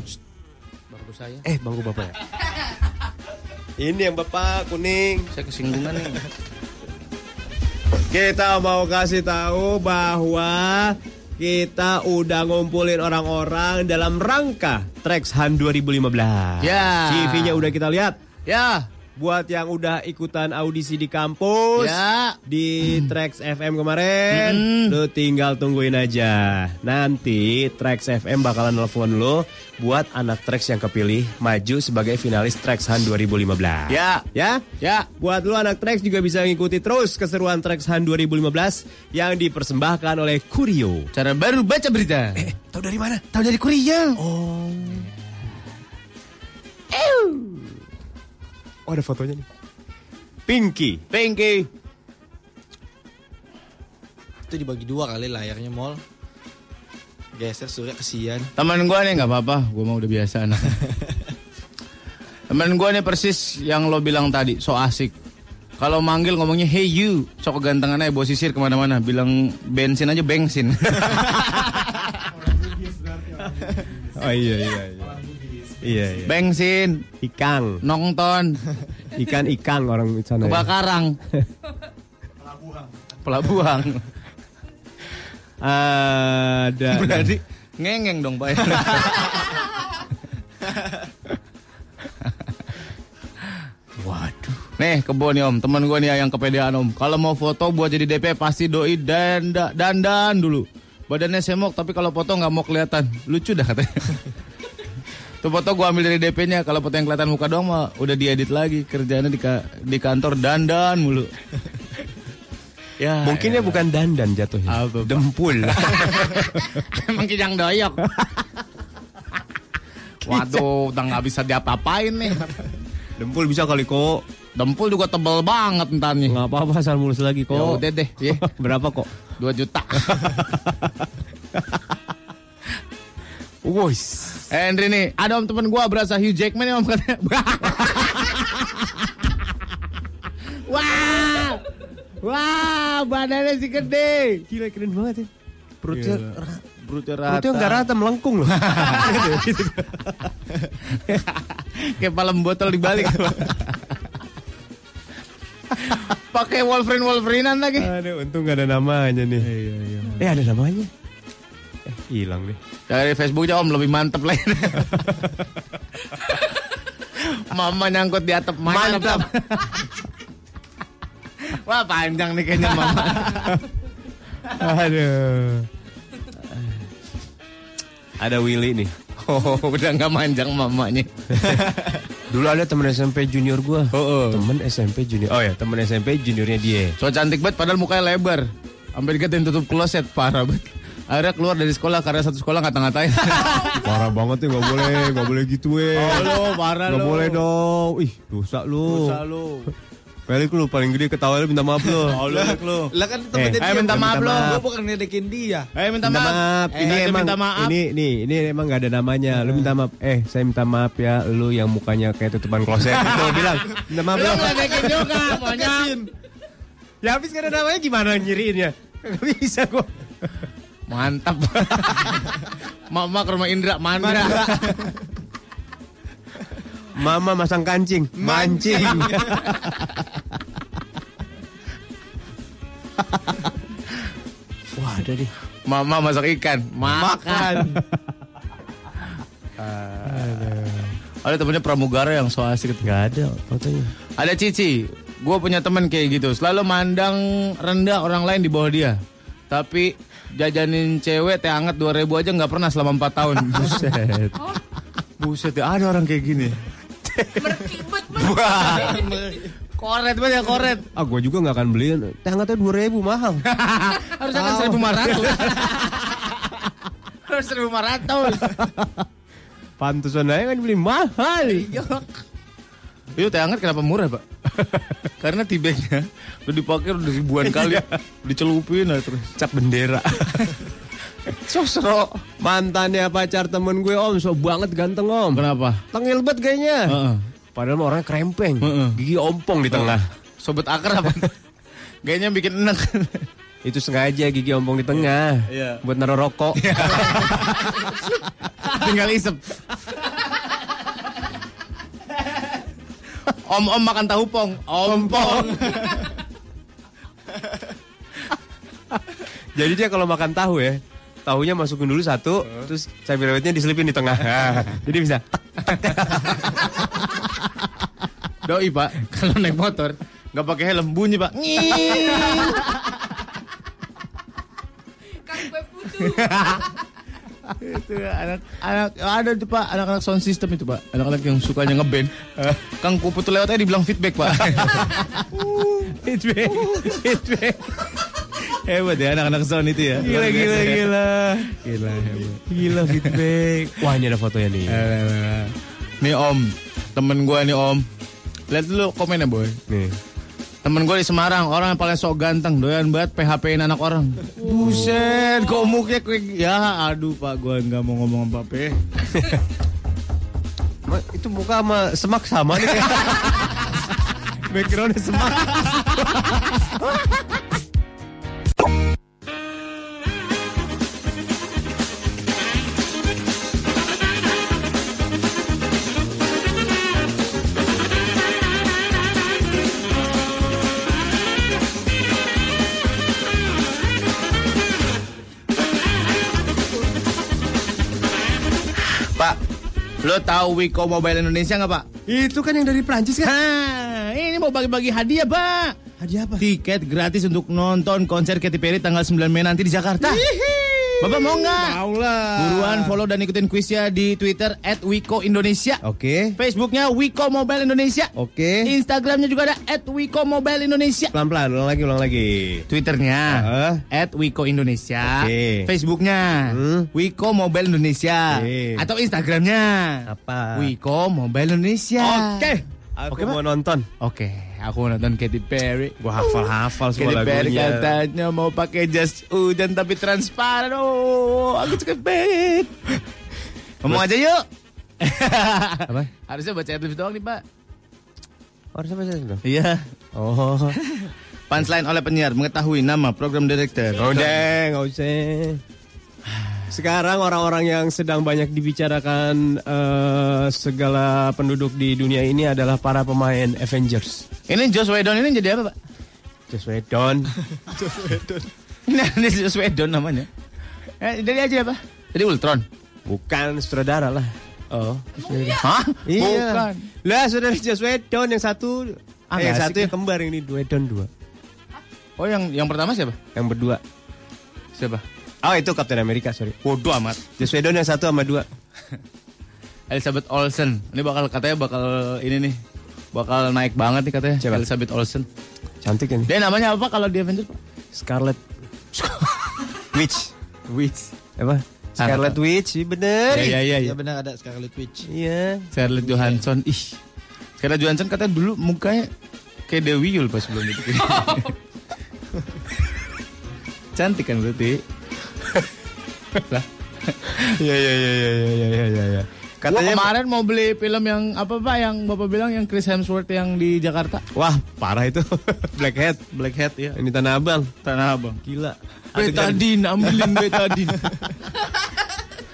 [SPEAKER 6] Eh bangku bapak ya Ini yang bapak kuning
[SPEAKER 5] Saya kesinggungan nih.
[SPEAKER 4] Kita mau kasih tahu bahwa kita udah ngumpulin orang-orang dalam rangka Trexhan 2015.
[SPEAKER 5] Ya.
[SPEAKER 4] CV-nya udah kita lihat.
[SPEAKER 5] Ya,
[SPEAKER 4] Buat yang udah ikutan audisi di kampus.
[SPEAKER 5] ya.
[SPEAKER 4] di Trax FM kemarin,
[SPEAKER 5] Mm.
[SPEAKER 4] lu tinggal tungguin aja. Nanti Trax FM bakalan nelfon lu buat anak Trax yang kepilih maju sebagai finalis Trax Han 2015.
[SPEAKER 5] Ya.
[SPEAKER 4] Ya?
[SPEAKER 5] Ya.
[SPEAKER 4] Buat lu anak Trax juga bisa ngikuti terus keseruan Trax Han 2015 yang dipersembahkan oleh Kurio.
[SPEAKER 5] Cara baru baca berita.
[SPEAKER 6] Tahu dari mana?
[SPEAKER 5] Eh, Tahu dari Korea.
[SPEAKER 6] Oh ada fotonya nih Pinky
[SPEAKER 5] Pinky.
[SPEAKER 7] Itu dibagi dua kali layarnya mall. Geser surya kesian.
[SPEAKER 5] Teman gua nih nggak apa-apa, gua mah udah biasa anak. Teman gua nih persis yang lo bilang tadi, so asik. Kalau manggil ngomongnya hey you, sok kegantengan aja bawa sisir kemana-mana, bilang bensin aja bensin.
[SPEAKER 6] Oh iya iya iya Iya iya
[SPEAKER 5] bensin,
[SPEAKER 6] Ikang
[SPEAKER 5] nongton,
[SPEAKER 6] Ikan ikang orang di sana ya.
[SPEAKER 5] kebakarang. Pelabuhan. Pelabuhan.
[SPEAKER 6] Ada
[SPEAKER 5] Berarti ngengeng dong pak. Waduh. Nih kebo nih om, teman gue nih yang kepedean om. Kalau mau foto buat jadi DP pasti doi dan dandan dulu. Badannya semok tapi kalau foto nggak mau kelihatan. Lucu dah katanya. Tuh foto gue ambil dari DP-nya. Kalau foto yang kelihatan muka doang mah udah diedit lagi. Kerjaannya di, ka- di kantor dandan mulu. ya,
[SPEAKER 6] Mungkin
[SPEAKER 4] Iya.
[SPEAKER 6] ya bukan dandan jatuhnya
[SPEAKER 5] Apa, Pak?
[SPEAKER 6] Dempul
[SPEAKER 5] Emang kijang doyok. Waduh, udah nggak bisa diapa-apain nih.
[SPEAKER 6] Dempul bisa kali kok
[SPEAKER 5] Dempul juga tebel banget entarnya.
[SPEAKER 6] Nggak apa-apa asal mulus lagi
[SPEAKER 5] Ya
[SPEAKER 6] kok
[SPEAKER 5] udah deh, ya.
[SPEAKER 6] Berapa kok?
[SPEAKER 5] 2 juta. Wuss. Henry Eh, nih, ada om temen gua berasa Hugh Jackman ya om katanya. Wah. Wah, badannya si gede.
[SPEAKER 4] Gila keren banget ya.
[SPEAKER 5] Perutnya ra- perutnya rata.
[SPEAKER 4] Itu nggak rata melengkung loh.
[SPEAKER 5] Kayak palem botol dibalik. Pakai Wolverine Wolverinean lagi.
[SPEAKER 4] Aduh, untung nggak ada namanya nih. Iya, iya. Eh ada namanya. Eh, hilang deh.
[SPEAKER 5] Dari Facebooknya om lebih mantep lah. ini. Mama nyangkut di atap mayat.
[SPEAKER 4] Mantap.
[SPEAKER 5] Wah panjang nih kayaknya mama.
[SPEAKER 4] Aduh. Ada Willy nih.
[SPEAKER 5] Oh, udah nggak manjang mamanya.
[SPEAKER 4] Dulu ada temen SMP junior gua. Temen SMP junior. Oh ya, temen SMP juniornya dia.
[SPEAKER 5] So cantik banget padahal mukanya lebar. Sampai dikatain tutup kloset parah banget. Akhirnya keluar dari sekolah karena satu sekolah ngata-ngatain.
[SPEAKER 4] Parah banget ya, nggak boleh, nggak boleh gitu eh.
[SPEAKER 5] Oh, lo parah
[SPEAKER 4] Nggak boleh dong. Ih, dosa lu. Dosa lu. Pelik lu paling gede ketawa lu minta maaf lu.
[SPEAKER 5] Oh,
[SPEAKER 12] lu. Lah kan temennya
[SPEAKER 5] Eh, ayo minta maaf lo.
[SPEAKER 12] Gue bukan ngedekin dia.
[SPEAKER 5] Eh minta
[SPEAKER 4] Minta
[SPEAKER 5] maaf.
[SPEAKER 4] maaf.
[SPEAKER 5] Eh,
[SPEAKER 4] ini
[SPEAKER 5] aja
[SPEAKER 4] emang
[SPEAKER 5] minta maaf.
[SPEAKER 4] ini nih, ini emang nggak ada namanya. Lu minta maaf. Eh, saya minta maaf ya lu yang mukanya kayak tutupan kloset. Lu bilang, minta maaf
[SPEAKER 5] Lo
[SPEAKER 4] lu.
[SPEAKER 5] ngedekin juga, monyok.
[SPEAKER 4] Ya habis karena namanya gimana nyiriinnya? Gak bisa gua.
[SPEAKER 5] Mantap. Mama ke rumah Indra, Mandra.
[SPEAKER 4] Mama masang kancing, mancing. Wah, ada nih.
[SPEAKER 5] Mama masak ikan, makan. ada temennya pramugara yang so asik.
[SPEAKER 4] Gak ada fotonya.
[SPEAKER 5] Ada Cici, gue punya temen kayak gitu, selalu mandang rendah orang lain di bawah dia. Tapi jajanin cewek teh hangat 2000 aja nggak pernah selama 4 tahun.
[SPEAKER 4] Buset.
[SPEAKER 5] Buset, ya ada orang kayak gini.
[SPEAKER 10] Berkibet
[SPEAKER 5] Wah. koret banget ya koret.
[SPEAKER 4] Ah, gue juga gak akan beliin. Teh hangatnya 2000 mahal.
[SPEAKER 5] Harusnya kan 1500. Harus 1500.
[SPEAKER 4] Pantesan aja kan beli mahal.
[SPEAKER 5] Iya, Itu teh hangat kenapa murah, Pak? Karena tibeknya udah dipakai udah ribuan kali. Dicelupin aja terus.
[SPEAKER 4] Iya. Cap bendera.
[SPEAKER 5] Sosro.
[SPEAKER 4] Mantannya pacar temen gue om, so banget ganteng om.
[SPEAKER 5] Kenapa?
[SPEAKER 4] Tengil banget kayaknya.
[SPEAKER 5] Heeh.
[SPEAKER 4] Padahal mah orangnya krempeng.
[SPEAKER 5] Heeh.
[SPEAKER 4] Gigi ompong di tengah.
[SPEAKER 5] Sobat akrab. Kayaknya bikin enak.
[SPEAKER 4] Itu sengaja gigi ompong di tengah.
[SPEAKER 5] Iya.
[SPEAKER 4] Buat naruh rokok.
[SPEAKER 5] Tinggal isep. Om-om makan tahu pong. Om-pong.
[SPEAKER 4] Jadi dia kalau makan tahu ya, tahunya masukin dulu satu, terus cabai rawitnya diselipin di tengah. Jadi bisa.
[SPEAKER 5] Doi, Pak. Kalau naik motor nggak pakai helm bunyi, Pak. Nying.
[SPEAKER 10] Kan gue putus
[SPEAKER 5] itu anak anak ada tuh pak anak-anak sound system itu pak anak-anak yang sukanya ngeband kang kupu tuh lewat aja dibilang feedback pak feedback feedback hebat ya anak-anak sound itu ya
[SPEAKER 4] Gila, gila, gila.
[SPEAKER 5] gila hebat
[SPEAKER 4] Gila feedback. Eh. Wah ini ada fotonya nih.
[SPEAKER 5] nih Eh, om temen gue nih om lihat dulu komennya boy
[SPEAKER 4] Nih.
[SPEAKER 5] temen gue di Semarang orang yang paling sok ganteng doyan banget PHP-in anak orang buset komuknya kayak ya aduh pak gue nggak mau ngomong apa apa
[SPEAKER 4] Ma- itu muka sama semak sama nih. Backgroundnya semak.
[SPEAKER 5] Pak, lo tahu Wiko Mobile Indonesia nggak Pak?
[SPEAKER 4] itu kan yang dari Prancis kan?
[SPEAKER 5] Hah, ini mau bagi-bagi hadiah Pak.
[SPEAKER 4] Hadiah apa?
[SPEAKER 5] Tiket gratis untuk nonton konser Katy Perry tanggal 9 Mei nanti di Jakarta. Bapak mau nggak?
[SPEAKER 4] Mau lah.
[SPEAKER 5] Buruan follow dan ikutin kuisnya di Twitter at Wiko Indonesia.
[SPEAKER 4] Oke.
[SPEAKER 5] Facebooknya Wiko Mobile Indonesia.
[SPEAKER 4] Oke.
[SPEAKER 5] Instagramnya juga ada at Wiko Mobile Indonesia.
[SPEAKER 4] Pelan-pelan, ulang lagi, ulang lagi.
[SPEAKER 5] Twitternya
[SPEAKER 4] Heeh.
[SPEAKER 5] at Wiko Indonesia.
[SPEAKER 4] Oke.
[SPEAKER 5] Facebooknya
[SPEAKER 4] Hmm.
[SPEAKER 5] Wiko Mobile Indonesia.
[SPEAKER 4] Oke.
[SPEAKER 5] Atau Instagramnya
[SPEAKER 4] Apa?
[SPEAKER 5] Wiko Mobile Indonesia.
[SPEAKER 4] Aku
[SPEAKER 5] Oke,
[SPEAKER 4] mau nonton.
[SPEAKER 5] Oke, aku nonton Katy Perry.
[SPEAKER 4] Gua hafal-hafal
[SPEAKER 5] Katy
[SPEAKER 4] semua
[SPEAKER 5] Perry
[SPEAKER 4] lagunya.
[SPEAKER 5] katanya mau pakai jas hujan tapi transparan. Oh, aku suka banget. Ngomong aja yuk.
[SPEAKER 6] Apa?
[SPEAKER 5] Harusnya baca adlibs doang nih, Pak.
[SPEAKER 6] Harusnya bahasa Inggris.
[SPEAKER 5] Iya.
[SPEAKER 6] Oh.
[SPEAKER 5] Punchline oleh penyiar mengetahui nama program director.
[SPEAKER 6] Udah, nggak usah.
[SPEAKER 4] Sekarang orang-orang yang sedang banyak dibicarakan eh, segala penduduk di dunia ini adalah para pemain Avengers.
[SPEAKER 5] Ini Joss Whedon ini jadi apa, Pak?
[SPEAKER 4] Joss Whedon.
[SPEAKER 5] Nah, ini Joss Whedon namanya. Eh, dari aja apa? Jadi Ultron.
[SPEAKER 4] Bukan sutradara lah. Oh.
[SPEAKER 5] Hah?
[SPEAKER 4] Iya.
[SPEAKER 5] Bukan.
[SPEAKER 4] Lah saudara Joss Whedon yang satu
[SPEAKER 5] Ah,
[SPEAKER 4] eh,
[SPEAKER 5] nggak
[SPEAKER 4] yang satu
[SPEAKER 5] asik.
[SPEAKER 4] yang kembar yang ini Whedon dua.
[SPEAKER 5] Oh, yang yang pertama siapa?
[SPEAKER 4] Yang berdua.
[SPEAKER 5] Siapa?
[SPEAKER 4] Oh itu Captain America sorry.
[SPEAKER 5] Bodoh amat.
[SPEAKER 4] Joss Whedon yang satu sama dua.
[SPEAKER 5] Elizabeth Olsen. Ini bakal katanya bakal ini nih. Bakal naik banget nih katanya
[SPEAKER 4] Siapa?
[SPEAKER 5] Elizabeth Olsen.
[SPEAKER 4] Cantik ini.
[SPEAKER 5] Dia namanya apa kalau di Avengers? Pak?
[SPEAKER 4] Scarlet Witch.
[SPEAKER 5] Witch. Ah,
[SPEAKER 4] Apa? Scarlet Witch, iya bener.
[SPEAKER 5] Iya iya iya.
[SPEAKER 7] Ya benar ada Scarlet Witch.
[SPEAKER 4] Iya.
[SPEAKER 5] Scarlett Johansson. Ih. Scarlett Johansson katanya dulu mukanya kayak Dewi Yul pas sebelum itu. Cantik kan berarti. lah.
[SPEAKER 6] Iya,
[SPEAKER 5] Ya,
[SPEAKER 6] iya, iya, iya, iya, iya, iya, iya.
[SPEAKER 5] Katanya kemarin mau beli film yang apa Pak yang Bapak bilang yang Chris Hemsworth yang di Jakarta.
[SPEAKER 4] Wah, parah itu.
[SPEAKER 5] Black Hat, Black Hat ya.
[SPEAKER 4] ini Tanah Abang.
[SPEAKER 5] Tanah Abang.
[SPEAKER 4] Gila.
[SPEAKER 5] Betadine, ambilin betadine.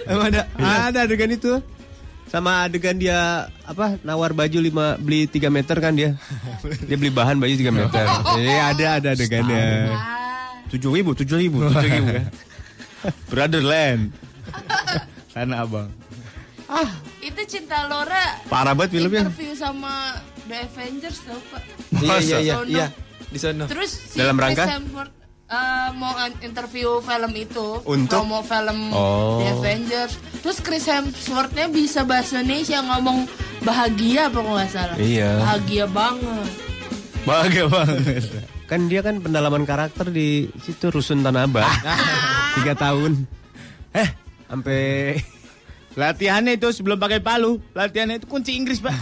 [SPEAKER 4] Emang ada
[SPEAKER 5] Iya.
[SPEAKER 4] ada adegan itu. Sama adegan dia apa nawar baju lima beli 3 meter kan dia. Dia beli bahan baju 3 meter. Jadi ada ada adegannya.
[SPEAKER 5] Tujuh ribu, tujuh ribu, tujuh ribu kan. Brotherland. Tanah Abang.
[SPEAKER 1] Itu cinta Laura
[SPEAKER 5] Parah banget filmnya.
[SPEAKER 1] interview sama The Avengers tau Pak.
[SPEAKER 7] Iya
[SPEAKER 5] Masa?
[SPEAKER 7] iya iya
[SPEAKER 1] Sono.
[SPEAKER 7] iya. Di sono.
[SPEAKER 1] Terus si
[SPEAKER 4] Dalam
[SPEAKER 1] Chris
[SPEAKER 4] rangka?
[SPEAKER 1] Hemsworth, eh, mau an- interview film itu
[SPEAKER 4] Untuk?
[SPEAKER 1] promo film
[SPEAKER 4] Oh.
[SPEAKER 1] The Avengers terus Chris Hemsworth-nya bisa bahasa Indonesia ngomong bahagia apa nggak salah
[SPEAKER 4] Iya.
[SPEAKER 1] bahagia banget
[SPEAKER 5] Bahagia banget.
[SPEAKER 4] Kan dia kan pendalaman karakter di situ Rusun Tanah Abang. 3 tahun. Eh, sampai
[SPEAKER 5] Latihannya itu sebelum pakai palu, latihannya itu kunci Inggris, Pak.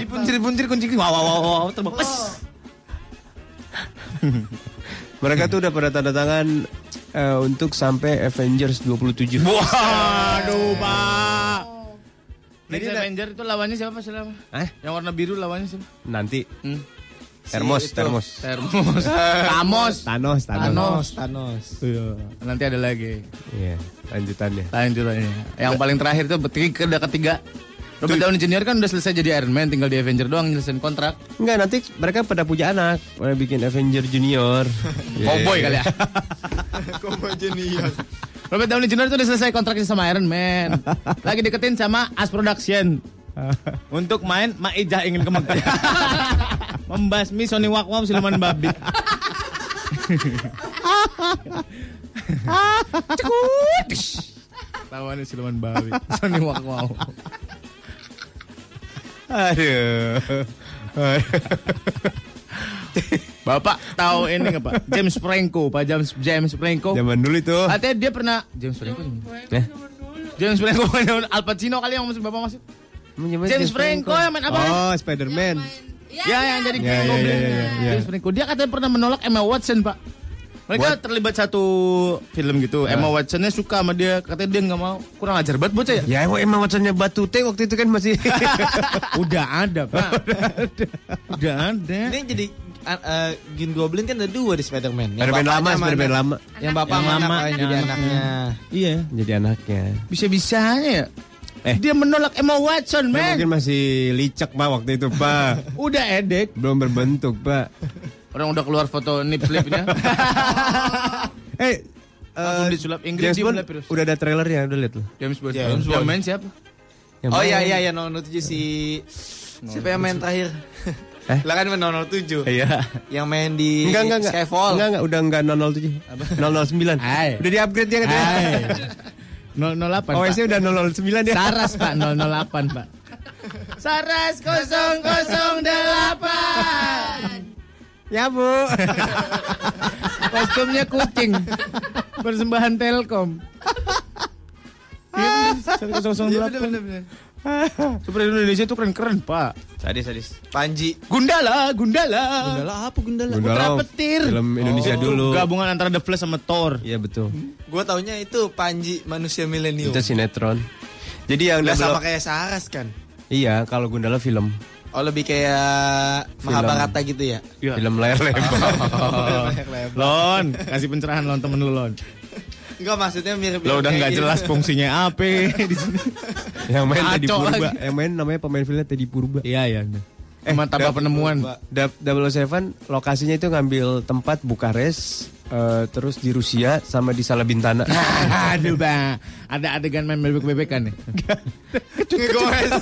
[SPEAKER 5] Dipuntir-puntir kunci Inggris. Wow, wow, wow, wow, terbang. Pes.
[SPEAKER 4] mereka tuh udah pada tanda tangan eh, untuk sampai Avengers 27.
[SPEAKER 5] Waduh, Pak. Jadi
[SPEAKER 4] Jadi,
[SPEAKER 5] Avenger itu lawannya siapa selama?
[SPEAKER 4] Eh?
[SPEAKER 5] Yang warna biru lawannya siapa?
[SPEAKER 4] Nanti
[SPEAKER 5] Hmm.
[SPEAKER 4] termos,
[SPEAKER 7] itu.
[SPEAKER 4] termos.
[SPEAKER 5] Termos. Tamos.
[SPEAKER 4] Thanos, Thanos.
[SPEAKER 5] Thanos.
[SPEAKER 7] Thanos.
[SPEAKER 5] Iya. Nanti ada lagi
[SPEAKER 4] Iya, lanjutannya.
[SPEAKER 5] lanjutannya. Yang paling terakhir itu ketiga ada ketiga. Robert Downey Jr. kan udah selesai jadi Iron Man, tinggal di Avenger doang nyelesain kontrak.
[SPEAKER 4] Enggak, nanti mereka pada punya anak. Mereka bikin Avenger Junior.
[SPEAKER 5] Cowboy kali ya. Robert Downey Jr. itu udah selesai kontraknya sama Iron Man. Lagi deketin sama As Production. Untuk main Maijah ingin ke Mekah. Membasmi Sony Wakwam siluman babi. Cekut. Lawannya siluman babi. Sony Wakwam.
[SPEAKER 4] Aduh.
[SPEAKER 5] Bapak tahu ini nggak Pak? James Franco, Pak James James Franco.
[SPEAKER 4] Zaman dulu itu.
[SPEAKER 5] Katanya dia pernah James Franco.
[SPEAKER 4] Eh?
[SPEAKER 5] James Franco Al Pacino kali yang maksud Bapak maksud. James Franco yang main apa?
[SPEAKER 4] Oh, Spider-Man.
[SPEAKER 1] ya,
[SPEAKER 5] Ya, yang jadi
[SPEAKER 4] Ya,
[SPEAKER 5] Green
[SPEAKER 4] ya,
[SPEAKER 5] Goblin.
[SPEAKER 4] ya, ya, ya.
[SPEAKER 5] James Franco. Dia katanya pernah menolak Emma Watson, Pak. Mereka terlibat satu film gitu.
[SPEAKER 4] Ya.
[SPEAKER 5] Emma Watsonnya suka sama dia, katanya dia nggak mau. Kurang ajar banget bocah ya.
[SPEAKER 4] Ya, emang emang macamnya batu teh waktu itu kan masih.
[SPEAKER 5] Udah ada, Pak. Udah ada.
[SPEAKER 7] Ini jadi uh, uh, Green Goblin kan ada dua di Spider-Man. Yang
[SPEAKER 4] Spider-Man lama,
[SPEAKER 7] bapaknya sama
[SPEAKER 4] Spider-Man
[SPEAKER 7] anak-
[SPEAKER 4] lama.
[SPEAKER 7] Yang bapak
[SPEAKER 5] Yang
[SPEAKER 7] sama
[SPEAKER 5] lama,
[SPEAKER 7] anaknya jadi
[SPEAKER 5] yang
[SPEAKER 7] anaknya.
[SPEAKER 5] Iya.
[SPEAKER 4] Jadi anaknya.
[SPEAKER 5] Bisa-bisanya ya. Eh. Dia menolak Emma Watson, men.
[SPEAKER 4] Ya, mungkin masih licek, Pak, waktu itu, Pak.
[SPEAKER 5] Udah edek.
[SPEAKER 4] Belum berbentuk, Pak.
[SPEAKER 5] Orang udah keluar foto nip slipnya.
[SPEAKER 4] Eh,
[SPEAKER 5] Langsung disulap Inggris,
[SPEAKER 4] James Bond
[SPEAKER 5] diulap terus.
[SPEAKER 4] udah ada trailernya, udah lihat loh.
[SPEAKER 5] James Bond.
[SPEAKER 7] James
[SPEAKER 5] Yang main siapa?
[SPEAKER 4] Yang
[SPEAKER 7] Oh
[SPEAKER 4] mana?
[SPEAKER 7] iya iya iya 007 si siapa yang main terakhir?
[SPEAKER 4] Eh?
[SPEAKER 7] Lah kan main 007.
[SPEAKER 5] Iya.
[SPEAKER 7] Yang main di
[SPEAKER 4] Enggak, enggak, enggak.
[SPEAKER 7] Skyfall.
[SPEAKER 4] Enggak, enggak, udah enggak 007. 009.
[SPEAKER 5] Hai.
[SPEAKER 4] Udah di-upgrade dia katanya.
[SPEAKER 5] 008. Pak.
[SPEAKER 4] OS-nya udah 009 ya.
[SPEAKER 5] Saras Pak 008 Pak. Saras 008.
[SPEAKER 4] Ya, Bu.
[SPEAKER 5] Kostumnya kucing. Persembahan Telkom. Iya, Super Indonesia itu keren-keren Pak.
[SPEAKER 7] Sadis sadis. Panji.
[SPEAKER 5] Gundala, Gundala.
[SPEAKER 7] Gundala apa Gundala?
[SPEAKER 5] Putra
[SPEAKER 4] Gundala,
[SPEAKER 5] Petir.
[SPEAKER 4] Film Indonesia
[SPEAKER 5] Itu
[SPEAKER 4] dulu.
[SPEAKER 5] Gabungan antara The Flash sama Thor.
[SPEAKER 4] Iya, betul.
[SPEAKER 7] Gua taunya itu Panji manusia milenium.
[SPEAKER 4] Itu sinetron. Jadi yang
[SPEAKER 7] Nggak
[SPEAKER 4] double
[SPEAKER 7] sama
[SPEAKER 4] up-
[SPEAKER 7] kayak Saras kan?
[SPEAKER 4] Iya, kalau Gundala film.
[SPEAKER 7] Oh lebih kayak Mahabharata gitu ya?
[SPEAKER 4] Film layar lebar.
[SPEAKER 6] Lon, kasih pencerahan Lon temen lu Lon.
[SPEAKER 7] Enggak maksudnya mirip
[SPEAKER 6] Lo udah nggak
[SPEAKER 7] kayak
[SPEAKER 6] jelas
[SPEAKER 7] gitu.
[SPEAKER 6] fungsinya apa di sini.
[SPEAKER 4] yang main tadi
[SPEAKER 6] Kacau
[SPEAKER 4] Purba.
[SPEAKER 6] lagi.
[SPEAKER 4] Yang main namanya pemain filmnya Teddy Purba.
[SPEAKER 6] Iya ya. Emang tambah penemuan.
[SPEAKER 4] Da- 007 lokasinya itu ngambil tempat Bukares, eh, terus di Rusia sama di Salabintana.
[SPEAKER 6] Aduh bang, ada adegan main bebek-bebek kan nih.
[SPEAKER 7] Ngegoes.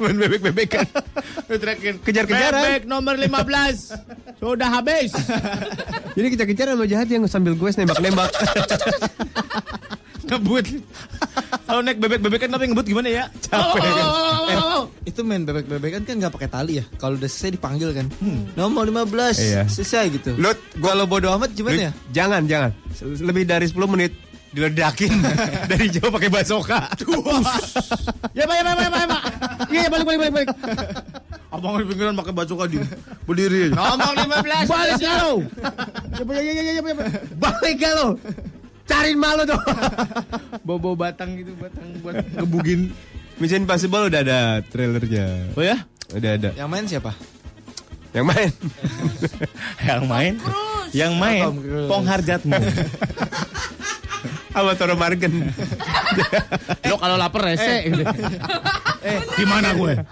[SPEAKER 6] main bebek-bebek kan. Lu teriakin,
[SPEAKER 4] Kejar-kejaran.
[SPEAKER 6] Bebek nomor 15 sudah habis.
[SPEAKER 4] Jadi kita kejar sama jahat yang sambil gue nembak-nembak.
[SPEAKER 6] ngebut. Kalau naik bebek-bebek kan tapi ngebut gimana ya? Capek.
[SPEAKER 7] Itu main bebek-bebekan kan nggak pakai tali ya? Kalau udah selesai dipanggil kan. Nomor 15
[SPEAKER 4] Hmm. Iya.
[SPEAKER 7] selesai gitu.
[SPEAKER 4] Lu-
[SPEAKER 7] kalau bodo amat gimana ya?
[SPEAKER 4] jangan, jangan. Lebih dari 10 menit diledakin dari jauh pakai basoka.
[SPEAKER 6] ya pak, ya pak, ya pak, ya pak. Iya, balik, balik, balik, balik. Abang di pinggiran pakai baju kadi. Berdiri. Nomor 15. Balik galau. Ya, Balik galau. Cariin malu tuh. Bobo batang gitu, batang buat ngebugin.
[SPEAKER 4] Mission Impossible udah ada trailernya.
[SPEAKER 6] Oh ya?
[SPEAKER 4] Udah ada.
[SPEAKER 7] Yang main siapa?
[SPEAKER 4] Yang main.
[SPEAKER 6] Yang main.
[SPEAKER 5] Cruise.
[SPEAKER 6] Yang main
[SPEAKER 7] Tom Cruise.
[SPEAKER 6] Pong Harjatmu.
[SPEAKER 4] Sama Toro Margen.
[SPEAKER 6] Lo kalau lapar rese. Eh, gimana gue?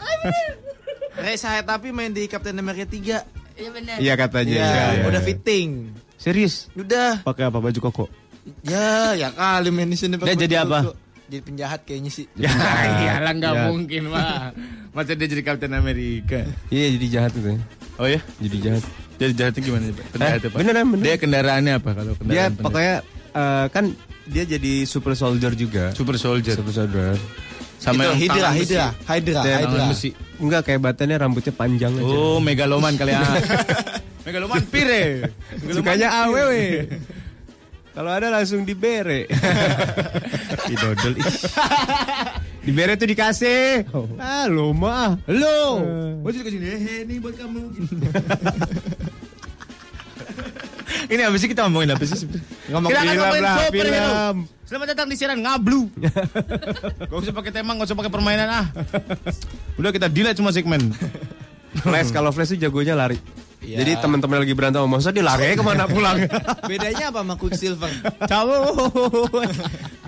[SPEAKER 7] Reza Eh, tapi main di Captain America 3.
[SPEAKER 1] Iya benar.
[SPEAKER 4] Iya katanya.
[SPEAKER 7] Iya,
[SPEAKER 4] Iya, iya,
[SPEAKER 7] udah
[SPEAKER 4] iya.
[SPEAKER 7] fitting.
[SPEAKER 4] Serius?
[SPEAKER 7] Udah.
[SPEAKER 4] Pakai apa baju koko?
[SPEAKER 7] Ya, ya kali main di sini pakai
[SPEAKER 6] Dia jadi
[SPEAKER 7] baju
[SPEAKER 6] apa?
[SPEAKER 7] koko. Jadi penjahat kayaknya sih.
[SPEAKER 4] Ya,
[SPEAKER 6] Iyalah nggak
[SPEAKER 4] Ya.
[SPEAKER 6] mungkin mah. Masa dia jadi Captain America.
[SPEAKER 4] Iya jadi jahat itu.
[SPEAKER 6] Oh ya?
[SPEAKER 4] Jadi jahat.
[SPEAKER 6] Jadi jahatnya gimana? Pak? Penjahat
[SPEAKER 4] Eh,
[SPEAKER 6] apa?
[SPEAKER 4] beneran, beneran.
[SPEAKER 6] Dia kendaraannya apa kalau kendaraan?
[SPEAKER 4] Dia
[SPEAKER 6] penjahat?
[SPEAKER 4] pokoknya eh, kan dia jadi super soldier juga.
[SPEAKER 6] super soldier.
[SPEAKER 4] Super soldier.
[SPEAKER 6] Sama yang
[SPEAKER 7] itu Hydra,
[SPEAKER 6] tangan besi.
[SPEAKER 7] Hydra, Hydra,
[SPEAKER 4] Dan
[SPEAKER 7] Hydra.
[SPEAKER 6] Tangan besi.
[SPEAKER 4] Enggak kayak batannya rambutnya panjang aja.
[SPEAKER 6] Oh, megaloman kali ya. megaloman pire.
[SPEAKER 4] Sukanya AWW. Kalau ada langsung dibere. Didodol. ih. dibere tuh dikasih.
[SPEAKER 6] Oh.
[SPEAKER 4] Ah, lo mah.
[SPEAKER 6] Lo.
[SPEAKER 7] Gua juga sini,
[SPEAKER 6] Eh,
[SPEAKER 7] "Hehe, ini buat kamu.
[SPEAKER 6] Ini habis kita ngomongin apa sih sebenarnya?
[SPEAKER 7] Ngomong
[SPEAKER 6] Kita akan
[SPEAKER 4] film
[SPEAKER 6] ngomongin
[SPEAKER 4] lah,
[SPEAKER 6] superhero.
[SPEAKER 4] film.
[SPEAKER 6] Selamat datang di siaran ngablu. gak usah pakai tema, gak usah pakai permainan ah. Udah kita delete semua segmen.
[SPEAKER 4] Flash kalau Flash tuh jagonya lari.
[SPEAKER 7] Iya.
[SPEAKER 4] Jadi teman-teman lagi berantem sama masa dia lari aja kemana pulang.
[SPEAKER 7] Bedanya apa sama Quicksilver?
[SPEAKER 6] Tahu.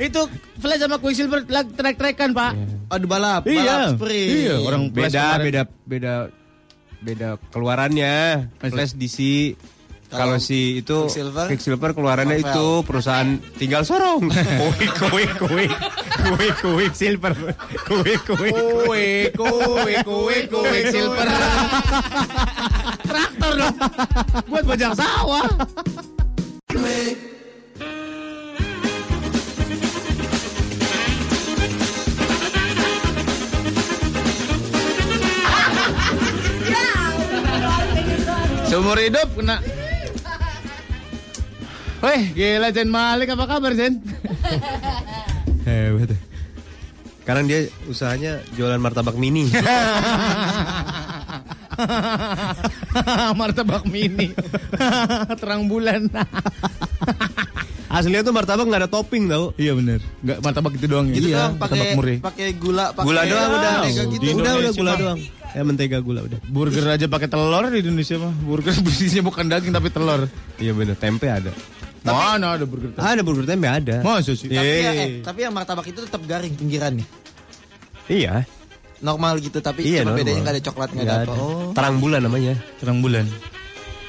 [SPEAKER 6] Itu Flash sama Quicksilver lag trek-trekan, Pak.
[SPEAKER 7] Adu balap, balap sprint.
[SPEAKER 6] Iya, orang Flash
[SPEAKER 4] beda
[SPEAKER 6] kemarin.
[SPEAKER 4] beda beda beda keluarannya Flash DC
[SPEAKER 7] Kalau
[SPEAKER 4] kalau si itu
[SPEAKER 7] Quicksilver?
[SPEAKER 4] Quicksilver keluarannya
[SPEAKER 7] Marvel.
[SPEAKER 4] itu perusahaan tinggal sorong
[SPEAKER 6] Kuik, kuik, kuik. Kuik, kuik, silver. Kuik, kuik. Kuik, kuik, kuik, kuik, silver. Traktor dong. Buat bajak sawah. Seumur hidup kena Weh, gila Zen Malik apa kabar Zen?
[SPEAKER 4] hebat sekarang dia usahanya jualan martabak mini
[SPEAKER 6] martabak mini terang bulan
[SPEAKER 4] aslinya tuh martabak nggak ada topping tau
[SPEAKER 6] iya bener nggak martabak itu doang ya
[SPEAKER 7] Gitu
[SPEAKER 6] iya,
[SPEAKER 7] dong, pakai
[SPEAKER 6] martabak murih
[SPEAKER 7] pakai gula, pakai
[SPEAKER 4] gula doang udah
[SPEAKER 7] mentega
[SPEAKER 6] Di
[SPEAKER 7] gitu.
[SPEAKER 4] udah udah
[SPEAKER 6] Indonesia
[SPEAKER 4] gula
[SPEAKER 6] mah.
[SPEAKER 4] doang ya mentega gula udah
[SPEAKER 6] burger aja pakai telur di Indonesia mah burger bisnisnya bukan daging tapi telur
[SPEAKER 4] iya bener tempe ada
[SPEAKER 6] mana ada burger telur
[SPEAKER 4] ada burger tempe ada
[SPEAKER 6] masa sih Iya,
[SPEAKER 7] Tapi, ya, eh,
[SPEAKER 4] Yeay.
[SPEAKER 7] tapi yang martabak itu tetap garing pinggirannya.
[SPEAKER 4] iya
[SPEAKER 7] Normal gitu tapi
[SPEAKER 4] Iya,
[SPEAKER 7] cuma
[SPEAKER 4] normal.
[SPEAKER 7] bedanya nggak ada coklat nggak ada
[SPEAKER 4] Nggak
[SPEAKER 7] apa.
[SPEAKER 4] ada.
[SPEAKER 7] Oh.
[SPEAKER 4] terang bulan namanya
[SPEAKER 6] terang bulan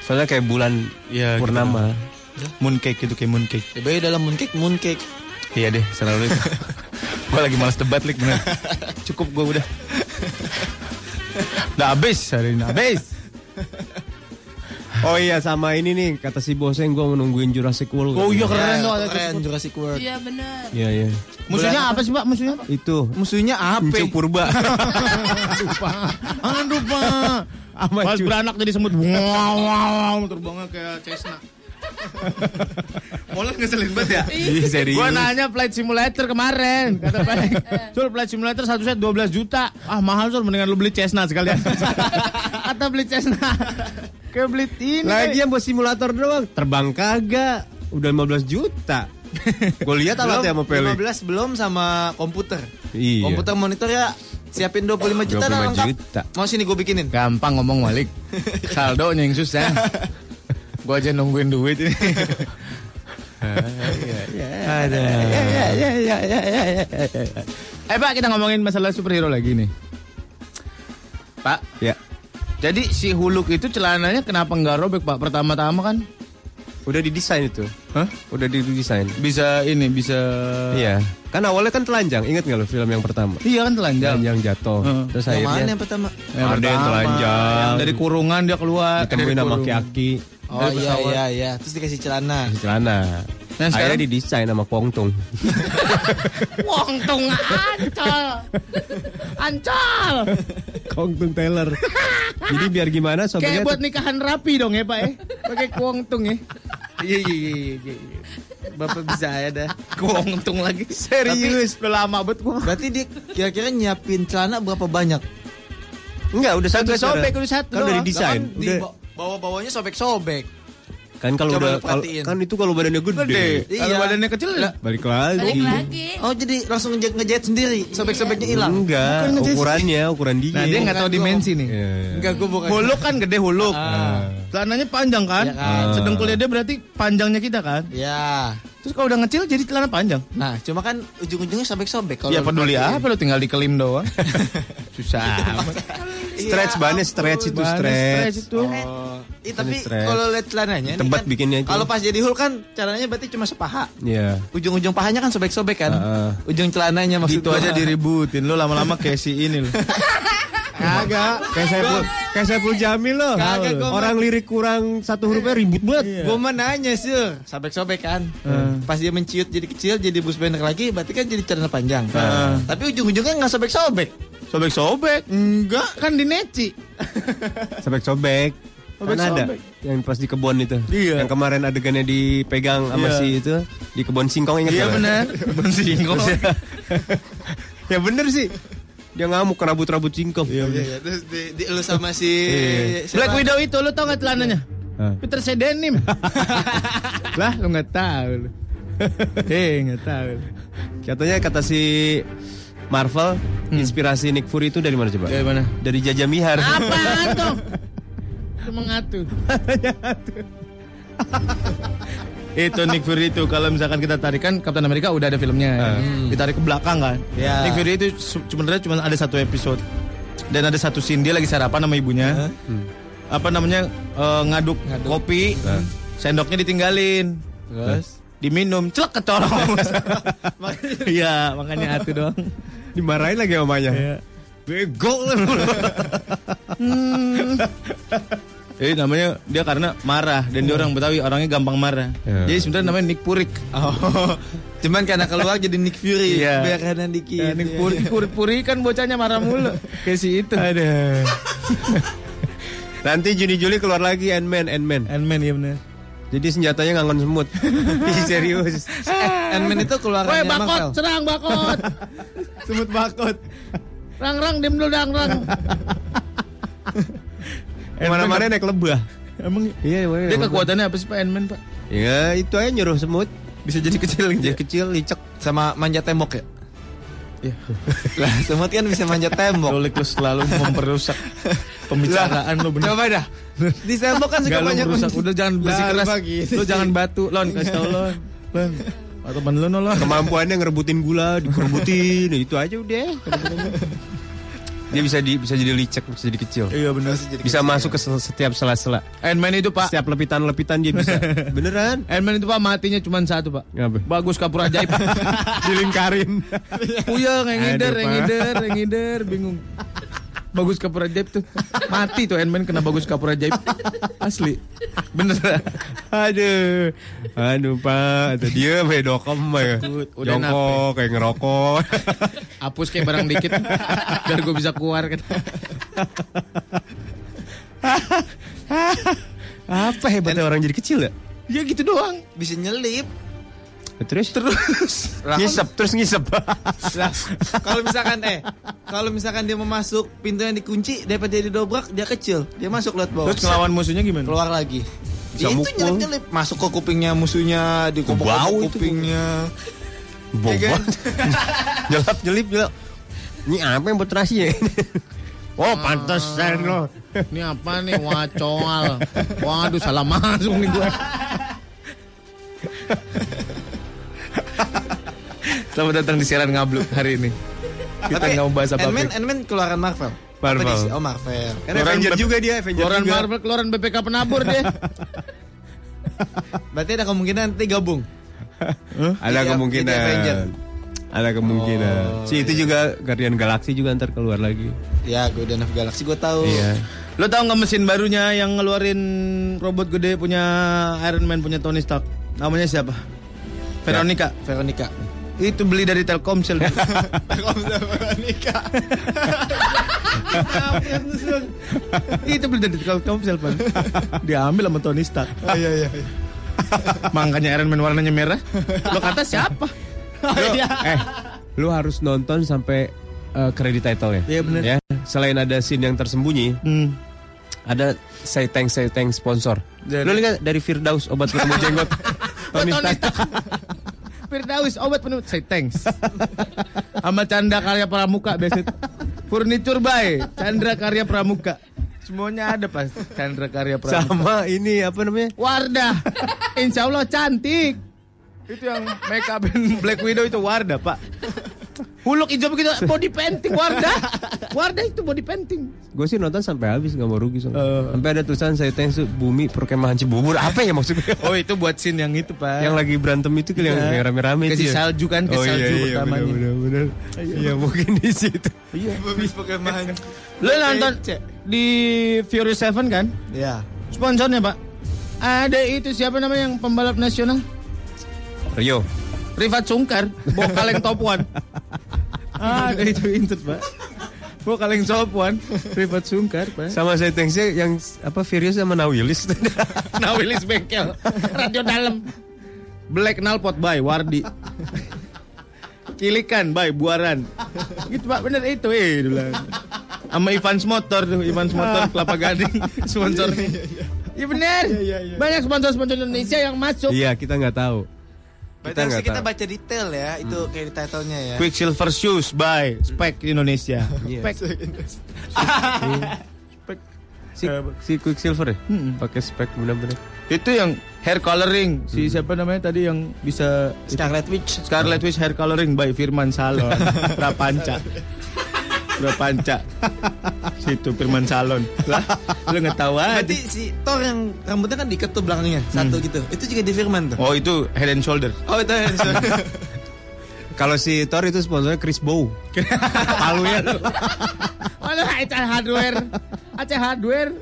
[SPEAKER 4] soalnya kayak bulan
[SPEAKER 6] Iya, gitu.
[SPEAKER 4] purnama
[SPEAKER 6] mooncake itu kayak mooncake
[SPEAKER 7] Ya, beda dalam mooncake, mooncake.
[SPEAKER 6] iya deh selalu itu gue lagi malas debat lik bener cukup gue udah udah habis hari ini habis
[SPEAKER 4] Oh iya sama ini nih kata si bosnya gue menungguin Jurassic World.
[SPEAKER 6] oh iya
[SPEAKER 7] Ya,
[SPEAKER 6] keren dong ada
[SPEAKER 7] keren Jurassic World.
[SPEAKER 1] Iya benar.
[SPEAKER 4] Iya iya.
[SPEAKER 6] musuhnya apa sih pak musuhnya apa
[SPEAKER 4] Itu
[SPEAKER 7] Musuhnya
[SPEAKER 4] Encu
[SPEAKER 7] apa?
[SPEAKER 4] Purba.
[SPEAKER 6] Aduh pak
[SPEAKER 4] Sama
[SPEAKER 6] Pas
[SPEAKER 4] cu-
[SPEAKER 6] beranak jadi semut wow wow wow terbangnya kayak Cessna Molen ngeselin banget ya
[SPEAKER 4] Iya, serius.
[SPEAKER 6] Gua nanya flight simulator kemarin Kata Pak Sul flight simulator satu set 12 juta Ah mahal Sul mendingan lu beli Cessna sekalian Atau beli Cessna Kayak beli ini
[SPEAKER 4] Lagi yang buat simulator doang. Terbang kagak. Udah 15 juta. Gue lihat alatnya sama Pele.
[SPEAKER 7] 15 belum sama komputer.
[SPEAKER 4] Iya.
[SPEAKER 7] Komputer monitor ya siapin 25 juta dah
[SPEAKER 4] 25
[SPEAKER 7] lengkap.
[SPEAKER 4] juta. Kan.
[SPEAKER 7] Mau sini gue bikinin.
[SPEAKER 6] Gampang ngomong Malik. Saldo ya. yang susah. Gua aja nungguin duit Iya, ini. iya,
[SPEAKER 4] Ada.
[SPEAKER 6] eh Pak, kita ngomongin masalah superhero lagi nih. Pak,
[SPEAKER 4] Ya.
[SPEAKER 6] jadi si Huluk itu celananya kenapa nggak robek Pak? Pertama-tama kan
[SPEAKER 4] Udah didesain itu.
[SPEAKER 6] Hah?
[SPEAKER 4] Udah didesain.
[SPEAKER 6] bisa ini bisa
[SPEAKER 4] Iya. Kan awalnya kan telanjang. Ingat nggak lo film yang pertama?
[SPEAKER 6] Iya kan telanjang.
[SPEAKER 4] Telanjang jatuh.
[SPEAKER 6] Heeh.
[SPEAKER 4] Terus
[SPEAKER 7] Yang mana
[SPEAKER 4] akhirnya
[SPEAKER 7] yang pertama?
[SPEAKER 6] Yang
[SPEAKER 4] ada yang
[SPEAKER 6] pertama,
[SPEAKER 4] telanjang.
[SPEAKER 6] yang dari kurungan dia keluar.
[SPEAKER 4] ditemuin
[SPEAKER 6] dari
[SPEAKER 4] sama
[SPEAKER 6] kurungan.
[SPEAKER 4] aki-aki
[SPEAKER 7] Oh iya iya iya. Terus dikasih celana.
[SPEAKER 4] di celana.
[SPEAKER 6] Nah, sekarang-
[SPEAKER 4] akhirnya didesain sama Kongtung.
[SPEAKER 1] Wong tung ancol. Ancol.
[SPEAKER 4] Kongtung Taylor. Jadi biar gimana
[SPEAKER 6] Kayak
[SPEAKER 4] sobeknya
[SPEAKER 6] buat nikahan rapi dong ya Pak ya. Pakai kuangtung ya.
[SPEAKER 7] Iya iya iya iya. iya. Bapak bisa ya dah.
[SPEAKER 6] Kuangtung lagi.
[SPEAKER 7] Serius,
[SPEAKER 6] Tapi, lama banget gua.
[SPEAKER 7] Berarti dia kira-kira nyiapin celana berapa banyak?
[SPEAKER 4] Enggak, udah satu
[SPEAKER 6] Udah sobek
[SPEAKER 4] sekarang.
[SPEAKER 6] udah satu.
[SPEAKER 4] Kan udah
[SPEAKER 6] doang.
[SPEAKER 4] didesain.
[SPEAKER 7] Lah kan di
[SPEAKER 4] Udah.
[SPEAKER 7] ba- bawa-bawanya sobek-sobek.
[SPEAKER 4] Kan kalau
[SPEAKER 7] Coba
[SPEAKER 4] udah
[SPEAKER 7] lu
[SPEAKER 4] kalau-
[SPEAKER 7] perhatiin.
[SPEAKER 4] kan itu kalau badannya gede.
[SPEAKER 6] Gede. Kalau
[SPEAKER 7] Iya.
[SPEAKER 6] badannya kecil
[SPEAKER 4] Balik lagi.
[SPEAKER 1] Balik lagi.
[SPEAKER 7] Oh jadi langsung ngejet ngejet sendiri, sobek-sobeknya
[SPEAKER 4] Iya.
[SPEAKER 7] hilang.
[SPEAKER 4] Enggak,
[SPEAKER 6] Bukan, Jess.
[SPEAKER 4] ukurannya, ukuran dia.
[SPEAKER 6] Nah, dia nggak tahu
[SPEAKER 7] Bukan,
[SPEAKER 6] dimensi nih.
[SPEAKER 4] Iya, iya.
[SPEAKER 7] Enggak, gue bukan.
[SPEAKER 6] Huluk kan gede huluk. Celananya panjang kan?
[SPEAKER 7] Iya kan.
[SPEAKER 6] Ah. Sedengkulnya dia berarti panjangnya kita kan?
[SPEAKER 7] Ya.
[SPEAKER 6] Terus kalau udah ngecil jadi celana panjang.
[SPEAKER 7] Nah, cuma kan ujung-ujungnya sobek-sobek kalau.
[SPEAKER 6] Ya
[SPEAKER 4] Iya,
[SPEAKER 7] lu
[SPEAKER 6] peduli
[SPEAKER 4] ah.
[SPEAKER 7] perhatiin.
[SPEAKER 6] apa lu tinggal dikelim doang. Susah.
[SPEAKER 7] Iya.
[SPEAKER 4] Stretch bannya stretch itu
[SPEAKER 6] Bahannya
[SPEAKER 4] stretch.
[SPEAKER 6] itu.
[SPEAKER 7] Oh, Ih, tapi
[SPEAKER 4] stres.
[SPEAKER 7] kalau lihat celananya ini
[SPEAKER 4] Tebet
[SPEAKER 7] kan,
[SPEAKER 4] bikinnya itu.
[SPEAKER 7] Kalau pas jadi hul kan caranya berarti cuma sepaha.
[SPEAKER 4] Iya.
[SPEAKER 7] Ujung-ujung pahanya kan sobek-sobek kan.
[SPEAKER 4] Heeh.
[SPEAKER 7] Ujung celananya maksud
[SPEAKER 6] Gitu
[SPEAKER 7] gua.
[SPEAKER 6] aja diributin lu lama-lama kayak si ini lu.
[SPEAKER 4] Kagak, kayak saya pun kayak saya pun jamil loh.
[SPEAKER 7] Kagak, gua
[SPEAKER 4] Orang lirik kurang satu hurufnya ribut banget.
[SPEAKER 7] Gue mah nanya sih, sobek-sobek kan. Pas dia menciut jadi kecil, jadi bus pendek lagi, berarti kan jadi celana panjang. Tapi ujung-ujungnya nggak sobek-sobek.
[SPEAKER 6] Sobek-sobek. Enggak, kan dineci.
[SPEAKER 4] Sobek-sobek. Kan ada yang pas di kebun itu.
[SPEAKER 6] Iya.
[SPEAKER 4] Yang kemarin adegannya dipegang sama
[SPEAKER 6] Iya.
[SPEAKER 4] si itu di kebun singkong ingat
[SPEAKER 6] Iya
[SPEAKER 4] nggak?
[SPEAKER 6] benar. Bersingkong.
[SPEAKER 4] ya bener sih. Dia ngamuk kerabut-rabut singkong.
[SPEAKER 7] Iya, terus di, di lu sama si
[SPEAKER 6] Black
[SPEAKER 7] siapa?
[SPEAKER 6] Widow itu lu tau gak celananya?
[SPEAKER 4] Hah.
[SPEAKER 6] Peter Sedenim. lah lu nggak tahu lu. Eh nggak tahu.
[SPEAKER 4] Katanya kata si Marvel inspirasi Nick Fury itu dari mana coba?
[SPEAKER 6] Hmm. Dari mana? Ah.
[SPEAKER 4] Dari Jaja Mihar.
[SPEAKER 6] Apaan tuh? Itu mengatu. itu Nick Fury itu kalau misalkan kita tarik kan Captain America udah ada filmnya ya. ditarik ke belakang kan
[SPEAKER 7] Ya.
[SPEAKER 6] Nick Fury itu se- sebenarnya cuma ada satu episode dan ada satu scene dia lagi sarapan sama ibunya Hmm. apa namanya eh, Iya. ngaduk, kopi sendoknya ditinggalin terus diminum celak kecorong iya makanya atu dong
[SPEAKER 4] Dimarahin lagi mamanya.
[SPEAKER 6] Iya. Bego lu. Hmm. Jadi Eh, namanya dia karena marah dan dia orang Betawi orangnya gampang marah.
[SPEAKER 4] Ya.
[SPEAKER 6] Jadi sebenarnya namanya Nick Purik.
[SPEAKER 7] Oh, cuman karena keluar jadi Nick Fury,
[SPEAKER 6] Iya.
[SPEAKER 7] biar kanan dikit. Iya.
[SPEAKER 6] Ya, Nick Purik, Purik, Purik kan bocahnya marah mulu. Kayak si itu.
[SPEAKER 4] Ada. Nanti Juni-Juli keluar lagi Ant-Man, Ant-Man.
[SPEAKER 6] Ant-Man ya bener.
[SPEAKER 4] Jadi senjatanya ngangon semut. Ih, serius.
[SPEAKER 7] Ant-Man Eh, itu
[SPEAKER 6] Woi
[SPEAKER 7] keluarannya
[SPEAKER 6] bakot,
[SPEAKER 7] Marvel.
[SPEAKER 6] serang bakot. Semut bakot. Rang rang diem dulu rang rang.
[SPEAKER 4] Mana-mana naik lebah.
[SPEAKER 6] Emang
[SPEAKER 4] Iya,
[SPEAKER 6] dia kekuatannya apa sih Pak Ant-Man Pak?
[SPEAKER 4] Ya, itu aja nyuruh semut.
[SPEAKER 6] Bisa jadi kecil
[SPEAKER 4] Dia kecil, licek.
[SPEAKER 7] Sama manjat tembok ya?
[SPEAKER 6] Iya.
[SPEAKER 7] lah, semut kan bisa manjat tembok.
[SPEAKER 6] Lolik lu selalu memperusak pembicaraan lu bener.
[SPEAKER 7] Coba dah. Di tembok kan
[SPEAKER 6] Enggak
[SPEAKER 7] suka
[SPEAKER 6] lu
[SPEAKER 7] banyak
[SPEAKER 6] merusak Udah jangan bersikeras
[SPEAKER 7] Lah, lu begitu
[SPEAKER 6] Lu
[SPEAKER 7] sih.
[SPEAKER 6] jangan batu Lon kasih tau Lon Lon Atau temen lu no, Lon
[SPEAKER 4] Kemampuannya ngerebutin gula, dikerebutin. itu aja udah. Dia bisa di, bisa jadi licek, bisa jadi kecil.
[SPEAKER 6] Iya bener
[SPEAKER 4] Bisa masuk ke se- setiap sela-sela.
[SPEAKER 6] Ant-Man itu pak
[SPEAKER 4] Setiap lepitan-lepitan dia bisa. Beneran?
[SPEAKER 6] Ant-Man itu pak matinya cuma satu pak
[SPEAKER 4] Ngapa?
[SPEAKER 6] Bagus kapur ajaib
[SPEAKER 4] Dilingkarin.
[SPEAKER 6] Puyeng yang ngider Yang
[SPEAKER 4] Aduh, Pak.
[SPEAKER 6] ngider Yang ngider Bingung Bagus kapur ajaib tuh Mati tuh Ant-Man kena bagus kapur ajaib Asli Bener
[SPEAKER 4] Aduh, aduh pak, Tuh dia main dokem ya,
[SPEAKER 6] Udah
[SPEAKER 4] jongkok kayak ngerokok.
[SPEAKER 6] Hapus kayak barang dikit Biar gue bisa keluar kan
[SPEAKER 4] Apa hebatnya orang jadi kecil ya?
[SPEAKER 6] Ya gitu doang
[SPEAKER 7] Bisa nyelip.
[SPEAKER 4] Terus terus ngisep terus ngisep.
[SPEAKER 7] Lah, kalau misalkan eh kalau misalkan dia mau masuk pintu yang dikunci daripada dia didobrak dia kecil dia masuk lewat bawah
[SPEAKER 6] Terus ngelawan musuhnya gimana?
[SPEAKER 7] keluar lagi
[SPEAKER 13] Dia itu nyelip-nyelip masuk ke kupingnya musuhnya, di kuping
[SPEAKER 5] Bau itu.
[SPEAKER 13] kupingnya.
[SPEAKER 5] Bau
[SPEAKER 4] Iya
[SPEAKER 13] kan?
[SPEAKER 5] banget. nyelap nyelip nyelap. Ini apa yang buat terasi ya? oh pantesan lo.
[SPEAKER 6] Ini apa nih? Wah, coal. Waduh, salah masuk nih gue. Selamat datang di siaran ngabluk hari ini. Kita nggak mau bahas
[SPEAKER 7] Ant-Man,
[SPEAKER 6] apa-apa.
[SPEAKER 7] Ant-Man keluaran Marvel. Apa
[SPEAKER 6] Marvel.
[SPEAKER 7] DC? Oh Marvel.
[SPEAKER 5] Kan Avenger juga dia, Avenger
[SPEAKER 6] Keluaran
[SPEAKER 5] juga.
[SPEAKER 6] Marvel, keluaran BPK penabur deh.
[SPEAKER 7] Berarti ada kemungkinan nanti gabung.
[SPEAKER 4] Ada
[SPEAKER 7] Jadi-
[SPEAKER 4] kemungkinan.
[SPEAKER 7] jadi Avenger.
[SPEAKER 4] Ada kemungkinan.
[SPEAKER 5] Oh, iya.
[SPEAKER 4] si itu juga Guardian Galaxy juga ntar keluar lagi. Iya.
[SPEAKER 7] Ya, Guardian of Galaxy gue
[SPEAKER 5] Oh.
[SPEAKER 7] tahu.
[SPEAKER 6] Lo tau nggak mesin barunya yang ngeluarin robot gede punya Iron Man punya Tony Stark? Namanya siapa? Veronica.
[SPEAKER 7] Veronica.
[SPEAKER 6] Itu beli dari Telkomsel.
[SPEAKER 7] Veronica.
[SPEAKER 6] itu beli dari Telkomsel, Pan. Diambil sama Tony Stark.
[SPEAKER 7] Iya, iya.
[SPEAKER 6] Makanya Iron Man warnanya merah. Lo kata siapa? Oh, iya.
[SPEAKER 4] eh, lu harus nonton sampai kredit title ya.
[SPEAKER 6] Iya, bener.
[SPEAKER 4] Ya, selain ada scene yang tersembunyi,
[SPEAKER 6] Hmm.
[SPEAKER 4] ada say thanks say thanks sponsor.
[SPEAKER 6] Dari-
[SPEAKER 4] Lu lihat dari Firdaus obat penemu jenggot. Tony Stark.
[SPEAKER 6] Firdaus obat penurut Say thanks Sama Canda Karya Pramuka biasa Furniture by Chandra Karya Pramuka Semuanya ada pas Chandra Karya Pramuka
[SPEAKER 4] Sama ini apa namanya?
[SPEAKER 6] Wardah Insya Allah cantik Itu yang make up and Black Widow itu Wardah pak Huluk hijau begitu Body painting Wardah Wardah itu body painting
[SPEAKER 4] Gue sih nonton sampai habis nggak mau rugi soalnya. Sampai ada tulisan saya thanks to bumi perkemahan Cibubur. Apa ya maksudnya?
[SPEAKER 6] Oh itu buat scene yang itu pak
[SPEAKER 4] yang lagi berantem itu kan yang
[SPEAKER 6] Iya.
[SPEAKER 4] yang rame-rame
[SPEAKER 6] Ke si
[SPEAKER 4] itu ya.
[SPEAKER 6] salju kan, ke
[SPEAKER 4] oh,
[SPEAKER 6] salju
[SPEAKER 4] iya, iya,
[SPEAKER 6] pertamanya.
[SPEAKER 4] benar, benar, benar. Iya mungkin di situ.
[SPEAKER 7] Iya.
[SPEAKER 6] Lo nonton di Furious Seven kan
[SPEAKER 7] Iya.
[SPEAKER 6] Sponsornya pak Ada itu siapa namanya yang pembalap nasional
[SPEAKER 4] Rio.
[SPEAKER 6] Rifat Sungkar, vokal yang top one. ah, ada itu insert, Pak. Vokal yang top one, Rifat Sungkar, Pak.
[SPEAKER 4] Sama saya thanksnya yang s- apa Furious sama Nawilis.
[SPEAKER 6] Nah, Willis Bengkel, radio dalam. Black Nalpot by Wardi. Cilikan by Buaran. Gitu, Pak, bener itu. Eh, dulu. Sama Ivans Motor, tuh, Ivans Motor Kelapa Gading sponsornya. Iya bener. Banyak sponsor-sponsor Indonesia yang masuk.
[SPEAKER 4] iya kita nggak tahu.
[SPEAKER 7] Berarti harus kita baca detail ya, itu kayak di title-nya ya.
[SPEAKER 6] Quicksilver Shoes by Spek Indonesia.
[SPEAKER 4] Iya.
[SPEAKER 6] Spek.
[SPEAKER 4] Si,
[SPEAKER 6] Eh,
[SPEAKER 4] si Quicksilver ya? Pakai spek benar-benar.
[SPEAKER 6] Itu yang hair coloring si siapa namanya tadi yang bisa
[SPEAKER 7] Scarlet Witch.
[SPEAKER 6] Scarlet Witch hair coloring by Firman Salon Prapanca Prapanca situ Firman Salon lah lu ngetawa
[SPEAKER 7] Berarti si Thor yang rambutnya kan diikat tuh belakangnya satu gitu. Itu juga di Firman tuh.
[SPEAKER 6] oh itu head and shoulder
[SPEAKER 7] Oh, itu yang
[SPEAKER 4] Kalau si Thor itu sponsornya Chris Bow. Palunya tuh.
[SPEAKER 6] Waduh, Aceh hardware. Aceh hardware.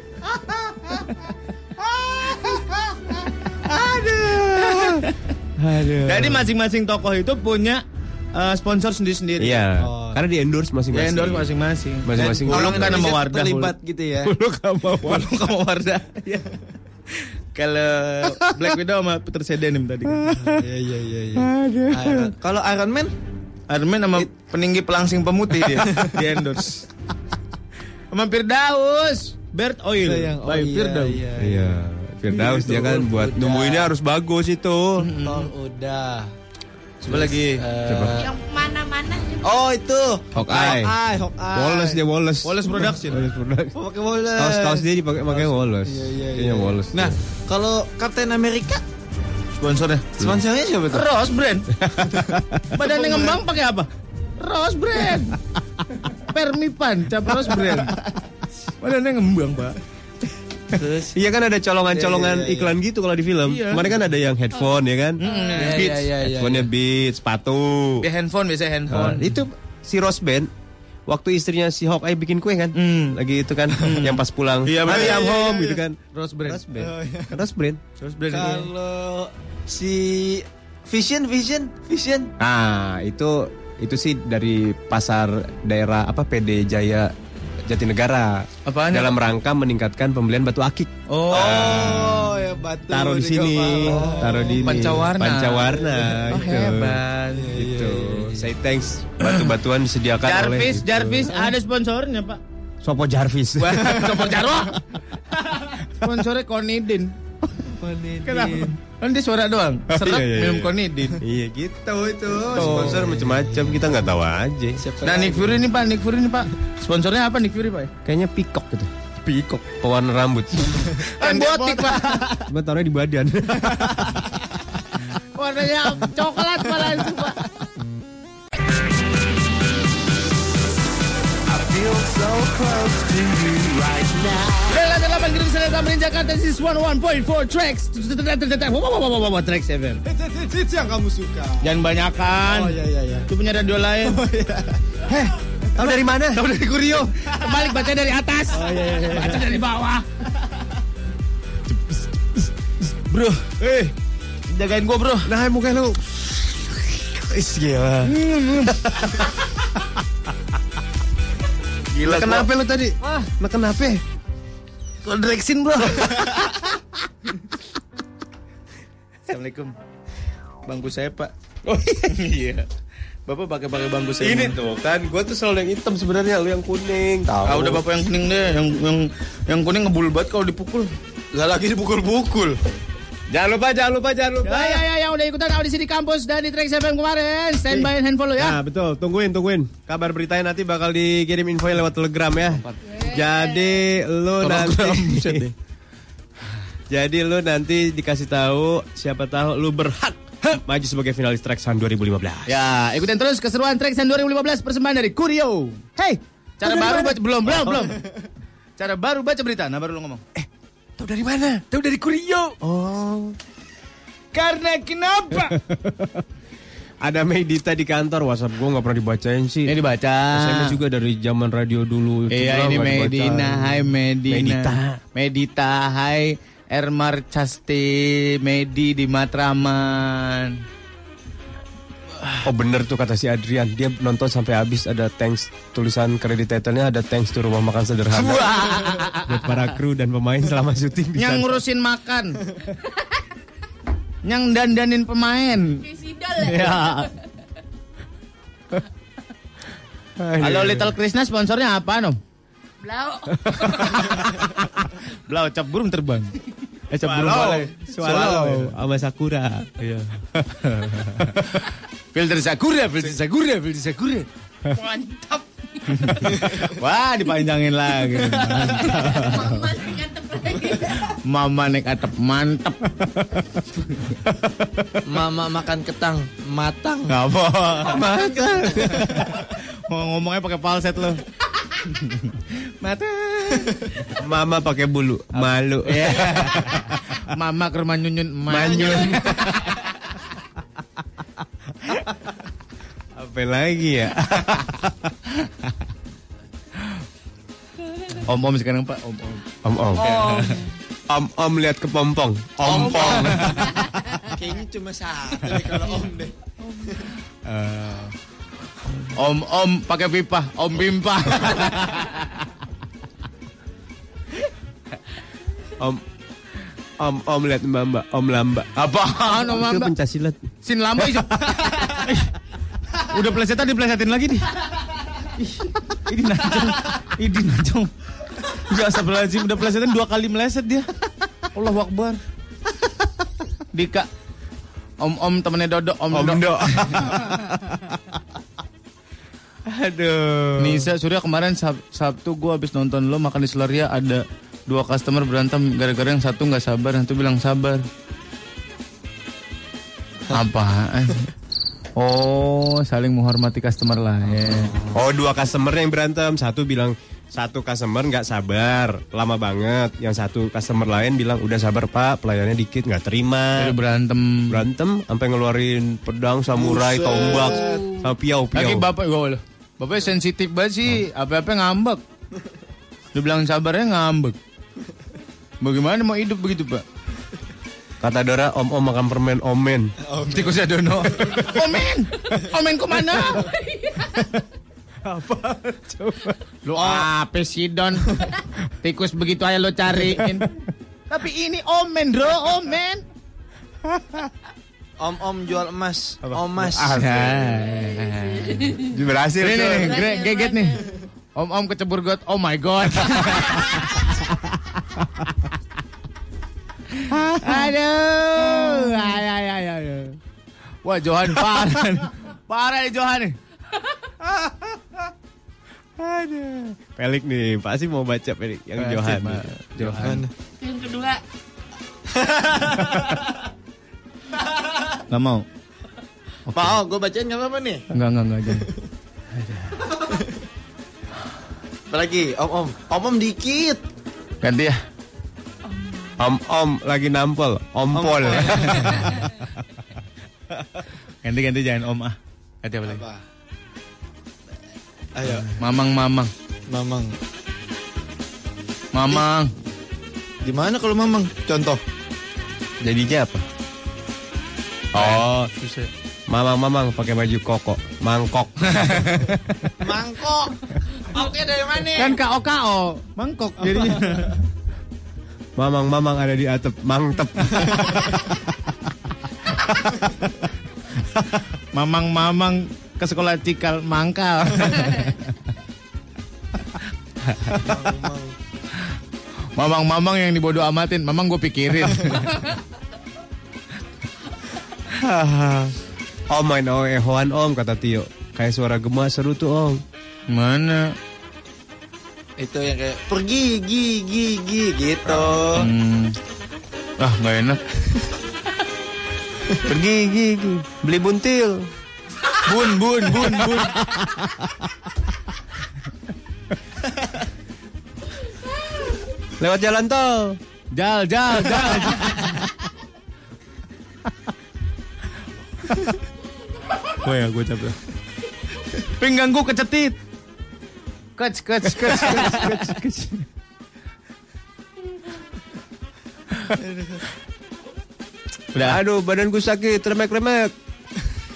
[SPEAKER 6] Aduh. Jadi masing-masing tokoh itu punya eh, sponsor sendiri-sendiri.
[SPEAKER 4] Iya.
[SPEAKER 7] Oh.
[SPEAKER 4] Karena di endorse
[SPEAKER 6] Ya,
[SPEAKER 4] masing-masing.
[SPEAKER 6] endorse masing-masing.
[SPEAKER 4] Masing-masing.
[SPEAKER 6] Huluk kan sama
[SPEAKER 7] Indonesia
[SPEAKER 6] Wardah.
[SPEAKER 7] terlibat gitu ya.
[SPEAKER 6] Huluk sama Wardah. Huluk Eh. sama Wardah. Iya. Kalau Black Widow sama Peter Sedenim tadi kan.
[SPEAKER 7] Iya iya iya iya. Iron- Kalau Iron Man
[SPEAKER 6] Iron Man sama peninggi pelangsing pemutih dia di endorse. Sama Firdaus, Bird Oil.
[SPEAKER 7] Itu yang oh,
[SPEAKER 6] by
[SPEAKER 7] iya,
[SPEAKER 6] Firdaus.
[SPEAKER 7] iya.
[SPEAKER 4] Iya. Firdaus dia kan buat nemuinnya harus bagus itu.
[SPEAKER 7] Thor udah.
[SPEAKER 6] Coba lagi.
[SPEAKER 7] Eh,
[SPEAKER 10] Yang mana-mana juga.
[SPEAKER 7] oh itu.
[SPEAKER 4] Hawkeye.
[SPEAKER 7] Hawkeye, Hawkeye.
[SPEAKER 4] Wallace dia Wallace.
[SPEAKER 6] Wallace Production.
[SPEAKER 4] Wallace Production.
[SPEAKER 7] Oh, Pakai Wallace.
[SPEAKER 4] Kaos kaos dia dipakai pakai Wallace.
[SPEAKER 7] Iya, iya,
[SPEAKER 4] Kayaknya
[SPEAKER 7] iya.
[SPEAKER 4] Wallace.
[SPEAKER 7] Nah, kalau Captain America
[SPEAKER 6] Sponsornya.
[SPEAKER 4] ya?
[SPEAKER 7] sponsornya siapa tuh?
[SPEAKER 6] Rose brand. Badannya ngembang pakai apa? Rose brand. Permipan cap Rose brand. Badannya ngembang, Pak.
[SPEAKER 7] Terus
[SPEAKER 4] Iya kan ada colongan-colongan
[SPEAKER 7] Iya, iya, iya,
[SPEAKER 4] iklan gitu kalau di film.
[SPEAKER 6] Iya.
[SPEAKER 4] Kemarin kan ada yang headphone ya kan?
[SPEAKER 7] iya,
[SPEAKER 4] Beats.
[SPEAKER 7] iya, iya, iya.
[SPEAKER 4] Headphone-nya Beats, sepatu.
[SPEAKER 6] Dia handphone biasanya
[SPEAKER 4] Nah,
[SPEAKER 6] handphone.
[SPEAKER 4] itu si Rose Band waktu istrinya si Hawkeye bikin kue kan?
[SPEAKER 6] Hmm.
[SPEAKER 4] Lagi itu kan yang pas pulang.
[SPEAKER 6] Iya, bener.
[SPEAKER 4] Mari
[SPEAKER 6] Iya,
[SPEAKER 4] I'm
[SPEAKER 6] iya,
[SPEAKER 4] home
[SPEAKER 6] iya,
[SPEAKER 4] gitu kan.
[SPEAKER 6] Rose brand.
[SPEAKER 4] Rose Band. Rose Band.
[SPEAKER 6] Rose brand.
[SPEAKER 7] kalau si Vision Vision Vision
[SPEAKER 4] Ah, itu itu sih dari pasar daerah apa PD Jaya Jatinegara.
[SPEAKER 6] Apaan? ya?
[SPEAKER 4] Dalam rangka meningkatkan pembelian batu akik. Nah,
[SPEAKER 6] Oh.
[SPEAKER 7] Oh, ya batu.
[SPEAKER 4] Taruh di sini, taruh di ini.
[SPEAKER 6] Pancawarna.
[SPEAKER 4] Pancawarna,
[SPEAKER 6] Oh,
[SPEAKER 4] gitu.
[SPEAKER 6] hebat. Iya,
[SPEAKER 4] Gitu. Saya thanks batu-batuan disediakan oleh
[SPEAKER 6] Jarvis,
[SPEAKER 4] gitu.
[SPEAKER 6] Jarvis ada sponsornya, Pak.
[SPEAKER 4] Sopo Jarvis.
[SPEAKER 6] Sopor Jarwo. Sponsornya Konidin.
[SPEAKER 14] konidin.
[SPEAKER 6] Kenapa? Kan dia suara doang. Serap
[SPEAKER 4] iya, iya,
[SPEAKER 6] minum
[SPEAKER 4] iya.
[SPEAKER 6] konidin.
[SPEAKER 4] Iya gitu itu sponsor macam-macam kita nggak tahu aja.
[SPEAKER 6] Nah Nick Fury ini pak, Nick Fury ini pak. Sponsornya apa Nick Fury pak?
[SPEAKER 4] Kayaknya pikok gitu. Pikok pewarna rambut.
[SPEAKER 6] Kan botik pak.
[SPEAKER 4] Cuma taruhnya di badan.
[SPEAKER 6] Warnanya coklat malah itu pak. Rela dalam negeri saya Tamrin Jakarta This is one one point four tracks. Wow, wow, wow, wow, wow, wow, Tracks
[SPEAKER 14] Itu-
[SPEAKER 6] FM.
[SPEAKER 14] itu- itu- Itu yang kamu suka.
[SPEAKER 6] Jangan banyakan.
[SPEAKER 14] Oh iya iya iya.
[SPEAKER 6] Itu punya radio lain.
[SPEAKER 4] tahu dari mana?
[SPEAKER 6] Tahu dari Kurio. Balik baca dari atas. Baca dari bawah. Bro, eh jagain gua bro.
[SPEAKER 4] Nah, muka lu. Is gila.
[SPEAKER 6] Gila
[SPEAKER 4] Kenapa lu tadi? Wah, kenapa?
[SPEAKER 6] Kok direksin bro?
[SPEAKER 14] Assalamualaikum.
[SPEAKER 6] Bangku saya pak. Oh iya. Bapak pakai pakai bangku saya.
[SPEAKER 4] Ini tuh kan, gua tuh selalu yang hitam sebenarnya, lu yang kuning. Tahu.
[SPEAKER 6] Ah, udah bapak yang kuning deh, yang yang yang kuning ngebul banget kalau dipukul. Gak lagi dipukul-pukul.
[SPEAKER 5] Jangan lupa, jangan lupa, jangan lupa.
[SPEAKER 6] Ya, ya, ya, yang udah ikutan audisi di kampus dan di Trax FM kemarin, standby and handphone lo ya.
[SPEAKER 5] Nah betul, tungguin tungguin. Kabar beritanya nanti bakal dikirim info lewat telegram ya. Jadi lu nanti, jadi lu nanti dikasih tahu siapa tahu lu berhak maju sebagai finalis Track Sound 2015.
[SPEAKER 6] Ya, ikutin terus keseruan Trax Sound 2015 persembahan dari Kurio. Hey, cara baru baca belum, belum, belum. Cara baru baca berita, nah baru lo ngomong. Eh,
[SPEAKER 4] Tahu dari mana?
[SPEAKER 6] tahu dari Kurio. Oh. Karena kenapa?
[SPEAKER 5] Ada Medita di kantor WhatsApp gua nggak pernah dibacain sih.
[SPEAKER 6] Ini dibaca.
[SPEAKER 5] Saya juga dari zaman radio dulu.
[SPEAKER 6] Iya ini Medina, hai Medina.
[SPEAKER 5] Medita.
[SPEAKER 6] Medita, hai Ermar Casti, Medi di Matraman.
[SPEAKER 4] Oh bener tuh kata si Adrian, dia nonton sampai habis ada thanks tulisan kredit title-nya ada thanks to rumah makan sederhana. Buat para kru dan pemain selama syuting di
[SPEAKER 6] Yang
[SPEAKER 4] sana.
[SPEAKER 6] ngurusin makan. Yang dandanin pemain.
[SPEAKER 1] Kayak sidol ya.
[SPEAKER 6] Ya. Halo Little Krishna sponsornya apa, Nom?
[SPEAKER 1] Blau.
[SPEAKER 6] Belau cap burung terbang.
[SPEAKER 5] Eh, sebelum balik. Swallow sama Sakura. Iya.
[SPEAKER 6] filter Sakura, filter Sakura, filter Sakura.
[SPEAKER 1] Mantap.
[SPEAKER 6] Wah, dipanjangin lagi.
[SPEAKER 1] Mama mantap lagi.
[SPEAKER 6] Mama naik atap mantep.
[SPEAKER 7] Mama makan ketang matang.
[SPEAKER 6] Gak apa. Makan. Mau ngomongnya pakai falset lo. Mata.
[SPEAKER 5] Mama pakai bulu, malu.
[SPEAKER 4] Eh.
[SPEAKER 6] Ya. Mama ke rumah nyunyun.
[SPEAKER 5] Manyun. Apa lagi ya?
[SPEAKER 6] Om om sekarang pak. Om om.
[SPEAKER 4] Om Om.
[SPEAKER 1] Oh,
[SPEAKER 4] Om Om lihat ke pompong. Om Pong.
[SPEAKER 7] Kayaknya cuma satu deh kalau om deh.
[SPEAKER 6] Om om pakai pipa. Om pimpa.
[SPEAKER 4] Om Om Om lihat Mbak Mbak, Om Lamba.
[SPEAKER 6] Apaan om
[SPEAKER 4] Itu
[SPEAKER 6] lamba?
[SPEAKER 4] pencaksilat.
[SPEAKER 6] Anu, Sin lamba iso. Udah plesetan diplesetin lagi nih. Ih, Ini najong. Ini najong. Ya astagfirullahaladzim udah plesetan dua kali meleset dia. Allah wakbar. Dika. Om-om temennya Dodo, Om,
[SPEAKER 4] Om
[SPEAKER 6] Dodo.
[SPEAKER 4] Do. Aduh.
[SPEAKER 6] Nisa Surya kemarin Sab- Sabtu gue habis nonton lo makan di Solaria ada dua customer berantem gara-gara yang satu nggak sabar yang satu bilang sabar. Apaan? Oh, saling menghormati customer lah ya.
[SPEAKER 4] Oh dua customer yang berantem Satu bilang Satu customer nggak sabar Lama banget Yang satu customer lain bilang Udah sabar pak Pelayannya dikit nggak terima
[SPEAKER 6] Jadi berantem.
[SPEAKER 4] Berantem Sampai ngeluarin pedang Samurai Tombak Sama piau
[SPEAKER 6] Lagi
[SPEAKER 4] piau
[SPEAKER 6] bapak Hmm. gue Bapak sensitif banget sih, apa-apa ngambek. Dibilang sabarnya ya ngambek. Bagaimana mau hidup begitu, Pak?
[SPEAKER 4] Kata Dora Om om makan permen omen
[SPEAKER 6] Tikusnya dono. Omen. Omen ke mana? apa? Coba. Lu apa sih Don? Tikus begitu aja lo cariin. Tapi ini omen, Bro, omen.
[SPEAKER 7] Om om jual emas. Omas.
[SPEAKER 6] Ah.
[SPEAKER 4] Berhasil
[SPEAKER 6] Ini nih,
[SPEAKER 4] tuh.
[SPEAKER 6] gre- geget nih. Om-om kecebur got. Oh my god. Aduh. Ay, ay, ay, ay. Wah, Johan parah. nih. parah nih Johan nih.
[SPEAKER 15] Pelik nih, pasti mau baca Pelik yang Johan.
[SPEAKER 4] Johan.
[SPEAKER 10] Yang kedua,
[SPEAKER 6] Gak mau.
[SPEAKER 7] Mau, gue bacain gak apa-apa nih.
[SPEAKER 6] Enggak, enggak, enggak. jangan.
[SPEAKER 7] Apalagi, om-om. Om-om dikit.
[SPEAKER 6] Ganti ya.
[SPEAKER 4] Om Om lagi nampol, Ompol.
[SPEAKER 6] Ganti, ganti jangan om ah. Ganti apa lagi?
[SPEAKER 7] Apa? Ayo,
[SPEAKER 6] Mamang, mamang.
[SPEAKER 7] Mamang.
[SPEAKER 6] Mamang.
[SPEAKER 7] Gimana kalau Mamang? Contoh.
[SPEAKER 4] Jadinya apa? Oh, mamang-mamang pakai baju koko, mangkok.
[SPEAKER 7] Mangkok. Oke dari mana?
[SPEAKER 6] Kan KO-KO. Mangkok jadinya.
[SPEAKER 4] Mamang-mamang ada di atap, mangtep.
[SPEAKER 6] Mamang, mamang ke sekolah cikal mangkal. mamang, mamang yang dibodoh amatin. Mamang gue pikirin.
[SPEAKER 4] Om main oh, ehoan om kata Tio. Kayak suara gemas seru tuh om.
[SPEAKER 6] Mana?
[SPEAKER 7] Itu yang kayak pergi, gi, gi, gi gitu.
[SPEAKER 6] Hmm. Ah, nggak enak.
[SPEAKER 4] Pergi gigi, beli buntil.
[SPEAKER 6] Bun, bun, bun, bun.
[SPEAKER 4] Lewat jalan tol.
[SPEAKER 6] Jal, jal, jal.
[SPEAKER 4] Oh,
[SPEAKER 6] Wah ya, gue capek. Pinggang gue kecetit. Kec, kec, kec, kec, kec, kec. Udah,
[SPEAKER 4] Aduh, badanku sakit, remek-remek.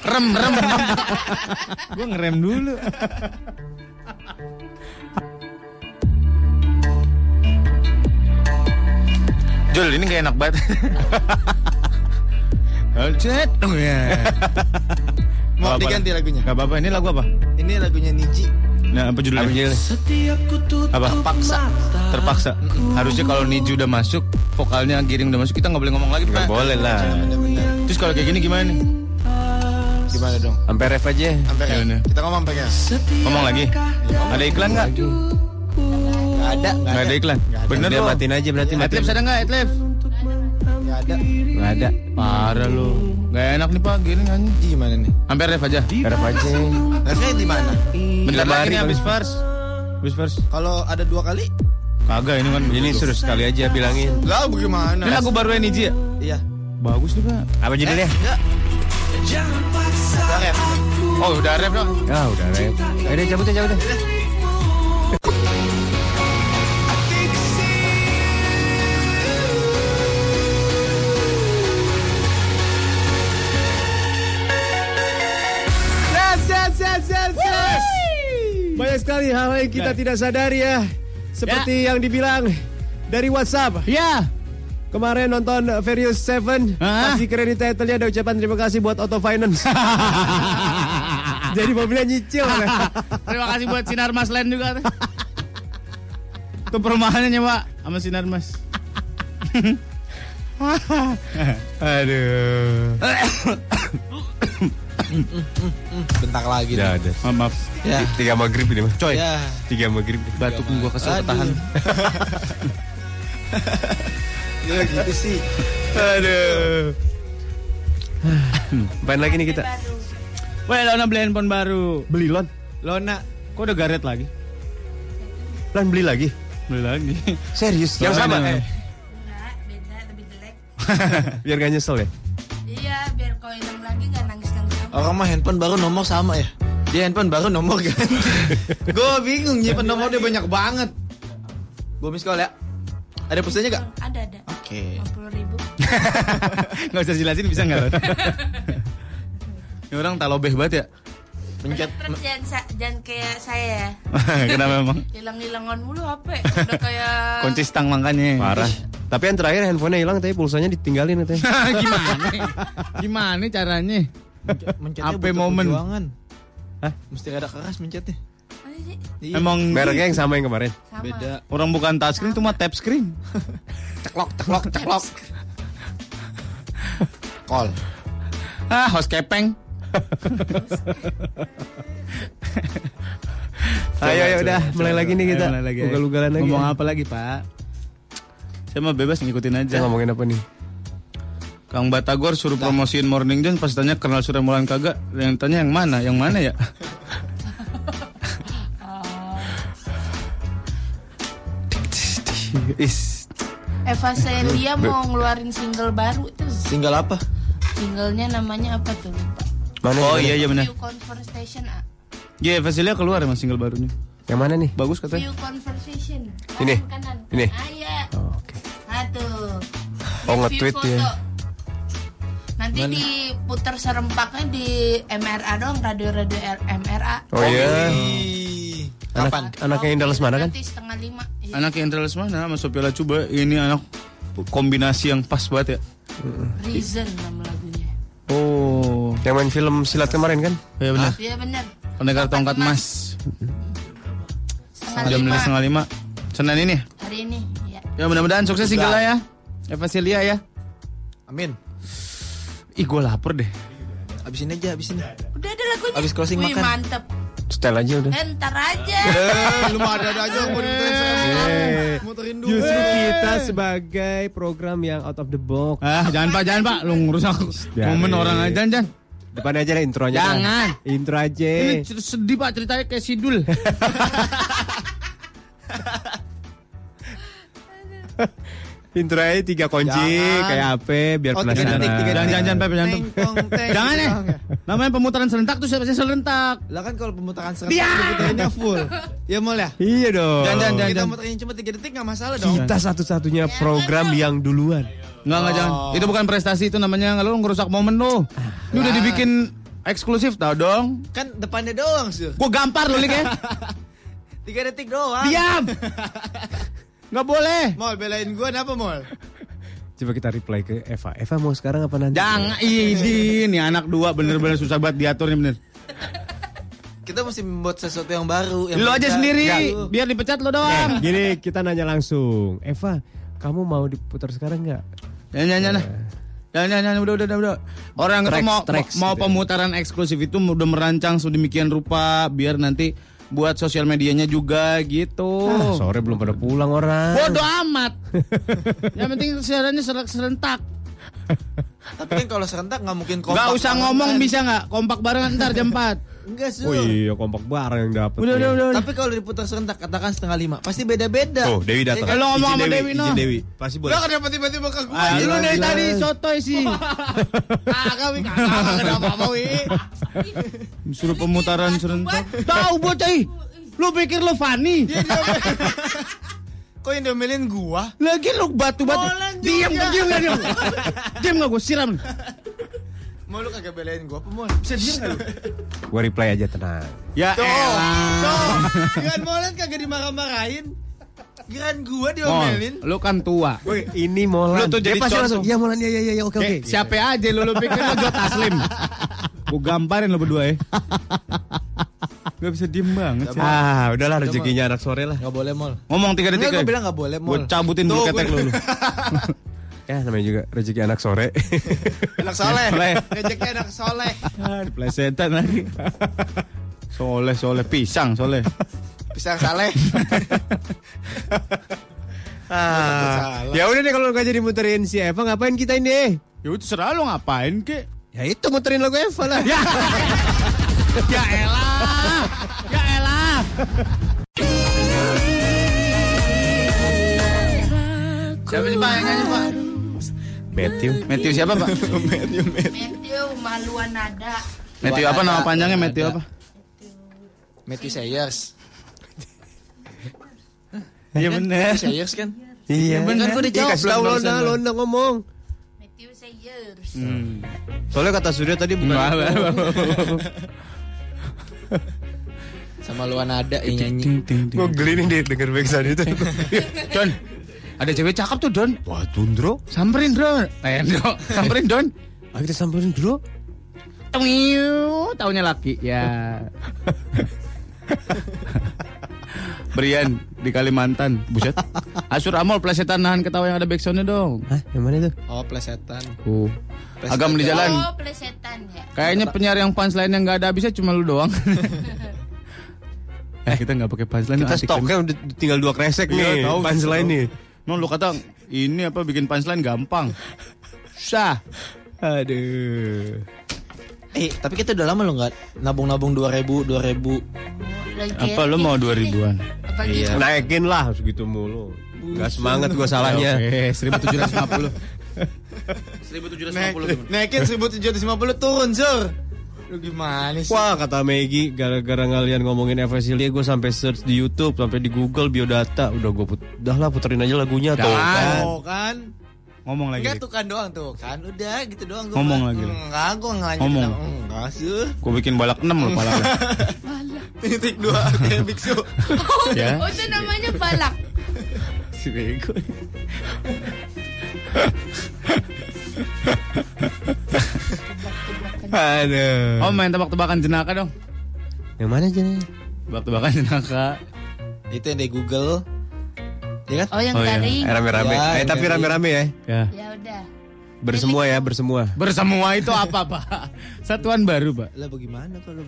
[SPEAKER 6] rem, rem. gue ngerem dulu. Jul, ini gak enak banget. Alcet.
[SPEAKER 7] Mau
[SPEAKER 6] Apa-apa.
[SPEAKER 7] diganti lagunya.
[SPEAKER 6] Gak apa-apa, ini lagu apa?
[SPEAKER 7] Ini lagunya Niji.
[SPEAKER 6] Nah, apa judulnya? Apa?
[SPEAKER 7] Paksa.
[SPEAKER 6] Terpaksa. Harusnya kalau Niju udah masuk, vokalnya Giring udah masuk, kita nggak boleh ngomong lagi, Pak.
[SPEAKER 4] Boleh lah.
[SPEAKER 7] Bener-bener.
[SPEAKER 6] Terus kalau kayak gini gimana nih?
[SPEAKER 7] Gimana dong?
[SPEAKER 4] Sampai ref aja.
[SPEAKER 7] Sampai
[SPEAKER 6] Ya udah.
[SPEAKER 7] Kita ngomong sampai Gak
[SPEAKER 6] Ngomong lagi? Ada iklan nggak?
[SPEAKER 7] ada,
[SPEAKER 6] Nggak ada iklan. Bener
[SPEAKER 4] Dia
[SPEAKER 6] loh.
[SPEAKER 4] matiin aja berarti matiin.
[SPEAKER 6] Adlibs ada nggak? Adlibs?
[SPEAKER 7] Gak ada.
[SPEAKER 4] Nggak ada.
[SPEAKER 6] Parah lu. Gak enak nih Pak, Giring aja.
[SPEAKER 7] Niji gimana nih?
[SPEAKER 6] Hampir ref aja.
[SPEAKER 4] Ref aja.
[SPEAKER 7] Refnya di mana?
[SPEAKER 6] Bentar lagi nih
[SPEAKER 4] kali.
[SPEAKER 6] habis first. Habis first.
[SPEAKER 7] Kalau ada dua kali,
[SPEAKER 6] Kagak ini kan.
[SPEAKER 4] Ini
[SPEAKER 6] begitu.
[SPEAKER 4] suruh sekali aja bilangin.
[SPEAKER 7] lah bagaimana?
[SPEAKER 6] Ini lagu baru Niji ya?
[SPEAKER 7] Iya.
[SPEAKER 6] Bagus nih Pak.
[SPEAKER 4] Apa judulnya?
[SPEAKER 7] Enggak. Jangan paksa.
[SPEAKER 6] Oh udah ref dong.
[SPEAKER 4] Ya udah ref. Ayo deh, cabut deh, cabut deh.
[SPEAKER 3] Banyak sekali hal yang
[SPEAKER 6] Nah.
[SPEAKER 3] kita tidak sadari ya. Seperti yang dibilang dari WhatsApp.
[SPEAKER 6] Ya.
[SPEAKER 3] Kemarin nonton Furious Seven,
[SPEAKER 6] Ah.
[SPEAKER 3] kasih kredit title-nya ada ucapan terima kasih buat Auto Finance. Jadi mobilnya nyicil.
[SPEAKER 6] Terima kasih buat Sinar Mas Land juga. Itu perumahannya nyewa sama Sinar Mas. Aduh.
[SPEAKER 7] Bentar lagi.
[SPEAKER 6] Ya,
[SPEAKER 4] Udah ada.
[SPEAKER 6] Maaf, maaf.
[SPEAKER 7] Ya.
[SPEAKER 4] Tiga maghrib ini mah. Coy.
[SPEAKER 7] Ya.
[SPEAKER 4] Tiga maghrib.
[SPEAKER 6] Batuk eh, gua kesel tahan.
[SPEAKER 7] Ya gitu sih.
[SPEAKER 6] Aduh.
[SPEAKER 4] Main lagi nih kita.
[SPEAKER 6] Weh, Lona beli handphone baru.
[SPEAKER 4] Beli lon.
[SPEAKER 6] Lona, kok udah garet lagi?
[SPEAKER 4] Lan beli lagi.
[SPEAKER 6] Beli lagi.
[SPEAKER 4] Serius. Yang sama.
[SPEAKER 6] Lona.
[SPEAKER 4] Eh,
[SPEAKER 10] enggak, beda, lebih jelek.
[SPEAKER 4] Biar gak nyesel ya.
[SPEAKER 10] Iya, biar kalau hilang lagi gak nangis-nangis sama.
[SPEAKER 7] Orang mah handphone baru nomor sama ya. Dia handphone baru nomor ganti. gue bingung nyimpen nomor dia banyak banget. Gue miss call ya. Ada pesannya gak?
[SPEAKER 10] Ada, ada.
[SPEAKER 7] Oke.
[SPEAKER 10] 50 ribu.
[SPEAKER 6] Nggak usah jelasin bisa nggak? Lon? Ini orang talobeh banget ya.
[SPEAKER 7] Pencet.
[SPEAKER 10] Terus jangan, sa- jangan kayak saya ya.
[SPEAKER 6] Kenapa emang?
[SPEAKER 10] Hilang-hilangan mulu HP. Udah kayak...
[SPEAKER 6] Kunci stang makanya.
[SPEAKER 4] Parah. Tapi yang terakhir handphonenya hilang tapi pulsanya ditinggalin katanya.
[SPEAKER 6] Gimana? Gimana caranya?
[SPEAKER 7] Mencetnya
[SPEAKER 6] Apa
[SPEAKER 7] butuh
[SPEAKER 6] momen?
[SPEAKER 7] perjuangan.
[SPEAKER 4] Hah?
[SPEAKER 7] Mesti ada keras mencetnya.
[SPEAKER 10] Apa sih?
[SPEAKER 7] Iya.
[SPEAKER 6] Emang
[SPEAKER 4] Mereknya yang sama yang kemarin.
[SPEAKER 10] Sama.
[SPEAKER 7] beda.
[SPEAKER 6] orang bukan touchscreen cuma tap screen.
[SPEAKER 7] Teklok, teklok, teklok. call.
[SPEAKER 6] Ah, host kepeng.
[SPEAKER 4] Ayo, ayo, udah. Mulai lagi nih kita.
[SPEAKER 6] mulai lagi.
[SPEAKER 4] Ugal-ugalan lagi.
[SPEAKER 6] Ngomong apa lagi, Pak? Saya mah bebas ngikutin aja.
[SPEAKER 4] Kita ngomongin apa nih?
[SPEAKER 6] Kang Batagor suruh promosiin Morning John pas tanya kenal Surya Molan kagak, yang tanya yang mana, yang mana ya? Is
[SPEAKER 10] Eva Celia mau ngeluarin single baru itu.
[SPEAKER 7] Single apa?
[SPEAKER 10] Singlenya namanya apa tuh? Lupa.
[SPEAKER 4] Mana
[SPEAKER 6] Oh
[SPEAKER 4] yang
[SPEAKER 6] iya iya
[SPEAKER 4] mana?
[SPEAKER 6] benar.
[SPEAKER 10] View Conversation. ah.
[SPEAKER 6] Iya, Vasilia keluar emang single barunya.
[SPEAKER 4] Yang mana nih?
[SPEAKER 6] Bagus katanya.
[SPEAKER 10] View Conversation.
[SPEAKER 4] Ini?
[SPEAKER 10] Kanan.
[SPEAKER 4] Ini?
[SPEAKER 10] Ah, iya.
[SPEAKER 4] Oh, Oke.
[SPEAKER 10] Satu.
[SPEAKER 4] Oh,
[SPEAKER 10] Dan
[SPEAKER 4] nge-tweet
[SPEAKER 10] view
[SPEAKER 4] ya.
[SPEAKER 10] foto. Nanti diputar serempaknya di MRA dong, radio-radio R- MRA.
[SPEAKER 4] Oh iya.
[SPEAKER 7] Ih,
[SPEAKER 4] Anak,
[SPEAKER 7] Kapan?
[SPEAKER 4] anaknya Indah Lesmana kan?
[SPEAKER 10] Nanti setengah lima. Iya.
[SPEAKER 6] Anak yang terlalu mana sama Sophia coba ini anak kombinasi yang pas banget ya.
[SPEAKER 10] Reason nama lagunya.
[SPEAKER 6] Oh,
[SPEAKER 4] Yang main film silat kemarin kan?
[SPEAKER 6] iya benar.
[SPEAKER 10] Iya bener.
[SPEAKER 6] Pendekar tongkat
[SPEAKER 10] emas.
[SPEAKER 6] emas.
[SPEAKER 10] Setengah
[SPEAKER 6] Jam
[SPEAKER 10] lima.
[SPEAKER 6] lima setengah lima. Senin ini.
[SPEAKER 10] Hari ini. Ya.
[SPEAKER 6] Ya mudah-mudahan sukses single ya. Eva Celia ya.
[SPEAKER 7] Amin.
[SPEAKER 6] Ih, gue lapar deh.
[SPEAKER 7] Abis ini aja, abis ini.
[SPEAKER 10] Udah ada lagunya.
[SPEAKER 7] Abis closing
[SPEAKER 10] Wih,
[SPEAKER 7] makan.
[SPEAKER 10] mantep.
[SPEAKER 4] Setel aja udah.
[SPEAKER 10] Eh, ntar aja.
[SPEAKER 7] Lu mah ada-ada aja mau ditanya Muterin dulu.
[SPEAKER 16] Justru kita sebagai program yang out of the box.
[SPEAKER 6] Ah, jangan Pak, jangan Pak. Lu ngurus aku. Momen orang aja, jangan. jangan.
[SPEAKER 16] Depan aja lah intronya.
[SPEAKER 6] Jangan.
[SPEAKER 16] dah. Intro aja.
[SPEAKER 4] Eh.
[SPEAKER 6] Ini cer- sedih Pak ceritanya kayak Sidul.
[SPEAKER 4] Intro aja tiga kunci
[SPEAKER 16] Jangan.
[SPEAKER 4] kayak HP biar
[SPEAKER 16] Oh, tiga detik, tiga
[SPEAKER 6] jangan,
[SPEAKER 4] penasaran.
[SPEAKER 16] detik.
[SPEAKER 6] jangan, jangan Pak, jangan.
[SPEAKER 17] Teng, tong, teng.
[SPEAKER 6] Jangan ya.
[SPEAKER 17] Doang ya.
[SPEAKER 6] Namanya pemutaran serentak tuh siapa sih serentak?
[SPEAKER 17] Lah kan kalau pemutaran serentak diputarinnya full. Ya mul ya.
[SPEAKER 4] Iya dong.
[SPEAKER 6] Jangan, jangan, jangan.
[SPEAKER 17] Kita muterin cuma 3 detik enggak masalah dong.
[SPEAKER 4] Kita satu-satunya program yang duluan.
[SPEAKER 6] Enggak, enggak, jangan.
[SPEAKER 4] Oh.
[SPEAKER 6] Itu bukan prestasi, itu namanya lu ngerusak momen lu.
[SPEAKER 4] Ah.
[SPEAKER 6] Ini udah dibikin eksklusif tau dong.
[SPEAKER 17] Kan depannya doang, Sur.
[SPEAKER 6] Gue gampar lu, Lik ya.
[SPEAKER 17] 3 detik doang.
[SPEAKER 6] Diam. Enggak boleh.
[SPEAKER 17] Mol belain gua kenapa, Mol?
[SPEAKER 4] Coba kita reply ke Eva. Eva mau sekarang apa nanti?
[SPEAKER 6] Jangan, ini nih anak dua bener-bener susah banget diaturnya bener.
[SPEAKER 7] Kita mesti membuat sesuatu yang baru. Yang
[SPEAKER 6] Lu aja
[SPEAKER 7] beda.
[SPEAKER 6] sendiri,
[SPEAKER 7] Enggak.
[SPEAKER 6] biar dipecat lu doang.
[SPEAKER 4] Eh, Gini kita nanya langsung. Eva, kamu mau diputar sekarang nggak?
[SPEAKER 6] Ya, ya, ya, ya. Ya, ya, ya, udah, udah, udah, udah. Orang itu
[SPEAKER 4] Tracks,
[SPEAKER 6] mau
[SPEAKER 4] tracks
[SPEAKER 6] mau
[SPEAKER 4] gitu ya.
[SPEAKER 6] pemutaran eksklusif itu udah merancang sedemikian rupa biar nanti buat sosial medianya juga gitu.
[SPEAKER 4] Ah, sore belum pada pulang orang.
[SPEAKER 6] Bodoh amat. Yang penting siarannya ser- serentak.
[SPEAKER 7] Tapi kan kalau serentak nggak mungkin kompak.
[SPEAKER 6] Gak usah
[SPEAKER 7] banget
[SPEAKER 6] ngomong
[SPEAKER 7] kan.
[SPEAKER 6] bisa nggak? Kompak bareng kan ntar jam 4
[SPEAKER 17] Enggak, Sur.
[SPEAKER 4] Oh iya, kompak bareng yang Iya. dapat.
[SPEAKER 6] Udah, udah, udah.
[SPEAKER 17] Tapi kalau diputar serentak katakan setengah lima, pasti beda-beda. Iya kan?
[SPEAKER 4] Tuh, Dewi datang.
[SPEAKER 6] Eh, lo ngomong
[SPEAKER 4] Izin
[SPEAKER 6] sama Dewi, no.
[SPEAKER 4] izin Dewi. Pasti boleh.
[SPEAKER 7] kenapa tiba-tiba ke gua?
[SPEAKER 6] Ah,
[SPEAKER 4] Gila,
[SPEAKER 6] lu dari
[SPEAKER 4] gila.
[SPEAKER 6] tadi sotoy sih.
[SPEAKER 17] Kagak, Wi. Kagak kenapa apa, Wi?
[SPEAKER 6] Suruh pemutaran serentak. Tahu bocah ih. Lu pikir lu funny?
[SPEAKER 17] Iya,
[SPEAKER 7] Kok yang diomelin gua?
[SPEAKER 6] Lagi lu batu-batu.
[SPEAKER 17] Molen juga.
[SPEAKER 6] Diam, gak, diam, gak, diam. Diam gak gue siram.
[SPEAKER 7] Mau lu kagak belain gua apa mau?
[SPEAKER 6] Bisa diam gak lu?
[SPEAKER 4] Gua reply aja tenang.
[SPEAKER 6] Ya
[SPEAKER 17] Tuh, Dengan Molan
[SPEAKER 7] kan
[SPEAKER 17] kagak dimarah-marahin.
[SPEAKER 7] Giran gua
[SPEAKER 6] Mol,
[SPEAKER 7] diomelin.
[SPEAKER 6] lu kan tua.
[SPEAKER 4] Woi, ini
[SPEAKER 6] Lu
[SPEAKER 4] Molan.
[SPEAKER 6] tuh jadi
[SPEAKER 4] Dia pasti
[SPEAKER 6] contoh.
[SPEAKER 4] langsung. Iya Molan, iya iya iya, iya, oke oke.
[SPEAKER 6] Kayak
[SPEAKER 7] gitu.
[SPEAKER 6] siapa aja lu, lu pikir lu Joe Taslim. Gue gamparin lu berdua ya. Gak bisa diem banget sih.
[SPEAKER 4] Ah, udahlah rezekinya anak sore lah.
[SPEAKER 7] Gak boleh mol.
[SPEAKER 6] Ngomong tiga
[SPEAKER 7] Enggak
[SPEAKER 6] detik
[SPEAKER 7] gua bilang gak boleh
[SPEAKER 6] Gue
[SPEAKER 7] mol.
[SPEAKER 6] cabutin bulu ketek lu. lu.
[SPEAKER 4] Ya namanya juga rezeki anak sore.
[SPEAKER 7] Enak soleh.
[SPEAKER 6] Boleh.
[SPEAKER 7] Rejeknya enak soleh.
[SPEAKER 6] Ah, Diplesetan lagi. Soleh, soleh. Pisang, soleh.
[SPEAKER 7] Pisang saleh.
[SPEAKER 4] Ah, ya udah deh kalau nggak jadi muterin si Eva ngapain kita ini?
[SPEAKER 6] Ya udah serah lu ngapain kek.
[SPEAKER 4] Ya itu muterin lagu Eva lah.
[SPEAKER 6] Ya elah. Ya elah. Siapa sih pak yang nyanyi pak?
[SPEAKER 4] Matthew.
[SPEAKER 6] Matthew siapa pak?
[SPEAKER 10] Matthew Maluanada.
[SPEAKER 6] Matthew apa nama panjangnya Matthew apa?
[SPEAKER 7] Matthew Sayers.
[SPEAKER 6] Iya bener.
[SPEAKER 7] Sayers kan?
[SPEAKER 4] Iya.
[SPEAKER 7] Kan gua
[SPEAKER 4] Iya,
[SPEAKER 7] dijawab
[SPEAKER 4] kasih tahu
[SPEAKER 7] belum
[SPEAKER 4] Lona,
[SPEAKER 7] barusan.
[SPEAKER 4] Lona ngomong.
[SPEAKER 10] Matthew Sayers.
[SPEAKER 4] Soalnya kata Surya tadi bukan.
[SPEAKER 6] Wah, wah, wah, wah, wah.
[SPEAKER 7] Sama iya, luan ada yang nyanyi.
[SPEAKER 4] Gue geli nih dia denger backsound itu.
[SPEAKER 6] Don, ada cewek cakep tuh Don. Wah, Dro. Samperin Don. Eh, Dro. Samperin Don.
[SPEAKER 4] Ayo kita samperin dulu.
[SPEAKER 6] Tengyu, taunya laki ya. Brian di Kalimantan. Buset. Asur Amol plesetan nahan ketawa yang ada backsoundnya dong.
[SPEAKER 4] Hah, yang mana itu?
[SPEAKER 18] Oh plesetan.
[SPEAKER 4] Oh.
[SPEAKER 6] Agam di jalan.
[SPEAKER 19] Oh, plesetan ya.
[SPEAKER 6] Kayaknya penyiar yang punchline yang nggak ada habisnya cuma lu doang. eh kita nggak pakai punchline.
[SPEAKER 4] Kita
[SPEAKER 6] asik
[SPEAKER 4] Kan stoknya udah tinggal dua kresek nih.
[SPEAKER 6] Iya, tahu.
[SPEAKER 4] Punchline nih.
[SPEAKER 6] No, lu kata ini apa bikin punchline gampang. Susah.
[SPEAKER 4] Aduh.
[SPEAKER 7] Eh, tapi kita udah lama lo nggak nabung-nabung 2000, 2000.
[SPEAKER 19] Lagi
[SPEAKER 6] Apa lu mau 2000-an?
[SPEAKER 19] Apa
[SPEAKER 4] Iya.
[SPEAKER 19] gitu?
[SPEAKER 4] Naikin lah segitu mulu. Gak semangat gue salahnya.
[SPEAKER 6] Oke, 1750.
[SPEAKER 7] 1750. Naikin 1750 turun, Sur. Lu gimana sih?
[SPEAKER 4] Wah kata Maggie gara-gara kalian ngomongin Eversilia gue sampai search di YouTube sampai di Google biodata udah gue put dah lah puterin aja lagunya tuh
[SPEAKER 6] Kan.
[SPEAKER 7] Oh, kan.
[SPEAKER 6] Ngomong lagi.
[SPEAKER 7] Enggak tuh kan doang tuh kan udah gitu doang gua
[SPEAKER 6] Ngomong
[SPEAKER 7] mah.
[SPEAKER 6] lagi.
[SPEAKER 7] Enggak gua ngelanjutin
[SPEAKER 6] Ngomong.
[SPEAKER 7] lah. Enggak sih
[SPEAKER 6] Gue bikin balak 6 loh pala lu.
[SPEAKER 7] Titik dua kayak biksu
[SPEAKER 6] Ya.
[SPEAKER 10] Oh, itu namanya balak.
[SPEAKER 6] Si bego.
[SPEAKER 4] Aduh.
[SPEAKER 6] Om main tebak-tebakan jenaka dong.
[SPEAKER 4] Yang mana aja nih?
[SPEAKER 6] Tebak-tebakan jenaka.
[SPEAKER 7] Itu yang dari Google Ya
[SPEAKER 1] iya.
[SPEAKER 7] kan?
[SPEAKER 10] Oh, yang garing.
[SPEAKER 4] Rame-rame.
[SPEAKER 7] Ya,
[SPEAKER 4] eh tapi rame-rame ya.
[SPEAKER 6] Ya.
[SPEAKER 10] Ya udah.
[SPEAKER 4] Bersemua ya, bersemua.
[SPEAKER 6] Bersemua itu apa, Pak? Satuan baru, Pak.
[SPEAKER 7] Lah bagaimana kalau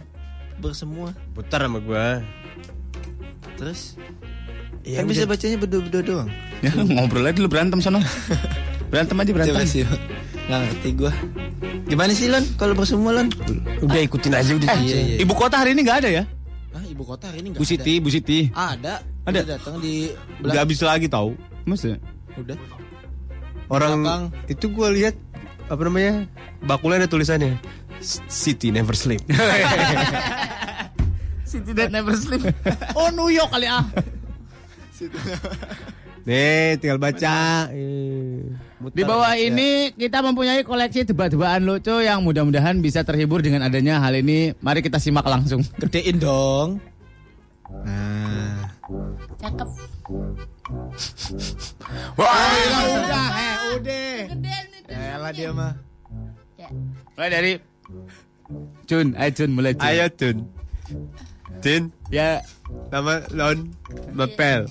[SPEAKER 7] bersemua
[SPEAKER 4] Putar sama gue.
[SPEAKER 7] Terus Ya kan bisa bacanya berdua-berdua doang
[SPEAKER 6] Ya, ngobrol aja lu berantem sana. Berantem aja berantem.
[SPEAKER 7] Coba sih Nggak ngerti gua Gimana sih Lon kalau bersemua Lon?
[SPEAKER 4] Udah ikutin aja udah.
[SPEAKER 7] Eh, iya, iya.
[SPEAKER 6] Ibu kota hari ini nggak ada ya?
[SPEAKER 7] Hah, ibu kota hari ini nggak
[SPEAKER 4] Bu Siti, Bu Siti.
[SPEAKER 7] ada.
[SPEAKER 4] Ada.
[SPEAKER 7] Ada. Udah datang di
[SPEAKER 4] Udah
[SPEAKER 7] belakang.
[SPEAKER 4] habis lagi tau.
[SPEAKER 6] Maksudnya?
[SPEAKER 7] Udah.
[SPEAKER 4] Orang
[SPEAKER 7] Belakang.
[SPEAKER 4] itu gue lihat apa namanya? Bakulnya ada tulisannya. S- City never sleep.
[SPEAKER 6] City that never sleep. Oh New York kali ah.
[SPEAKER 4] Nih, tinggal baca. Eh,
[SPEAKER 6] Di
[SPEAKER 4] muter.
[SPEAKER 6] bawah ini kita mempunyai koleksi debat-debaan lucu yang mudah-mudahan bisa terhibur dengan adanya hal ini. Mari kita simak langsung.
[SPEAKER 7] Gedein dong.
[SPEAKER 10] Cakep.
[SPEAKER 7] Udah, eh, udah.
[SPEAKER 10] Gedean itu.
[SPEAKER 7] Elah dia mah.
[SPEAKER 10] Ya.
[SPEAKER 6] Mulai dari Jun, ayo Jun mulai Jun.
[SPEAKER 4] Ayo Tun. Tin,
[SPEAKER 6] Ya,
[SPEAKER 4] nama Lon Bepel.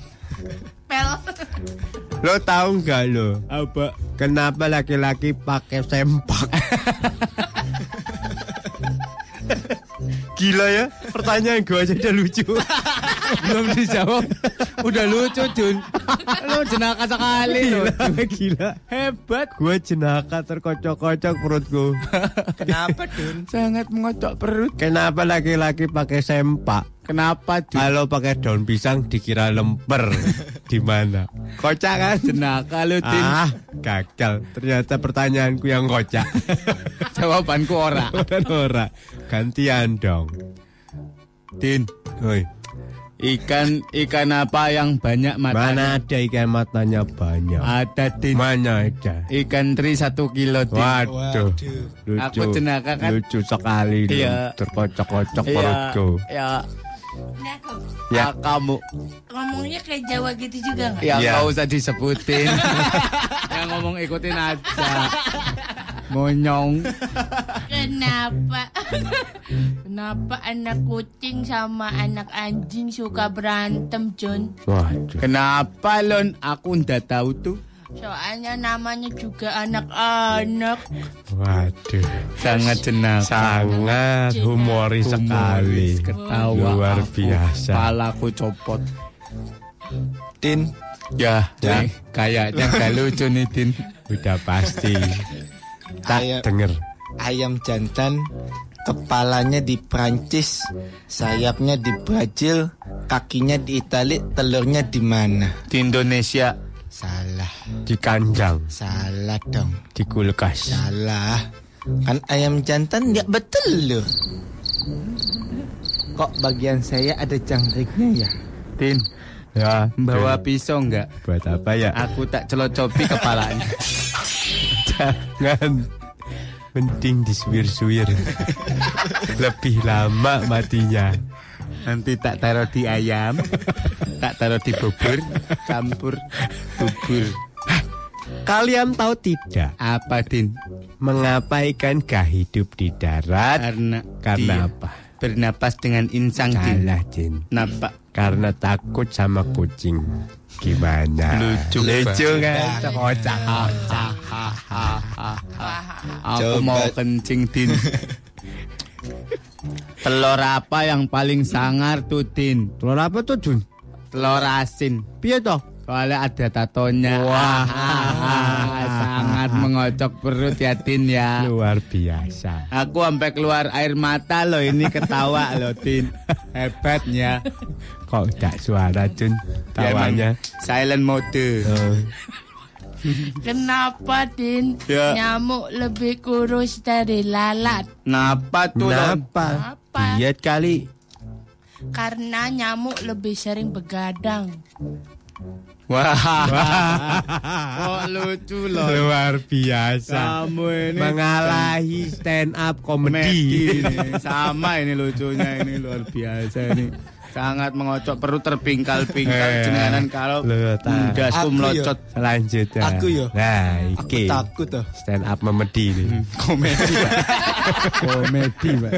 [SPEAKER 10] Pel.
[SPEAKER 4] Lo tahu nggak lo?
[SPEAKER 6] apa?
[SPEAKER 4] Kenapa laki-laki pakai sempak? Gila ya, pertanyaan gue aja udah lucu.
[SPEAKER 6] Belum dijawab. Udah lucu Jun. Lu jenaka sekali lu.
[SPEAKER 4] Gila.
[SPEAKER 6] Hebat.
[SPEAKER 4] Gue jenaka terkocok-kocok perutku.
[SPEAKER 7] Kenapa, Dun?
[SPEAKER 6] Sangat mengocok perut.
[SPEAKER 4] Kenapa laki-laki pakai sempak?
[SPEAKER 6] Kenapa Jun?
[SPEAKER 4] Kalau pakai daun pisang dikira lemper. Di mana? Kocak kan?
[SPEAKER 6] Jenaka lu Jun.
[SPEAKER 4] Ah, gagal. Ternyata pertanyaanku yang kocak.
[SPEAKER 6] Jawabanku ora.
[SPEAKER 4] Dan ora. Gantian dong. Tin, hoi.
[SPEAKER 6] Ikan ikan apa yang banyak matanya?
[SPEAKER 4] Mana ada ikan matanya banyak?
[SPEAKER 6] Ada Din.
[SPEAKER 4] Mana ada?
[SPEAKER 6] Ikan teri satu kilo Din.
[SPEAKER 4] Waduh, lucu.
[SPEAKER 6] Aku jenaka kan?
[SPEAKER 4] Lucu sekali lu.
[SPEAKER 6] Iya.
[SPEAKER 4] Terkocok-kocok
[SPEAKER 6] Iya,
[SPEAKER 4] perutku.
[SPEAKER 6] ya,
[SPEAKER 10] Nah, kok
[SPEAKER 6] ya kamu,
[SPEAKER 10] ngomongnya kayak Jawa gitu juga nggak?
[SPEAKER 6] ya
[SPEAKER 4] Iya.
[SPEAKER 6] nggak usah disebutin. yang ngomong ikutin aja. Monyong.
[SPEAKER 10] Kenapa? Kenapa anak kucing sama anak anjing suka berantem, John?
[SPEAKER 4] Waduh.
[SPEAKER 6] Kenapa Lon? Aku ndak tahu tuh.
[SPEAKER 10] Soalnya namanya juga anak-anak.
[SPEAKER 4] Waduh.
[SPEAKER 6] Sangat jenaka.
[SPEAKER 4] Sangat humoris sekali.
[SPEAKER 6] Ketawa.
[SPEAKER 4] Luar
[SPEAKER 6] aku,
[SPEAKER 4] biasa.
[SPEAKER 6] Palaku copot.
[SPEAKER 7] Din.
[SPEAKER 6] Ya, ya. kayaknya gak lucu nih Din.
[SPEAKER 4] Udah pasti.
[SPEAKER 7] Ayam,
[SPEAKER 4] Tak denger.
[SPEAKER 7] ayam jantan kepalanya di Prancis, sayapnya di Brazil, kakinya di Italia, telurnya di mana?
[SPEAKER 6] Di Indonesia.
[SPEAKER 7] Salah,
[SPEAKER 4] Di kanjang.
[SPEAKER 7] salah dong.
[SPEAKER 4] Di kulkas.
[SPEAKER 7] Salah. Kan ayam jantan nggak betelur. Kok bagian saya ada jangkriknya ya?
[SPEAKER 6] Din,
[SPEAKER 4] Ya.
[SPEAKER 6] bawa
[SPEAKER 4] Tin.
[SPEAKER 6] pisau nggak?
[SPEAKER 4] Buat apa ya?
[SPEAKER 6] Aku tak celocopi kepalanya.
[SPEAKER 4] Jangan Mending disuir-suir Lebih lama matinya
[SPEAKER 6] Nanti tak taruh di ayam, tak taruh di bubur, campur bubur.
[SPEAKER 4] Kalian tahu tidak
[SPEAKER 6] Apa Din?
[SPEAKER 4] Mengapa ikan gak hidup di darat
[SPEAKER 6] Karena
[SPEAKER 4] Karena
[SPEAKER 6] dia
[SPEAKER 4] apa?
[SPEAKER 6] Bernapas dengan insang Din.
[SPEAKER 4] Salah Jin
[SPEAKER 6] Napa?
[SPEAKER 4] karena takut sama kucing. Gimana? Lucu, lucu kan? Kocak, kocak.
[SPEAKER 6] Aku mau kencing Din. Telur apa yang paling sangar tuh Din?
[SPEAKER 4] Telur apa tuh, Jun?
[SPEAKER 6] Telur asin. Piye toh? Soalnya ada tatonya. Wah, sangat mengocok perut ya Din ya.
[SPEAKER 4] Luar biasa.
[SPEAKER 6] Aku sampai keluar air mata loh ini ketawa loh Tin. Hebatnya.
[SPEAKER 4] Kocak suara, Jun.
[SPEAKER 6] Ya, emang
[SPEAKER 4] Tawanya.
[SPEAKER 6] silent mode.
[SPEAKER 4] Oh.
[SPEAKER 10] Kenapa Din
[SPEAKER 6] Ya.
[SPEAKER 10] nyamuk lebih kurus dari lalat?
[SPEAKER 6] Napa tuh? Lon?
[SPEAKER 4] Kenapa?
[SPEAKER 10] Apa?
[SPEAKER 4] Diet kali.
[SPEAKER 10] Karena nyamuk lebih sering begadang.
[SPEAKER 6] Wah. Kok lucu loh.
[SPEAKER 4] Luar biasa.
[SPEAKER 6] Kamu ini
[SPEAKER 4] Mengalahi stand up
[SPEAKER 6] komedi
[SPEAKER 4] comedy.
[SPEAKER 6] ini. sama ini lucunya ini luar biasa ini. Sangat mengocok perut terpingkal-pingkal
[SPEAKER 4] Eh,
[SPEAKER 6] jenengan kalau
[SPEAKER 4] lu tak.
[SPEAKER 6] mendasku
[SPEAKER 7] Aku ya.
[SPEAKER 6] melocot
[SPEAKER 4] Selanjutnya.
[SPEAKER 7] Aku yo.
[SPEAKER 4] Nah,
[SPEAKER 7] Aku Hmm.
[SPEAKER 4] iki.
[SPEAKER 7] takut tuh.
[SPEAKER 4] Stand up memedi nih.
[SPEAKER 6] komedi.
[SPEAKER 20] Komedi, Pak.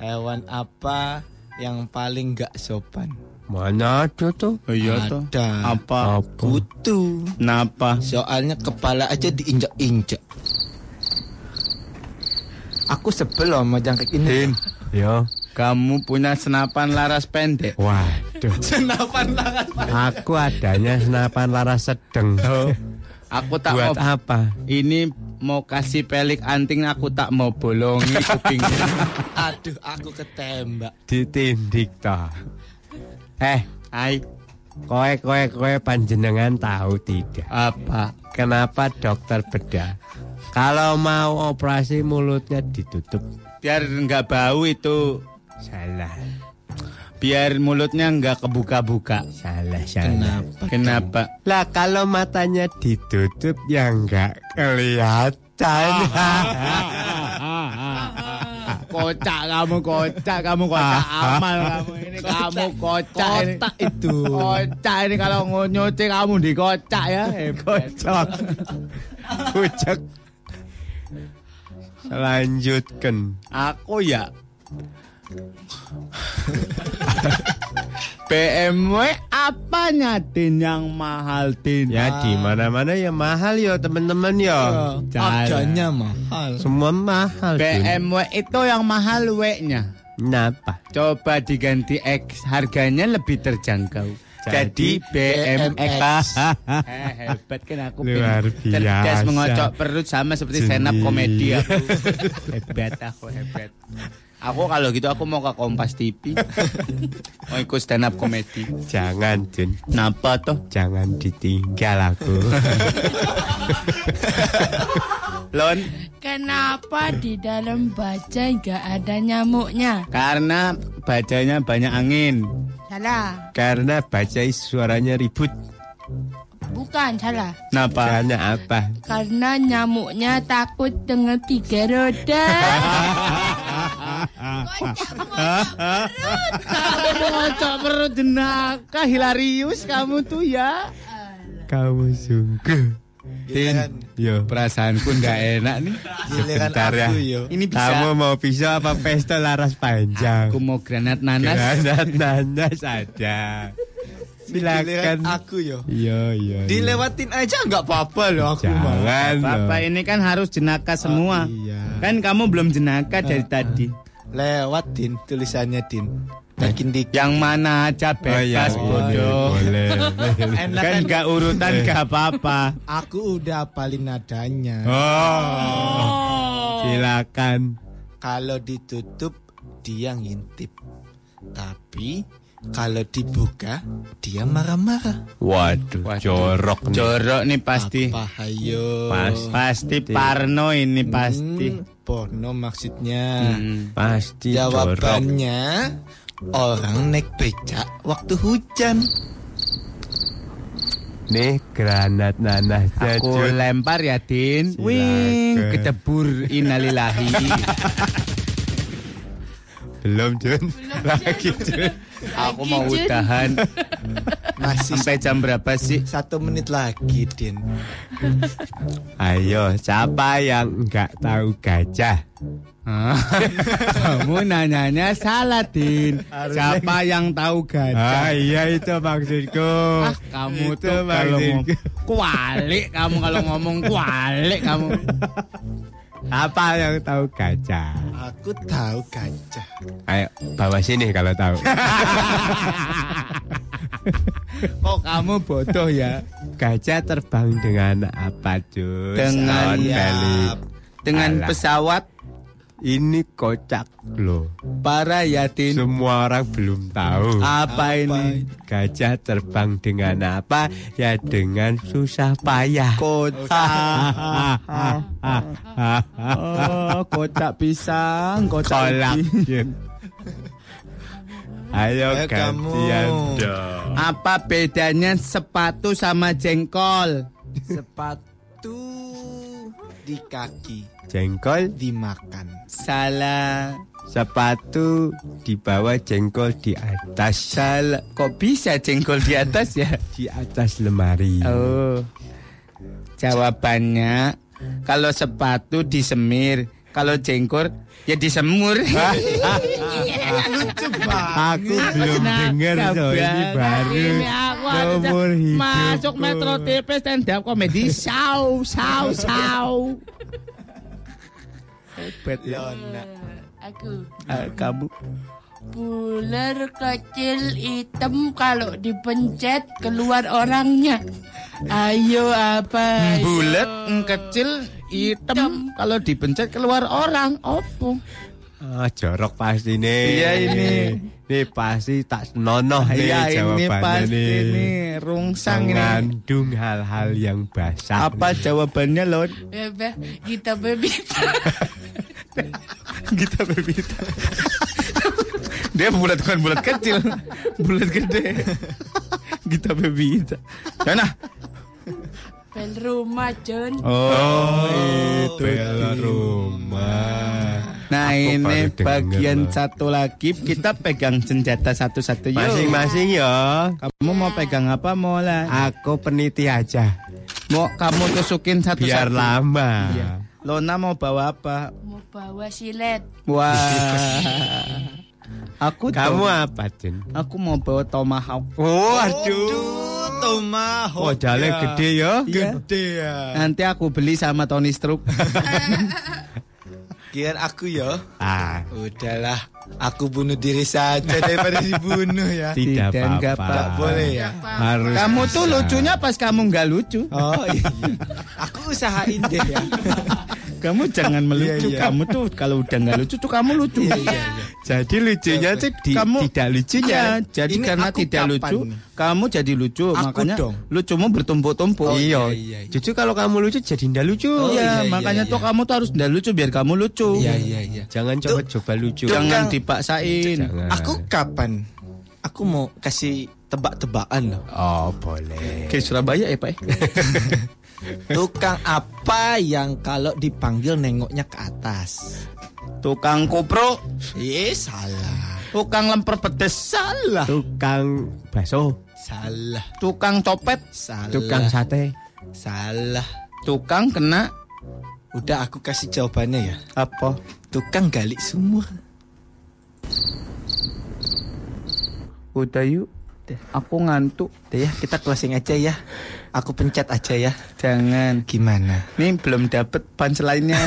[SPEAKER 7] Hewan apa yang paling gak sopan?
[SPEAKER 4] Mana ada tuh?
[SPEAKER 6] Iya toh.
[SPEAKER 7] Ada.
[SPEAKER 6] Apa?
[SPEAKER 7] Kutu.
[SPEAKER 6] Napa?
[SPEAKER 7] Soalnya kepala aja diinjak-injak. Aku sebel loh sama jangkrik ini.
[SPEAKER 4] Yo.
[SPEAKER 6] Kamu punya senapan laras pendek.
[SPEAKER 4] Waduh.
[SPEAKER 7] Senapan tangan.
[SPEAKER 4] Aku adanya senapan laras sedeng.
[SPEAKER 7] Oh,
[SPEAKER 6] Aku tak
[SPEAKER 4] Buat
[SPEAKER 6] mau-
[SPEAKER 4] apa?
[SPEAKER 6] ini mau kasih pelik anting aku tak mau bolongi kuping.
[SPEAKER 7] Aduh, aku ketembak.
[SPEAKER 4] Ditindik toh. Eh,
[SPEAKER 6] Hai,
[SPEAKER 4] kowe kowe kowe panjenengan tahu tidak?
[SPEAKER 6] apa?
[SPEAKER 4] Kenapa dokter bedah? Kalau mau operasi mulutnya ditutup.
[SPEAKER 6] Biar nggak bau itu,
[SPEAKER 4] Salah,
[SPEAKER 6] biar mulutnya nggak kebuka-buka.
[SPEAKER 4] salah, salah.
[SPEAKER 6] Kenapa?
[SPEAKER 4] Lah kalau matanya ditutup ya nggak kelihatan.
[SPEAKER 7] Ah,
[SPEAKER 6] Kocak kamu, kocak kamu, kocak amal kamu ini kamu Ah, kocak ini.
[SPEAKER 7] itu.
[SPEAKER 6] Kocak ini kalau nyuci kamu dikocak ya. Kocak.
[SPEAKER 4] Kucek. Lanjutkan.
[SPEAKER 6] Aku ya. BMW apanya Din yang mahal Din?
[SPEAKER 4] Ya
[SPEAKER 7] Ah.
[SPEAKER 4] di mana-mana ya mahal yo teman-teman
[SPEAKER 7] Iya.
[SPEAKER 4] yo.
[SPEAKER 7] Oh, Harganya
[SPEAKER 4] ya.
[SPEAKER 7] mahal.
[SPEAKER 4] Semua mahal. Jun.
[SPEAKER 6] BMW itu yang mahal W-nya.
[SPEAKER 4] Kenapa?
[SPEAKER 6] Coba diganti X, harganya lebih terjangkau. Jadi, BMX.
[SPEAKER 7] Ah,
[SPEAKER 6] Eh, hebat kan aku
[SPEAKER 4] Luar
[SPEAKER 6] pin- cerdas
[SPEAKER 4] biasa.
[SPEAKER 6] mengocok perut sama seperti stand up
[SPEAKER 4] Jeli.
[SPEAKER 6] komedi aku. hebat aku hebat. Aku kalau gitu aku mau ke Kompas TV. mau ikut stand up komedi.
[SPEAKER 4] Jangan Jun.
[SPEAKER 6] Napa toh?
[SPEAKER 4] Jangan ditinggal aku.
[SPEAKER 6] Lon,
[SPEAKER 10] Kenapa di dalam baja nggak ada nyamuknya?
[SPEAKER 6] karena bacanya banyak angin.
[SPEAKER 10] Salah,
[SPEAKER 4] Karena bacai suaranya ribut.
[SPEAKER 10] bukan salah.
[SPEAKER 6] Napa?
[SPEAKER 4] Karena apa?
[SPEAKER 10] Karena nyamuknya takut dengan tiga roda.
[SPEAKER 6] Mengocok perut jenaka hilarius kamu tuh ya.
[SPEAKER 4] Kamu sungguh.
[SPEAKER 7] Giliran,
[SPEAKER 4] Yo.
[SPEAKER 6] Perasaanku nggak enak nih.
[SPEAKER 7] giliran
[SPEAKER 4] Bentar ya.
[SPEAKER 7] aku yo.
[SPEAKER 6] Ini bisa.
[SPEAKER 4] Kamu mau pisau apa pesta laras panjang? Nah,
[SPEAKER 6] Aku mau granat nanas.
[SPEAKER 4] Granat nanas ada.
[SPEAKER 7] Giliran
[SPEAKER 4] Silakan.
[SPEAKER 7] aku yo.
[SPEAKER 4] Iya, iya. iya.
[SPEAKER 7] Dilewatin aja nggak apa-apa loh aku mah.
[SPEAKER 4] Jangan.
[SPEAKER 6] Bapak
[SPEAKER 4] loh.
[SPEAKER 6] ini kan harus jenaka semua.
[SPEAKER 7] iya.
[SPEAKER 6] Kan kamu belum jenaka dari tadi.
[SPEAKER 7] Lewatin tulisannya Din. Makin dik.
[SPEAKER 6] Yang mana aja bebas bodoh.
[SPEAKER 4] Boleh.
[SPEAKER 7] Enak
[SPEAKER 6] Kan
[SPEAKER 7] kan?
[SPEAKER 6] gak urutan gak apa-apa.
[SPEAKER 7] Aku udah apalin nadanya.
[SPEAKER 4] Oh. Silakan.
[SPEAKER 7] Kalau ditutup dia ngintip. Tapi kalau dibuka dia marah-marah.
[SPEAKER 4] Waduh, jorok nih.
[SPEAKER 6] Jorok nih pasti.
[SPEAKER 7] Apa hayo?
[SPEAKER 6] Pasti Parno ini pasti. Hmm.
[SPEAKER 7] Hmm, porno maksudnya.
[SPEAKER 4] Pasti
[SPEAKER 6] kan.
[SPEAKER 4] jorok.
[SPEAKER 7] Jawabannya orang naik becak waktu hujan.
[SPEAKER 4] Nih granat nah, nanasnya
[SPEAKER 6] Aku
[SPEAKER 4] Jun.
[SPEAKER 6] lempar ya Din. Wing
[SPEAKER 4] Silakan.
[SPEAKER 6] kedebur innalillahi.
[SPEAKER 4] Belum Jun. Lagi Jun.
[SPEAKER 6] Aku mau udahan.
[SPEAKER 7] Masih
[SPEAKER 6] Sampai jam berapa sih?
[SPEAKER 7] satu menit lagi, Din.
[SPEAKER 4] Ayo, siapa yang nggak tahu gajah?
[SPEAKER 6] Kamu nanyanya salah, Din. Siapa yang tahu gajah?
[SPEAKER 4] Ah, iya itu maksudku.
[SPEAKER 6] Ah, kamu
[SPEAKER 4] Itu
[SPEAKER 6] tuh kalau
[SPEAKER 4] maksudku.
[SPEAKER 6] ngomong kualik kamu kalau ngomong kualik kamu.
[SPEAKER 4] Apa yang tahu gajah?
[SPEAKER 7] Aku tahu gajah.
[SPEAKER 4] Ayo, bawa sini kalau tahu.
[SPEAKER 6] Kok kamu bodoh ya?
[SPEAKER 4] Gajah terbang dengan apa, cuy?
[SPEAKER 6] Dengan
[SPEAKER 4] Sound
[SPEAKER 6] ya,
[SPEAKER 4] value.
[SPEAKER 6] Dengan
[SPEAKER 4] Alah.
[SPEAKER 6] pesawat
[SPEAKER 4] Ini kocak loh.
[SPEAKER 6] para yatim
[SPEAKER 4] Semua orang belum tahu.
[SPEAKER 6] apa ini?
[SPEAKER 4] Gajah terbang dengan apa? Ya dengan susah payah. Ah,
[SPEAKER 6] Oh, kocak pisang, kocak
[SPEAKER 4] Kolak.
[SPEAKER 6] ubi.
[SPEAKER 4] Ayo
[SPEAKER 7] Ayo
[SPEAKER 4] gantian
[SPEAKER 7] kamu.
[SPEAKER 4] dong.
[SPEAKER 6] Apa bedanya sepatu sama jengkol?
[SPEAKER 7] Sepatu di kaki
[SPEAKER 4] Jengkol
[SPEAKER 7] dimakan.
[SPEAKER 6] Salah.
[SPEAKER 4] sepatu di bawah jengkol di atas
[SPEAKER 6] Salah. Kok bisa jengkol di atas ya?
[SPEAKER 4] di atas lemari.
[SPEAKER 6] Oh. Jawabannya kalau sepatu disemir, kalau jengkol ya disemur.
[SPEAKER 4] Aku belum dengar so ini
[SPEAKER 6] Nah,
[SPEAKER 4] baru.
[SPEAKER 6] Ini aku ada
[SPEAKER 4] Seumur hidupku.
[SPEAKER 6] masuk Metro TV stand up comedy saw saw saw.
[SPEAKER 4] Ya
[SPEAKER 1] Aku
[SPEAKER 6] Ah, kamu
[SPEAKER 1] bular kecil hitam kalau dipencet keluar orangnya. Ayo apa? ayo.
[SPEAKER 6] bulat kecil hitam kalau dipencet keluar orang opo
[SPEAKER 4] Ah, jorok pasti nih.
[SPEAKER 6] Iya, ini.
[SPEAKER 4] Nih pasti tak nonoh nih
[SPEAKER 6] iya ini
[SPEAKER 4] jawabannya
[SPEAKER 6] pasti
[SPEAKER 4] nih.
[SPEAKER 6] nih rungsang ini
[SPEAKER 4] Mengandung hal-hal yang basah.
[SPEAKER 6] apa
[SPEAKER 4] nih.
[SPEAKER 6] jawabannya Lon
[SPEAKER 1] Bebe, kita bebita.
[SPEAKER 6] kita berbeda dia bulat bukan bulat kecil bulat gede kita Nah, berbeda sana
[SPEAKER 1] Pel rumah, John.
[SPEAKER 6] oh,
[SPEAKER 4] itu bel rumah.
[SPEAKER 6] nah
[SPEAKER 4] Aku
[SPEAKER 6] ini
[SPEAKER 4] baru denger,
[SPEAKER 6] bagian
[SPEAKER 4] Lon.
[SPEAKER 6] satu lagi kita pegang senjata satu-satu yuk.
[SPEAKER 4] Masing-masing ya.
[SPEAKER 6] kamu mau pegang apa mau lah
[SPEAKER 4] Aku peniti aja.
[SPEAKER 6] mau kamu tusukin satu-satu
[SPEAKER 4] Biar lama.
[SPEAKER 6] Iya. Lona mau bawa apa
[SPEAKER 1] Mau bawa silet.
[SPEAKER 6] Wah. aku
[SPEAKER 4] Kamu
[SPEAKER 6] tahu.
[SPEAKER 4] apa, Jin?
[SPEAKER 6] aku mau bawa tomahawk.
[SPEAKER 4] Waduh.
[SPEAKER 7] Tomahawk.
[SPEAKER 4] Oh, jale gede
[SPEAKER 6] Iya.
[SPEAKER 4] ya.
[SPEAKER 7] Gede ya.
[SPEAKER 6] Nanti aku beli sama Tony Struk.
[SPEAKER 7] Kirain aku ya.
[SPEAKER 4] Ah,
[SPEAKER 7] Udahlah, aku bunuh diri saja daripada dibunuh ya.
[SPEAKER 4] tidak
[SPEAKER 6] Tidak, nggak
[SPEAKER 4] apa-apa.
[SPEAKER 7] Gak boleh ya.
[SPEAKER 4] Harus
[SPEAKER 6] kamu tuh
[SPEAKER 4] bisa.
[SPEAKER 6] lucunya pas kamu nggak lucu.
[SPEAKER 7] Oh iya. Aku usahain deh ya.
[SPEAKER 6] Kamu jangan melucu.
[SPEAKER 7] Iya, iya.
[SPEAKER 6] Kamu tuh kalau udah nggak lucu tuh kamu lucu.
[SPEAKER 4] Jadi lucunya
[SPEAKER 7] Iya,
[SPEAKER 4] tuh di-
[SPEAKER 6] Kamu-
[SPEAKER 4] tidak lucunya.
[SPEAKER 6] Iya, jadi
[SPEAKER 7] Ini
[SPEAKER 6] karena
[SPEAKER 7] aku
[SPEAKER 6] tidak
[SPEAKER 7] kapan
[SPEAKER 6] lucu,
[SPEAKER 7] nih?
[SPEAKER 6] kamu jadi lucu.
[SPEAKER 7] Aku
[SPEAKER 6] makanya
[SPEAKER 7] dong.
[SPEAKER 6] lucumu bertumpuk-tumpuk.
[SPEAKER 4] iya.
[SPEAKER 7] iya, iya.
[SPEAKER 4] Justru kalau kamu lucu jadi ndak lucu.
[SPEAKER 6] Iya,
[SPEAKER 7] iya, iya,
[SPEAKER 6] makanya
[SPEAKER 7] iya.
[SPEAKER 6] tuh kamu tuh harus nggak lucu biar kamu lucu.
[SPEAKER 7] Iya iya iya.
[SPEAKER 4] Jangan coba-coba lucu.
[SPEAKER 6] Jangan
[SPEAKER 7] Kang.
[SPEAKER 6] dipaksain.
[SPEAKER 4] Jangan.
[SPEAKER 7] Aku kapan? Aku mau kasih tebak-tebakan loh.
[SPEAKER 4] Oh, boleh.
[SPEAKER 6] Ke Surabaya ya, Pak.
[SPEAKER 7] Tukang apa yang kalau dipanggil nengoknya ke atas?
[SPEAKER 6] Tukang kopro,
[SPEAKER 7] Iya salah.
[SPEAKER 6] tukang lemper pedes salah.
[SPEAKER 4] Tukang bakso,
[SPEAKER 7] Salah.
[SPEAKER 6] tukang copet,
[SPEAKER 7] Salah.
[SPEAKER 4] tukang sate.
[SPEAKER 7] salah.
[SPEAKER 6] tukang kena
[SPEAKER 7] Udah aku kasih jawabannya ya.
[SPEAKER 6] apa?
[SPEAKER 7] Tukang gali sumur.
[SPEAKER 6] Udah yuk. Aku ngantuk.
[SPEAKER 7] Udah ya, kita closing aja ya. Aku pencet aja ya.
[SPEAKER 6] Jangan.
[SPEAKER 7] Gimana?
[SPEAKER 6] Nih belum dapet punchline-nya.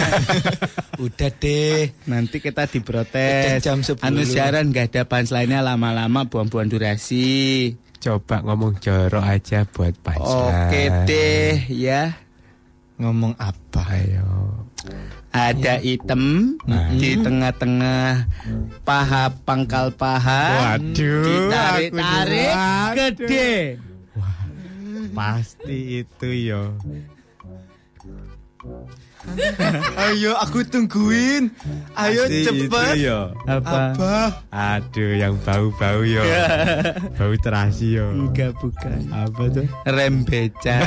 [SPEAKER 7] Udah deh.
[SPEAKER 6] Nanti kita diprotes.
[SPEAKER 7] Udah jam 10.
[SPEAKER 6] Anu siaran gak ada punchline-nya lama-lama buang-buang durasi.
[SPEAKER 4] Coba ngomong jorok aja buat pacar.
[SPEAKER 6] Oke deh ya.
[SPEAKER 7] Ngomong apa?
[SPEAKER 4] Ayo.
[SPEAKER 6] Ada
[SPEAKER 7] Ya.
[SPEAKER 6] item
[SPEAKER 7] Nah.
[SPEAKER 6] di tengah-tengah paha pangkal paha.
[SPEAKER 4] Waduh, aku
[SPEAKER 6] Ditarik-tarik
[SPEAKER 4] juga.
[SPEAKER 6] gede.
[SPEAKER 4] Pasti itu yo.
[SPEAKER 7] Ayo aku tungguin. Ayo
[SPEAKER 4] Pasti
[SPEAKER 7] cepet.
[SPEAKER 4] Itu yo.
[SPEAKER 6] Apa?
[SPEAKER 7] Apa?
[SPEAKER 4] Aduh, yang bau-bau yo. bau terasi yo.
[SPEAKER 6] Enggak bukan.
[SPEAKER 4] Apa tuh?
[SPEAKER 6] Rembeca.